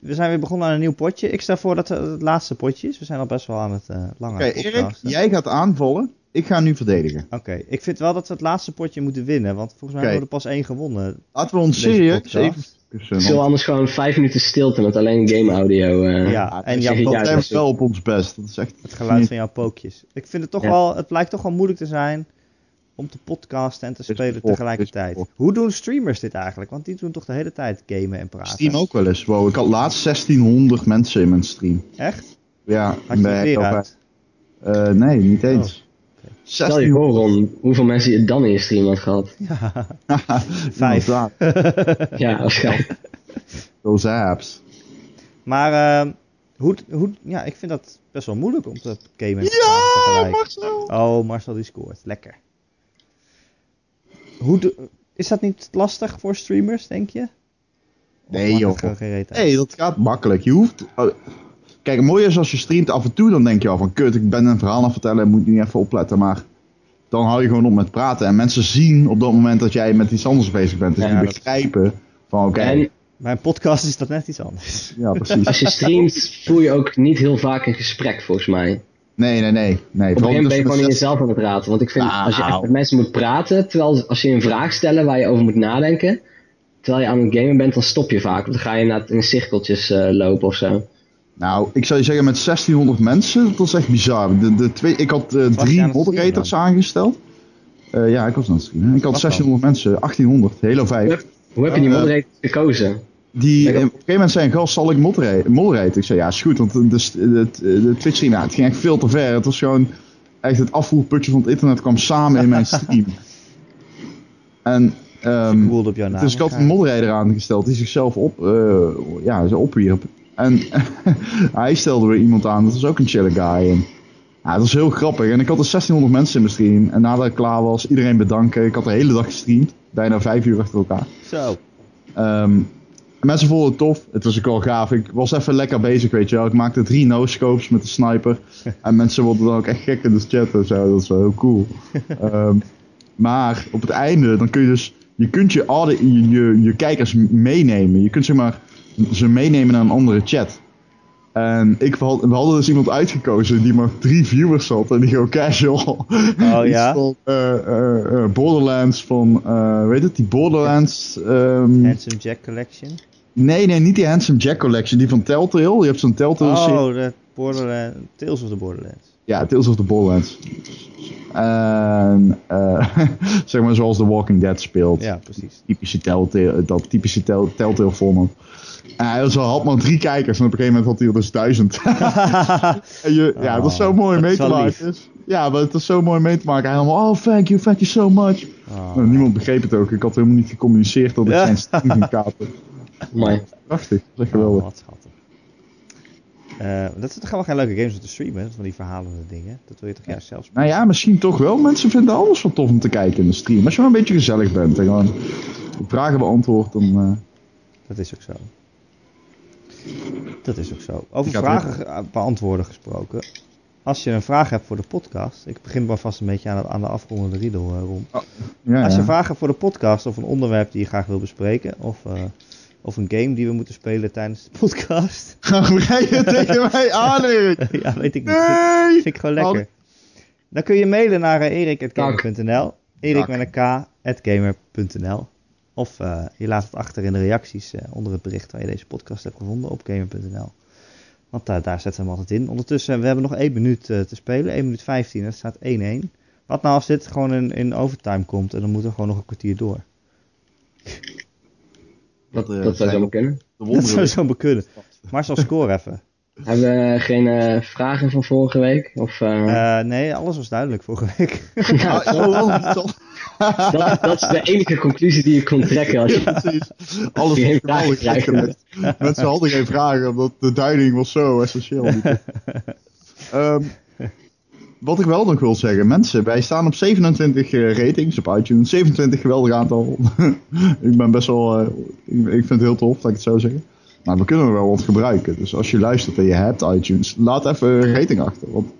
Speaker 1: we zijn weer begonnen aan een nieuw potje. Ik stel voor dat het het laatste potje is. We zijn al best wel aan het eh lange
Speaker 2: Oké, Erik,
Speaker 1: podcasten.
Speaker 2: jij gaat aanvallen. Ik ga nu verdedigen.
Speaker 1: Oké, ik vind wel dat we het laatste potje moeten winnen. Want volgens mij
Speaker 2: Oké.
Speaker 1: hebben we er pas één gewonnen.
Speaker 2: Laten we ons
Speaker 1: Deze
Speaker 2: serieus
Speaker 1: podcast.
Speaker 2: even...
Speaker 3: Ik zal anders gewoon vijf minuten stilte met alleen game audio. eh.
Speaker 1: ja, en
Speaker 3: dat
Speaker 1: jouw
Speaker 3: zeg ik
Speaker 1: pop-
Speaker 2: We
Speaker 3: juist.
Speaker 2: zijn wel op ons best. Dat is echt...
Speaker 1: Het geluid van jouw pookjes. Ik vind het toch
Speaker 3: Ja.
Speaker 1: wel, het blijkt toch wel moeilijk te zijn om te podcasten en te
Speaker 2: Is
Speaker 1: spelen
Speaker 2: het vol, is
Speaker 1: tegelijkertijd.
Speaker 2: het
Speaker 1: Hoe doen streamers dit eigenlijk? Want die doen toch de hele tijd gamen en praten.
Speaker 2: Stream ook wel eens. Wow, ik had laatst 1600 mensen in mijn stream.
Speaker 1: Echt?
Speaker 2: Ja,
Speaker 1: Had je
Speaker 2: bij-
Speaker 1: het weer
Speaker 2: bij-
Speaker 1: uit? Oh,
Speaker 2: Eh, nee, niet eens.
Speaker 3: Stel
Speaker 2: 1600.
Speaker 3: je voor, Ron, hoeveel mensen je dan in je stream had gehad.
Speaker 1: Ja. Vijf.
Speaker 2: Vijf.
Speaker 3: Ja, waarschijnlijk.
Speaker 2: Those apps.
Speaker 1: Maar ehm, hoe, hoe, ja, ik vind dat best wel moeilijk om te gamen en te praten tegelijk.
Speaker 2: Ja, Marcel!
Speaker 1: Oh, Marcel die scoort. Lekker. Hoe do- is dat niet lastig voor streamers, denk je? Of
Speaker 2: Nee,
Speaker 1: maakt het
Speaker 2: joh.
Speaker 1: gewoon geen reet uit?
Speaker 2: Nee, dat gaat makkelijk. Je hoeft... oh, Kijk, het mooie is als je streamt af en toe, dan denk je al van... Kut, ik ben een verhaal aan het vertellen, moet nu even opletten, maar... Dan hou je gewoon op met praten. En mensen zien op dat moment dat jij met iets anders bezig bent. Dus
Speaker 1: Ja,
Speaker 2: die
Speaker 1: dat-
Speaker 2: begrijpen van, oké,
Speaker 3: En
Speaker 1: Mijn podcast is dat net iets anders.
Speaker 2: ja, precies.
Speaker 3: als je streamt, voel je ook niet heel vaak een gesprek, volgens mij. Op
Speaker 2: Nee, nee, nee. dus nee.
Speaker 3: een gegeven moment ben
Speaker 2: tussen
Speaker 3: je gewoon in
Speaker 2: de
Speaker 3: jezelf aan het praten. Want ik vind, als je echt
Speaker 2: Nou.
Speaker 3: met mensen moet praten, terwijl als je een vraag stellen waar je over moet nadenken, terwijl je aan het gamen bent, dan stop je vaak. Want dan ga je inderdaad in cirkeltjes eh, lopen of zo.
Speaker 2: Nou, ik zou je zeggen, met 1600 mensen, dat is echt bizar. De, de twee, ik had eh,
Speaker 1: aan het
Speaker 2: drie
Speaker 1: streamen
Speaker 2: moderators
Speaker 1: dan?
Speaker 2: aangesteld. Eh, ja, ik was aan het streamen. Ik had
Speaker 1: Wat
Speaker 2: 1600 mensen, 1800, Halo 5.
Speaker 3: Hoe heb je die
Speaker 2: Eh,
Speaker 3: moderator gekozen?
Speaker 2: Die, eh,
Speaker 3: Ik
Speaker 2: op
Speaker 3: had-
Speaker 2: een gegeven moment zei een gast, zal ik modera- moderaten? Ik zei, ja, is goed, want de, de, de, de Twitch stream, ja, het ging echt veel te ver. Het was gewoon, echt het afvoerputje van het internet kwam samen in mijn stream. en, ehm,
Speaker 1: Woeld op jouw naam.
Speaker 2: dus ik had een
Speaker 1: Ja.
Speaker 2: moderator aangesteld die zichzelf op, eh, ja, ze opwierp. En hij stelde weer iemand aan, dat was ook een chille guy. En, ja, dat was heel grappig. En ik had er 1600 mensen in mijn stream. En nadat ik klaar was, iedereen bedanken. Ik had de hele dag gestreamd, bijna vijf uur achter elkaar.
Speaker 1: Zo.
Speaker 2: Ehm, mensen vonden het tof. Het was ook wel gaaf. Ik was even lekker bezig, weet je wel. Ik maakte drie no-scopes met de sniper. En mensen worden dan ook echt gek in de chat en zo. Dat is wel heel cool. Ehm, maar op het einde, dan kun je dus... Je kunt je, audi- je, je, je kijkers meenemen. Je kunt zeg maar ze meenemen naar een andere chat. En ik, had- we hadden dus iemand uitgekozen die maar drie viewers had. En die gewoon
Speaker 1: Oh
Speaker 2: casual. iets
Speaker 1: ja.
Speaker 2: Van, eh, eh, eh, Borderlands van... eh, weet het? Die Borderlands... ehm,
Speaker 1: Handsome Jack Collection.
Speaker 2: Nee, nee, niet die Handsome Jack Collection. Die van Telltale. Je hebt zo'n Telltale serie.
Speaker 1: Oh, de Borderlands. Tales of the Borderlands.
Speaker 2: Ja, Tales of the Borderlands. En, eh, zeg maar zoals The Walking Dead speelt.
Speaker 1: Ja, precies.
Speaker 2: Typische Telltale, eh, dat typische tel, Telltale format. En hij was al- had maar drie kijkers en op een gegeven moment had hij er dus duizend. En je, Ja, dat is zo mooi
Speaker 1: Oh, dat
Speaker 2: mee
Speaker 1: is
Speaker 2: te
Speaker 1: wel
Speaker 2: maken. Ja, maar het is zo mooi mee te maken. Hij helemaal, oh, thank you, thank you so much.
Speaker 1: Oh.
Speaker 2: Nou, niemand begreep het ook. Ik had helemaal niet gecommuniceerd dat ik
Speaker 1: Ja.
Speaker 2: zijn stream ging kapen.
Speaker 3: Mooi.
Speaker 2: Prachtig, zeg je
Speaker 1: Oh,
Speaker 2: wel.
Speaker 1: wat schattig. Eh, dat zijn toch wel geen leuke games om te streamen, van die verhalende dingen. Dat wil je toch juist zelf
Speaker 2: Nou ja, misschien toch wel. Mensen vinden alles wel tof om te kijken in de stream. Als je maar een beetje gezellig bent en gewoon vragen beantwoordt, dan... eh,
Speaker 1: Dat is ook zo. Dat is ook zo. Over
Speaker 2: Ik had
Speaker 1: vragen ge- eh, beantwoorden gesproken. Als je een vraag hebt voor de podcast. Ik begin maar vast een beetje aan, het- aan de afrondende riedel eh, rond.
Speaker 2: ja,
Speaker 1: Als je
Speaker 2: ja.
Speaker 1: vragen hebt voor de podcast of een onderwerp die je graag wil bespreken. Of, eh, of een game die we moeten spelen tijdens de podcast.
Speaker 2: Gaan rijden tegen mij aan, Erik.
Speaker 1: ja, weet ik niet. Vind,
Speaker 2: Nee!
Speaker 1: vind ik gewoon lekker. Dan kun je mailen naar eh, erik.gamer.nl. Erik
Speaker 2: Dank.
Speaker 1: met een k, at gamer.nl. Of eh, je laat het achter in de reacties eh, onder het bericht waar je deze podcast hebt gevonden op gamer.nl. Want eh, daar- daar zetten we hem altijd in. Ondertussen, we hebben nog 1 minuut eh, te spelen. 1 minuut 15, dat staat 1-1. Wat nou als dit gewoon in, in overtime komt en dan moeten we gewoon nog een kwartier door?
Speaker 3: Dat,
Speaker 2: eh,
Speaker 3: dat zou
Speaker 2: zijn-
Speaker 3: zomaar kunnen.
Speaker 2: De
Speaker 1: Dat zou
Speaker 2: wonderen.
Speaker 1: zo maar kunnen. Maar zal score even.
Speaker 3: Hebben we geen eh, vragen van vorige week? Of, eh,
Speaker 1: Eh, nee, alles was duidelijk vorige week.
Speaker 3: ja,
Speaker 2: Ah, oh, oh, niet al-
Speaker 3: dat, dat is de enige conclusie die je kon trekken als je
Speaker 2: Ja, precies. Alles
Speaker 3: Geen
Speaker 2: was
Speaker 3: vragen
Speaker 2: geweldig
Speaker 3: krijgen.
Speaker 2: opgelegd. Mensen hadden geen vragen, omdat de duiding was zo essentieel. Ehm, wat ik wel nog wil zeggen, mensen, wij staan op 27 eh, ratings op iTunes. 27 geweldig aantal. ik ben best wel, eh, ik, ik vind het heel tof, laat ik het zo zeggen. Maar we kunnen er wel wat gebruiken. Dus als je luistert en je hebt iTunes, laat even een rating achter. Want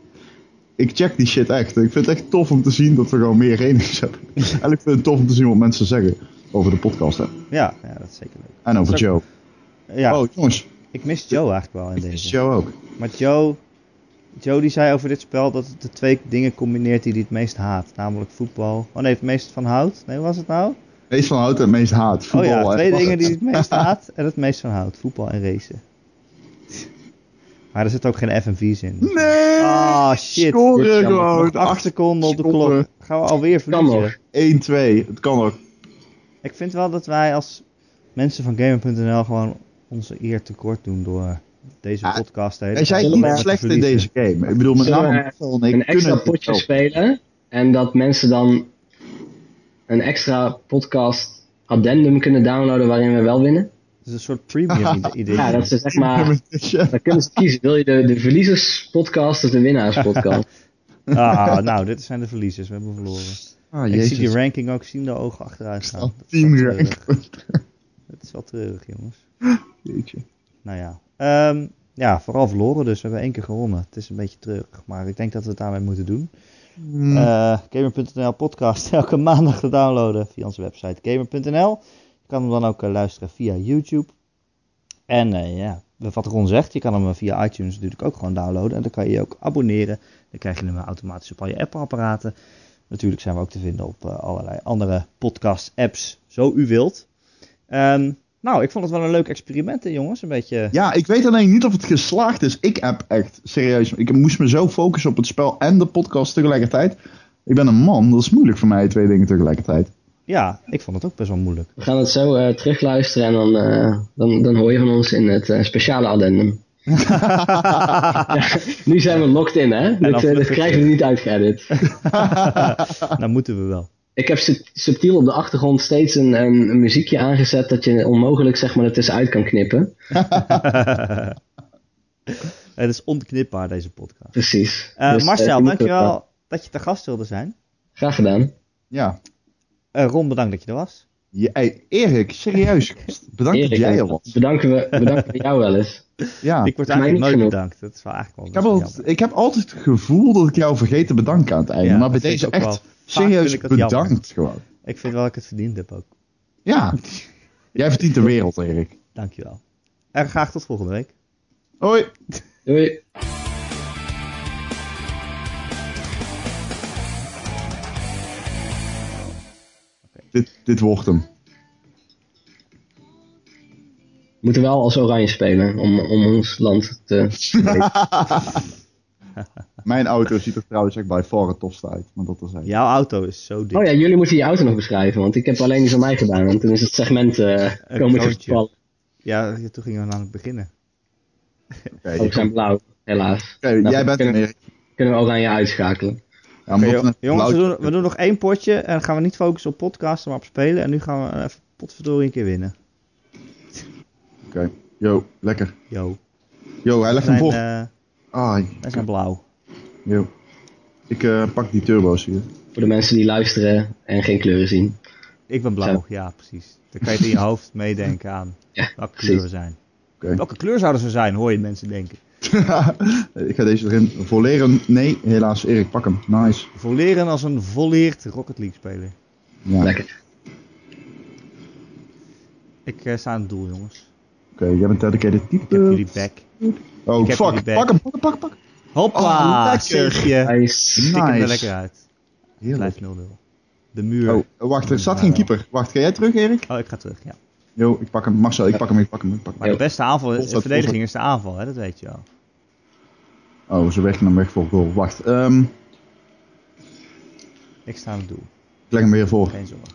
Speaker 2: ik check die shit echt. Ik vind het echt tof om te zien dat we gewoon meer ratings hebben. en ik vind het tof om te zien wat mensen zeggen over de podcast. Hè.
Speaker 1: ja, ja, dat is zeker leuk.
Speaker 2: En over
Speaker 1: Zo-
Speaker 2: Joe.
Speaker 1: Ja,
Speaker 2: Oh, jongens,
Speaker 1: ik mis Joe eigenlijk wel in
Speaker 2: dit is
Speaker 1: deze.
Speaker 2: Joe ook.
Speaker 1: Maar Joe, Joe die zei over dit spel dat het de twee dingen combineert die hij het meest haat. Namelijk voetbal. Oh nee, het meest van houdt. Nee, hoe was het nou?
Speaker 2: Meest van houdt en meest haat. Voetbal
Speaker 1: oh ja,
Speaker 2: en
Speaker 1: twee
Speaker 2: lachen.
Speaker 1: dingen die hij het meest haat en het meest van houdt. Voetbal en racen. Maar er zit ook geen FMV's in.
Speaker 2: Nee!
Speaker 1: Ah, shit.
Speaker 3: Dit is
Speaker 2: Scoren
Speaker 3: jammer.
Speaker 2: gewoon.
Speaker 1: Nog acht seconden op de klok.
Speaker 2: seconden.
Speaker 1: Gaan we alweer
Speaker 3: kan
Speaker 1: verliezen.
Speaker 2: 1-2.
Speaker 3: nog.
Speaker 2: Het kan ook.
Speaker 1: Ik vind wel dat wij als mensen van Gamer.nl gewoon onze eer tekort doen door deze
Speaker 2: Ja,
Speaker 1: podcast te
Speaker 2: Wij zijn niet slecht in deze game. Ik bedoel, met
Speaker 3: Zullen we
Speaker 2: name Marcel en ik
Speaker 3: een extra
Speaker 2: kunnen Oh.
Speaker 3: potje
Speaker 2: het wel.
Speaker 3: spelen. En dat mensen dan een extra podcast addendum kunnen downloaden waarin we wel winnen.
Speaker 1: Het is een soort premium ide- idee.
Speaker 3: Ja, dat ze zeg maar.
Speaker 2: Ja,
Speaker 3: Dan kunnen ze kiezen. Wil je de, de verliezerspodcast of de winnaarspodcast?
Speaker 1: Ah, nou, dit zijn de verliezers. We hebben verloren.
Speaker 2: Ah,
Speaker 1: ik zie die
Speaker 2: jezus.
Speaker 1: ranking ook zien de ogen achteruit gaan.
Speaker 2: Al
Speaker 1: Dat is wel
Speaker 2: Team
Speaker 1: treurig.
Speaker 2: rank.
Speaker 1: Dat is wel treurig, jongens.
Speaker 2: Jeetje.
Speaker 1: Nou ja. Ehm, ja, vooral verloren dus. We hebben één keer gewonnen. Het is een beetje treurig, maar ik denk dat we het daarmee moeten doen.
Speaker 2: Hmm.
Speaker 1: Eh, Gamer.nl podcast elke maandag te downloaden via onze website gamer.nl. Je kan hem dan ook eh, luisteren via YouTube. En eh, ja, wat Ron zegt, je kan hem eh, via iTunes natuurlijk ook gewoon downloaden. En dan kan je je ook abonneren. Dan krijg je hem eh, automatisch op al je Apple-apparaten. Natuurlijk zijn we ook te vinden op eh, allerlei andere podcast-apps, zo u wilt. Ehm, nou, ik vond het wel een leuk experiment, hè, jongens. Een beetje.
Speaker 2: Ja, ik weet alleen niet of het geslaagd is. Ik heb echt, serieus, ik moest me zo focussen op het spel en de podcast tegelijkertijd. Ik ben een man, dat is moeilijk voor mij, twee dingen tegelijkertijd.
Speaker 1: Ja, ik vond het ook best wel moeilijk.
Speaker 3: We gaan het zo eh, terugluisteren en dan, eh, dan, dan hoor je van ons in het eh, speciale addendum. Nu zijn we locked in, hè?
Speaker 1: dan
Speaker 3: Dit, eh, dit
Speaker 1: vluchten.
Speaker 3: krijgen we niet uitgeëdit.
Speaker 1: nou, moeten we wel.
Speaker 3: Ik heb sub- subtiel op de achtergrond steeds een, een, een muziekje aangezet dat je onmogelijk zeg maar ertussenuit kan knippen.
Speaker 1: Het is onknipbaar, deze podcast.
Speaker 3: Precies.
Speaker 1: Eh,
Speaker 3: Dus, eh, die
Speaker 1: Marcel,
Speaker 3: moeten we-
Speaker 1: dankjewel dat je te gast wilde zijn.
Speaker 3: Graag gedaan.
Speaker 2: Ja.
Speaker 1: Eh, Ron, bedankt dat je er was.
Speaker 2: Je- hey, Erik, serieus, bedankt dat
Speaker 3: Erik,
Speaker 2: jij er was.
Speaker 3: Bedanken we, bedanken we jou wel eens.
Speaker 2: Ja.
Speaker 1: ik word
Speaker 3: Ah, mij
Speaker 1: eigenlijk
Speaker 3: niet
Speaker 1: nooit
Speaker 3: genoeg.
Speaker 1: bedankt. Dat is wel eigenlijk
Speaker 2: Ik
Speaker 1: wel
Speaker 2: heb,
Speaker 1: best
Speaker 2: altijd, ik heb altijd het gevoel dat ik jou vergeet te bedanken aan het einde.
Speaker 1: Ja,
Speaker 2: maar
Speaker 1: dat
Speaker 2: bij
Speaker 1: vind
Speaker 2: deze
Speaker 1: ik ook
Speaker 2: echt
Speaker 1: wel. Vaak vind
Speaker 2: serieus
Speaker 1: ik dat jammer.
Speaker 2: bedankt gewoon.
Speaker 1: jammer. Ik vind wel dat ik het verdiend heb ook.
Speaker 2: Ja, jij verdient de wereld, Erik.
Speaker 1: Dankjewel. En graag tot volgende week.
Speaker 2: Hoi.
Speaker 3: Doei.
Speaker 2: Dit, dit wordt hem.
Speaker 3: We moeten wel als oranje spelen om, om ons land te...
Speaker 2: Mijn auto ziet er trouwens echt bij far het tofste uit. Maar dat is
Speaker 1: Jouw auto is zo dik.
Speaker 3: Oh ja, jullie moeten je auto nog beschrijven, want ik heb alleen die van mij gedaan. Want toen is het segment eh, komen te
Speaker 1: kroontje.
Speaker 3: vervallen.
Speaker 1: ja. toen gingen we aan het beginnen.
Speaker 2: Oké,
Speaker 1: Oh,
Speaker 3: Ook zijn blauw, helaas.
Speaker 2: oké,
Speaker 3: Nou,
Speaker 2: jij bent hem,
Speaker 3: kunnen,
Speaker 2: Erik.
Speaker 3: kunnen we oranje uitschakelen.
Speaker 2: Ja, maar
Speaker 1: Oké,
Speaker 2: wat een-
Speaker 1: jongens, we
Speaker 2: blauw-
Speaker 1: doen, we doen nog één potje en dan gaan we niet focussen op podcasten, maar op spelen. En nu gaan we even potverdorie een keer winnen.
Speaker 2: Yo, lekker.
Speaker 1: Yo.
Speaker 2: Yo, hij legt hem
Speaker 1: Zijn,
Speaker 2: voor.
Speaker 1: eh,
Speaker 2: Ah,
Speaker 1: wij zijn blauw.
Speaker 2: yo. Ik eh, pak die turbo's hier.
Speaker 3: Voor de mensen die luisteren en geen kleuren zien.
Speaker 1: Ik ben blauw, ja, precies. Dan kan je het in je hoofd meedenken aan
Speaker 3: Ja,
Speaker 1: welke
Speaker 3: precies.
Speaker 1: kleur we zijn.
Speaker 2: Oké.
Speaker 1: Welke kleur zouden ze zijn, hoor je mensen denken.
Speaker 2: ik ga deze erin volleren. Nee, helaas. Erik, pak hem. Nice.
Speaker 1: Voleren als een volleerd Rocket League speler.
Speaker 2: Ja. Oké,
Speaker 3: Lekker.
Speaker 1: Ik eh, sta aan het doel, jongens.
Speaker 2: jij bent dedicated
Speaker 1: Ik heb
Speaker 2: type.
Speaker 1: jullie back.
Speaker 2: Oh,
Speaker 1: ik heb
Speaker 2: fuck.
Speaker 1: jullie back.
Speaker 2: Pak hem, pak hem, pak hem, pak hem. Oh,
Speaker 1: Hoppa,
Speaker 2: lekker.
Speaker 1: zeg je.
Speaker 3: Nice.
Speaker 1: Tik hem er
Speaker 2: Nice.
Speaker 1: lekker uit.
Speaker 2: Heerlijk.
Speaker 1: Blijft 0-0. De muur.
Speaker 2: Oh, wacht, er zat geen keeper. Wacht, ga jij terug, Erik?
Speaker 1: Oh, ik ga terug, ja.
Speaker 2: Yo, ik pak hem. Marcel, ik pak hem, ik pak hem, ik pak hem.
Speaker 1: Maar de beste aanval is,
Speaker 2: Offside,
Speaker 1: de verdediging is de aanval, hè? dat weet je wel.
Speaker 2: Oh, ze werken hem weg voor goal. Wacht, ehm,
Speaker 1: Ik sta aan het doel,
Speaker 2: ik leg hem weer voor.
Speaker 1: geen zorgen.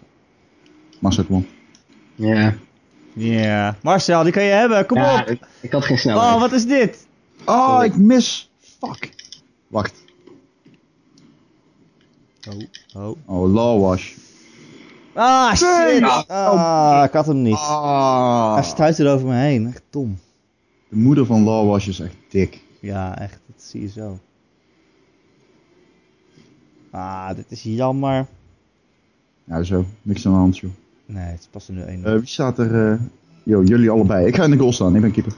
Speaker 2: Marcel, kom op.
Speaker 3: Ja.
Speaker 1: Ja, Marcel, die kan je hebben, kom
Speaker 3: Ja,
Speaker 1: op!
Speaker 3: ik, ik had geen snelheid.
Speaker 1: Oh, wat is dit?
Speaker 2: Oh, ik mis. Fuck. Wacht.
Speaker 1: Oh, oh.
Speaker 2: Oh, lawash.
Speaker 1: Ah, shit!
Speaker 2: Nee!
Speaker 1: Ah, ik had hem niet. Hij
Speaker 2: Ah.
Speaker 1: stuit er over me heen, echt dom.
Speaker 2: De moeder van lawash is echt dik.
Speaker 1: Ja, echt, dat zie je zo. Ah, dit is jammer.
Speaker 2: Ja, zo. Niks aan de hand, joh.
Speaker 1: Nee, het is pas een 1
Speaker 2: Eh, wie staat er? eh? Yo, jullie allebei. Ik ga in de goal staan. Ik ben keeper.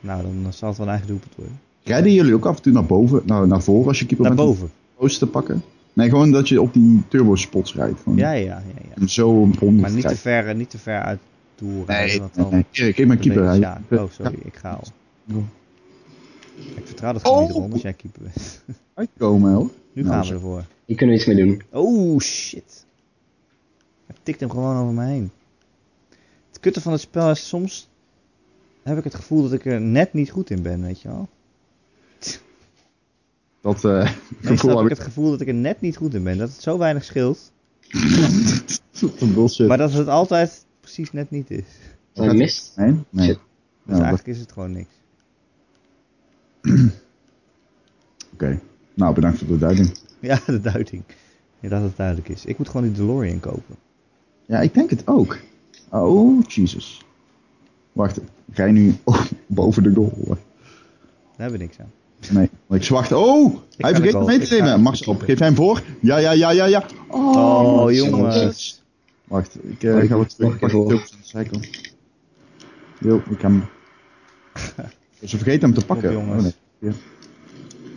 Speaker 1: Nou, dan eh, zal het wel een eigen doelpunt worden.
Speaker 2: Rijden jullie ook af en toe naar boven? Nou, naar voren als je keeper
Speaker 1: Naar
Speaker 2: bent?
Speaker 1: boven.
Speaker 2: Om post te pakken? Nee, gewoon dat je op die turbospots rijdt. Gewoon
Speaker 1: Ja, ja, ja. ja.
Speaker 2: Om zo een bron
Speaker 1: Maar
Speaker 2: te
Speaker 1: niet te
Speaker 2: krijgen.
Speaker 1: ver, eh, niet te ver uit het doel.
Speaker 2: Nee,
Speaker 1: rijden, want dan-
Speaker 2: nee, Erik, ik ben keeper. hè.
Speaker 1: Ja, oh, sorry, ik ga al. Ik vertrouw dat gewoon
Speaker 2: Oh.
Speaker 1: niet eronder als jij keeper bent.
Speaker 2: Uitkomen, hoor.
Speaker 1: Nu
Speaker 2: Nou,
Speaker 1: gaan
Speaker 2: zo.
Speaker 1: we ervoor.
Speaker 3: Hier kunnen we iets mee doen.
Speaker 1: Oh, shit. Hij tikt hem gewoon over me heen. Het kutte van het spel is soms... heb ik het gevoel dat ik er net niet goed in ben, weet je wel.
Speaker 2: Dat eh
Speaker 1: Meestal
Speaker 2: gevoel
Speaker 1: heb ik
Speaker 2: heb ik.
Speaker 1: het gevoel dat ik er net niet goed in ben. Dat het zo weinig scheelt.
Speaker 2: Wat een bullshit.
Speaker 1: Maar dat het altijd precies net niet is.
Speaker 3: Wat een mist.
Speaker 2: Nee? Nee.
Speaker 3: Shit.
Speaker 1: Dus
Speaker 2: Ja, dat-
Speaker 1: eigenlijk is het gewoon niks.
Speaker 2: Oké. Nou, bedankt voor de duiding.
Speaker 1: Ja, de duiding. Ja, dat het duidelijk is. Ik moet gewoon die DeLorean kopen.
Speaker 2: Ja, ik denk het ook. Oh, Jesus. Wacht, ik rij nu oh, boven de goal. hoor.
Speaker 1: Daar hebben we niks aan.
Speaker 2: Nee, want ik zwacht. Oh,
Speaker 1: kan
Speaker 2: hij vergeet
Speaker 1: het
Speaker 2: hem
Speaker 1: wel.
Speaker 2: mee te
Speaker 1: Ik ga
Speaker 2: nemen.
Speaker 1: het
Speaker 2: Max,
Speaker 1: keeper.
Speaker 2: op, geef hem voor. Ja, ja, ja, ja, ja. Oh,
Speaker 1: Oh,
Speaker 2: Jesus.
Speaker 1: jongens.
Speaker 2: Wacht, ik eh,
Speaker 3: ik
Speaker 2: ga wat
Speaker 3: moet nog
Speaker 2: terug.
Speaker 3: een
Speaker 2: Pak
Speaker 3: keer
Speaker 2: de
Speaker 3: voor.
Speaker 2: tulpjes aan de zijkant. Jo, ik heb hem. Ze vergeten hem te pakken.
Speaker 1: Kom op, jongens.
Speaker 2: Oh, nee.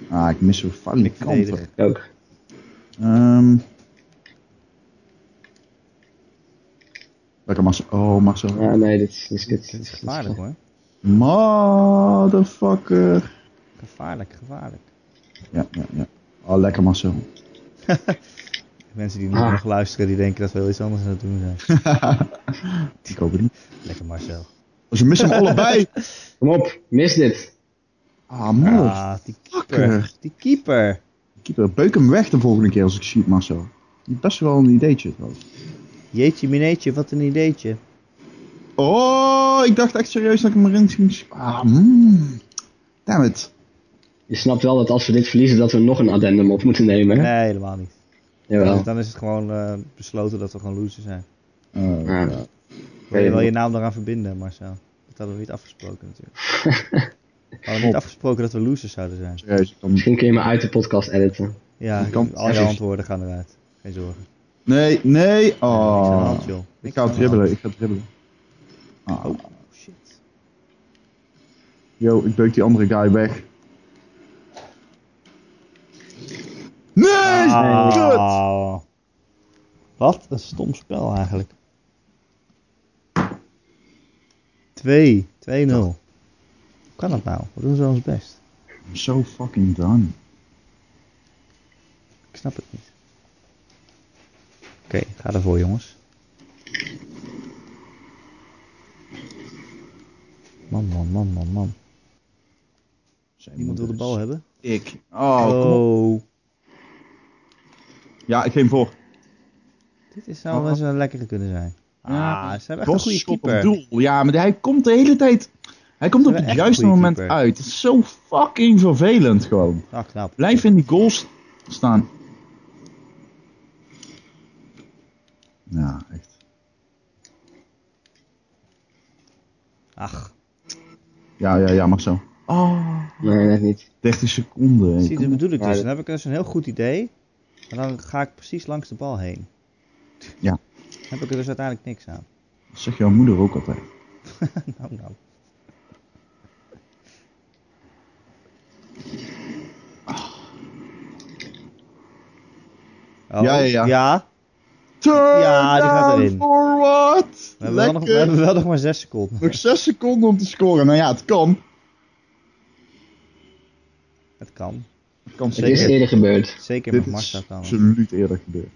Speaker 2: Ja. Ah, ik mis zo'n fucking
Speaker 1: Ik
Speaker 2: kanten.
Speaker 1: verdedig.
Speaker 3: Ook.
Speaker 2: Ehm. Lekker Marcel. Oh, Marcel.
Speaker 3: Ja, Ah, nee, dit is, dit is kut.
Speaker 1: Dit is gevaarlijk hoor.
Speaker 2: Motherfucker.
Speaker 1: Gevaarlijk, gevaarlijk.
Speaker 2: Ja, ja, ja. Oh, lekker Marcel.
Speaker 1: Mensen die nu
Speaker 3: Ah.
Speaker 1: nog luisteren, die denken dat we heel iets anders aan het doen zijn.
Speaker 2: Ik hoop het niet.
Speaker 1: Lekker Marcel.
Speaker 2: Als je mist hem allebei.
Speaker 3: Kom op, mis dit.
Speaker 2: Ah, mooi.
Speaker 1: Ah, die keeper. Die keeper.
Speaker 2: Keeper, beuk hem weg de volgende keer als ik schiet, Marcel. Die is best wel een ideetje trouwens.
Speaker 1: Jeetje mineetje, wat een ideetje.
Speaker 2: Oh, ik dacht echt serieus dat ik hem erin ging schieten. Ah, mm. Damn it.
Speaker 3: Je snapt wel dat als we dit verliezen, dat we nog een addendum op moeten nemen. hè?
Speaker 1: Nee, helemaal niet. Dus
Speaker 3: Jawel.
Speaker 1: Dan is het gewoon eh, besloten dat we gewoon losers zijn.
Speaker 2: Oh,
Speaker 3: Ja.
Speaker 2: ja.
Speaker 1: Wil je wel je naam eraan verbinden, Marcel? Dat hadden we niet afgesproken natuurlijk. We hadden niet afgesproken dat we losers zouden zijn.
Speaker 2: Serieus, ik kan-
Speaker 3: Misschien kun je me uit de podcast editen.
Speaker 1: Ja,
Speaker 2: Je kan-
Speaker 1: al je antwoorden gaan eruit. Geen zorgen.
Speaker 2: Nee, nee.
Speaker 1: Niks aan de hand,
Speaker 2: Oh.
Speaker 1: joh.
Speaker 2: Ik
Speaker 1: Niks
Speaker 2: ga
Speaker 1: aan de hand.
Speaker 2: dribbelen, ik ga dribbelen. Ah.
Speaker 1: Oh, shit.
Speaker 2: Yo, ik beuk die andere guy weg. Nee! Kut!
Speaker 1: Ah. Wat een stom spel eigenlijk. 2, 2-0. Hoe kan dat nou? We doen zo ons best.
Speaker 2: I'm so fucking done.
Speaker 1: Ik snap het niet. Oké, ga ervoor jongens. Man, man, man, man, man. Iemand wil de bal hebben?
Speaker 2: Ik. Oh, kom op. Ja, ik geef hem voor.
Speaker 1: Dit is zou wel eens een lekkere kunnen zijn.
Speaker 2: Oh, Ja,
Speaker 1: Ah, ze hebben echt een
Speaker 2: Bos
Speaker 1: goede
Speaker 2: schot op
Speaker 1: keeper.
Speaker 2: doel. Ja, maar hij komt de hele tijd... Hij komt op
Speaker 1: Ze hebben
Speaker 2: het
Speaker 1: echt
Speaker 2: juiste
Speaker 1: een goede
Speaker 2: moment
Speaker 1: keeper.
Speaker 2: uit. Het is zo fucking vervelend gewoon.
Speaker 1: Ah, knap.
Speaker 2: Blijf in die goals staan. Ja, echt.
Speaker 1: Ach,
Speaker 2: Ja, ja, ja, mag zo.
Speaker 3: Nee, net niet.
Speaker 2: 30 seconden.
Speaker 1: Oh. zie, dat bedoel ik
Speaker 3: Ja,
Speaker 1: dus.
Speaker 3: dat-
Speaker 1: Dan heb ik dus een heel goed idee. En dan ga ik precies langs de bal heen.
Speaker 2: Ja.
Speaker 1: Dan heb ik er dus uiteindelijk niks aan.
Speaker 2: Dat zegt jouw moeder ook altijd.
Speaker 1: Nou, nou. Oh,
Speaker 2: Ja, ja, ja.
Speaker 1: ja.
Speaker 2: Turn
Speaker 1: Ja, die gaat
Speaker 2: down
Speaker 1: erin.
Speaker 2: For what?
Speaker 1: We, hebben wel nog, we
Speaker 2: Lekker.
Speaker 1: hebben wel nog maar 6 seconden.
Speaker 2: Nog 6 seconden om te scoren. Nou ja, het kan.
Speaker 1: Het kan.
Speaker 2: Het kan
Speaker 3: Het is
Speaker 2: zeker.
Speaker 3: eerder gebeurd.
Speaker 1: Zeker
Speaker 2: Dit
Speaker 1: met
Speaker 2: is
Speaker 1: Marsa kan. het.
Speaker 2: absoluut eerder gebeurd.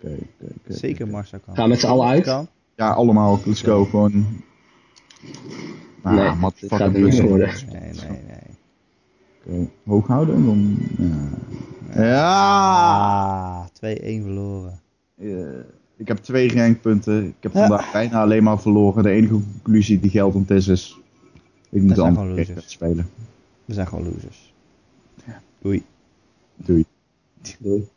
Speaker 2: Oké, oké, oké.
Speaker 1: Zeker Marsa kan.
Speaker 3: Gaan we met z'n allen uit?
Speaker 1: Kan.
Speaker 2: Ja, allemaal. Let's go. Gewoon. Nou,
Speaker 3: Nee,
Speaker 2: wat
Speaker 3: dit gaat niet
Speaker 2: Oké,
Speaker 3: worden.
Speaker 1: Nee, nee, nee.
Speaker 2: Eh, hoog houden en dan... Ja. ja.
Speaker 1: Ah, 2-1 verloren.
Speaker 2: Eh, ik heb twee rankpunten. Ik heb vandaag bijna alleen maar verloren. De enige conclusie die geldend is, is... Ik moet de
Speaker 1: zijn
Speaker 2: andere
Speaker 1: gewoon
Speaker 2: rankpunt
Speaker 1: losers.
Speaker 2: spelen.
Speaker 1: We zijn gewoon losers.
Speaker 2: Doei.
Speaker 3: Doei.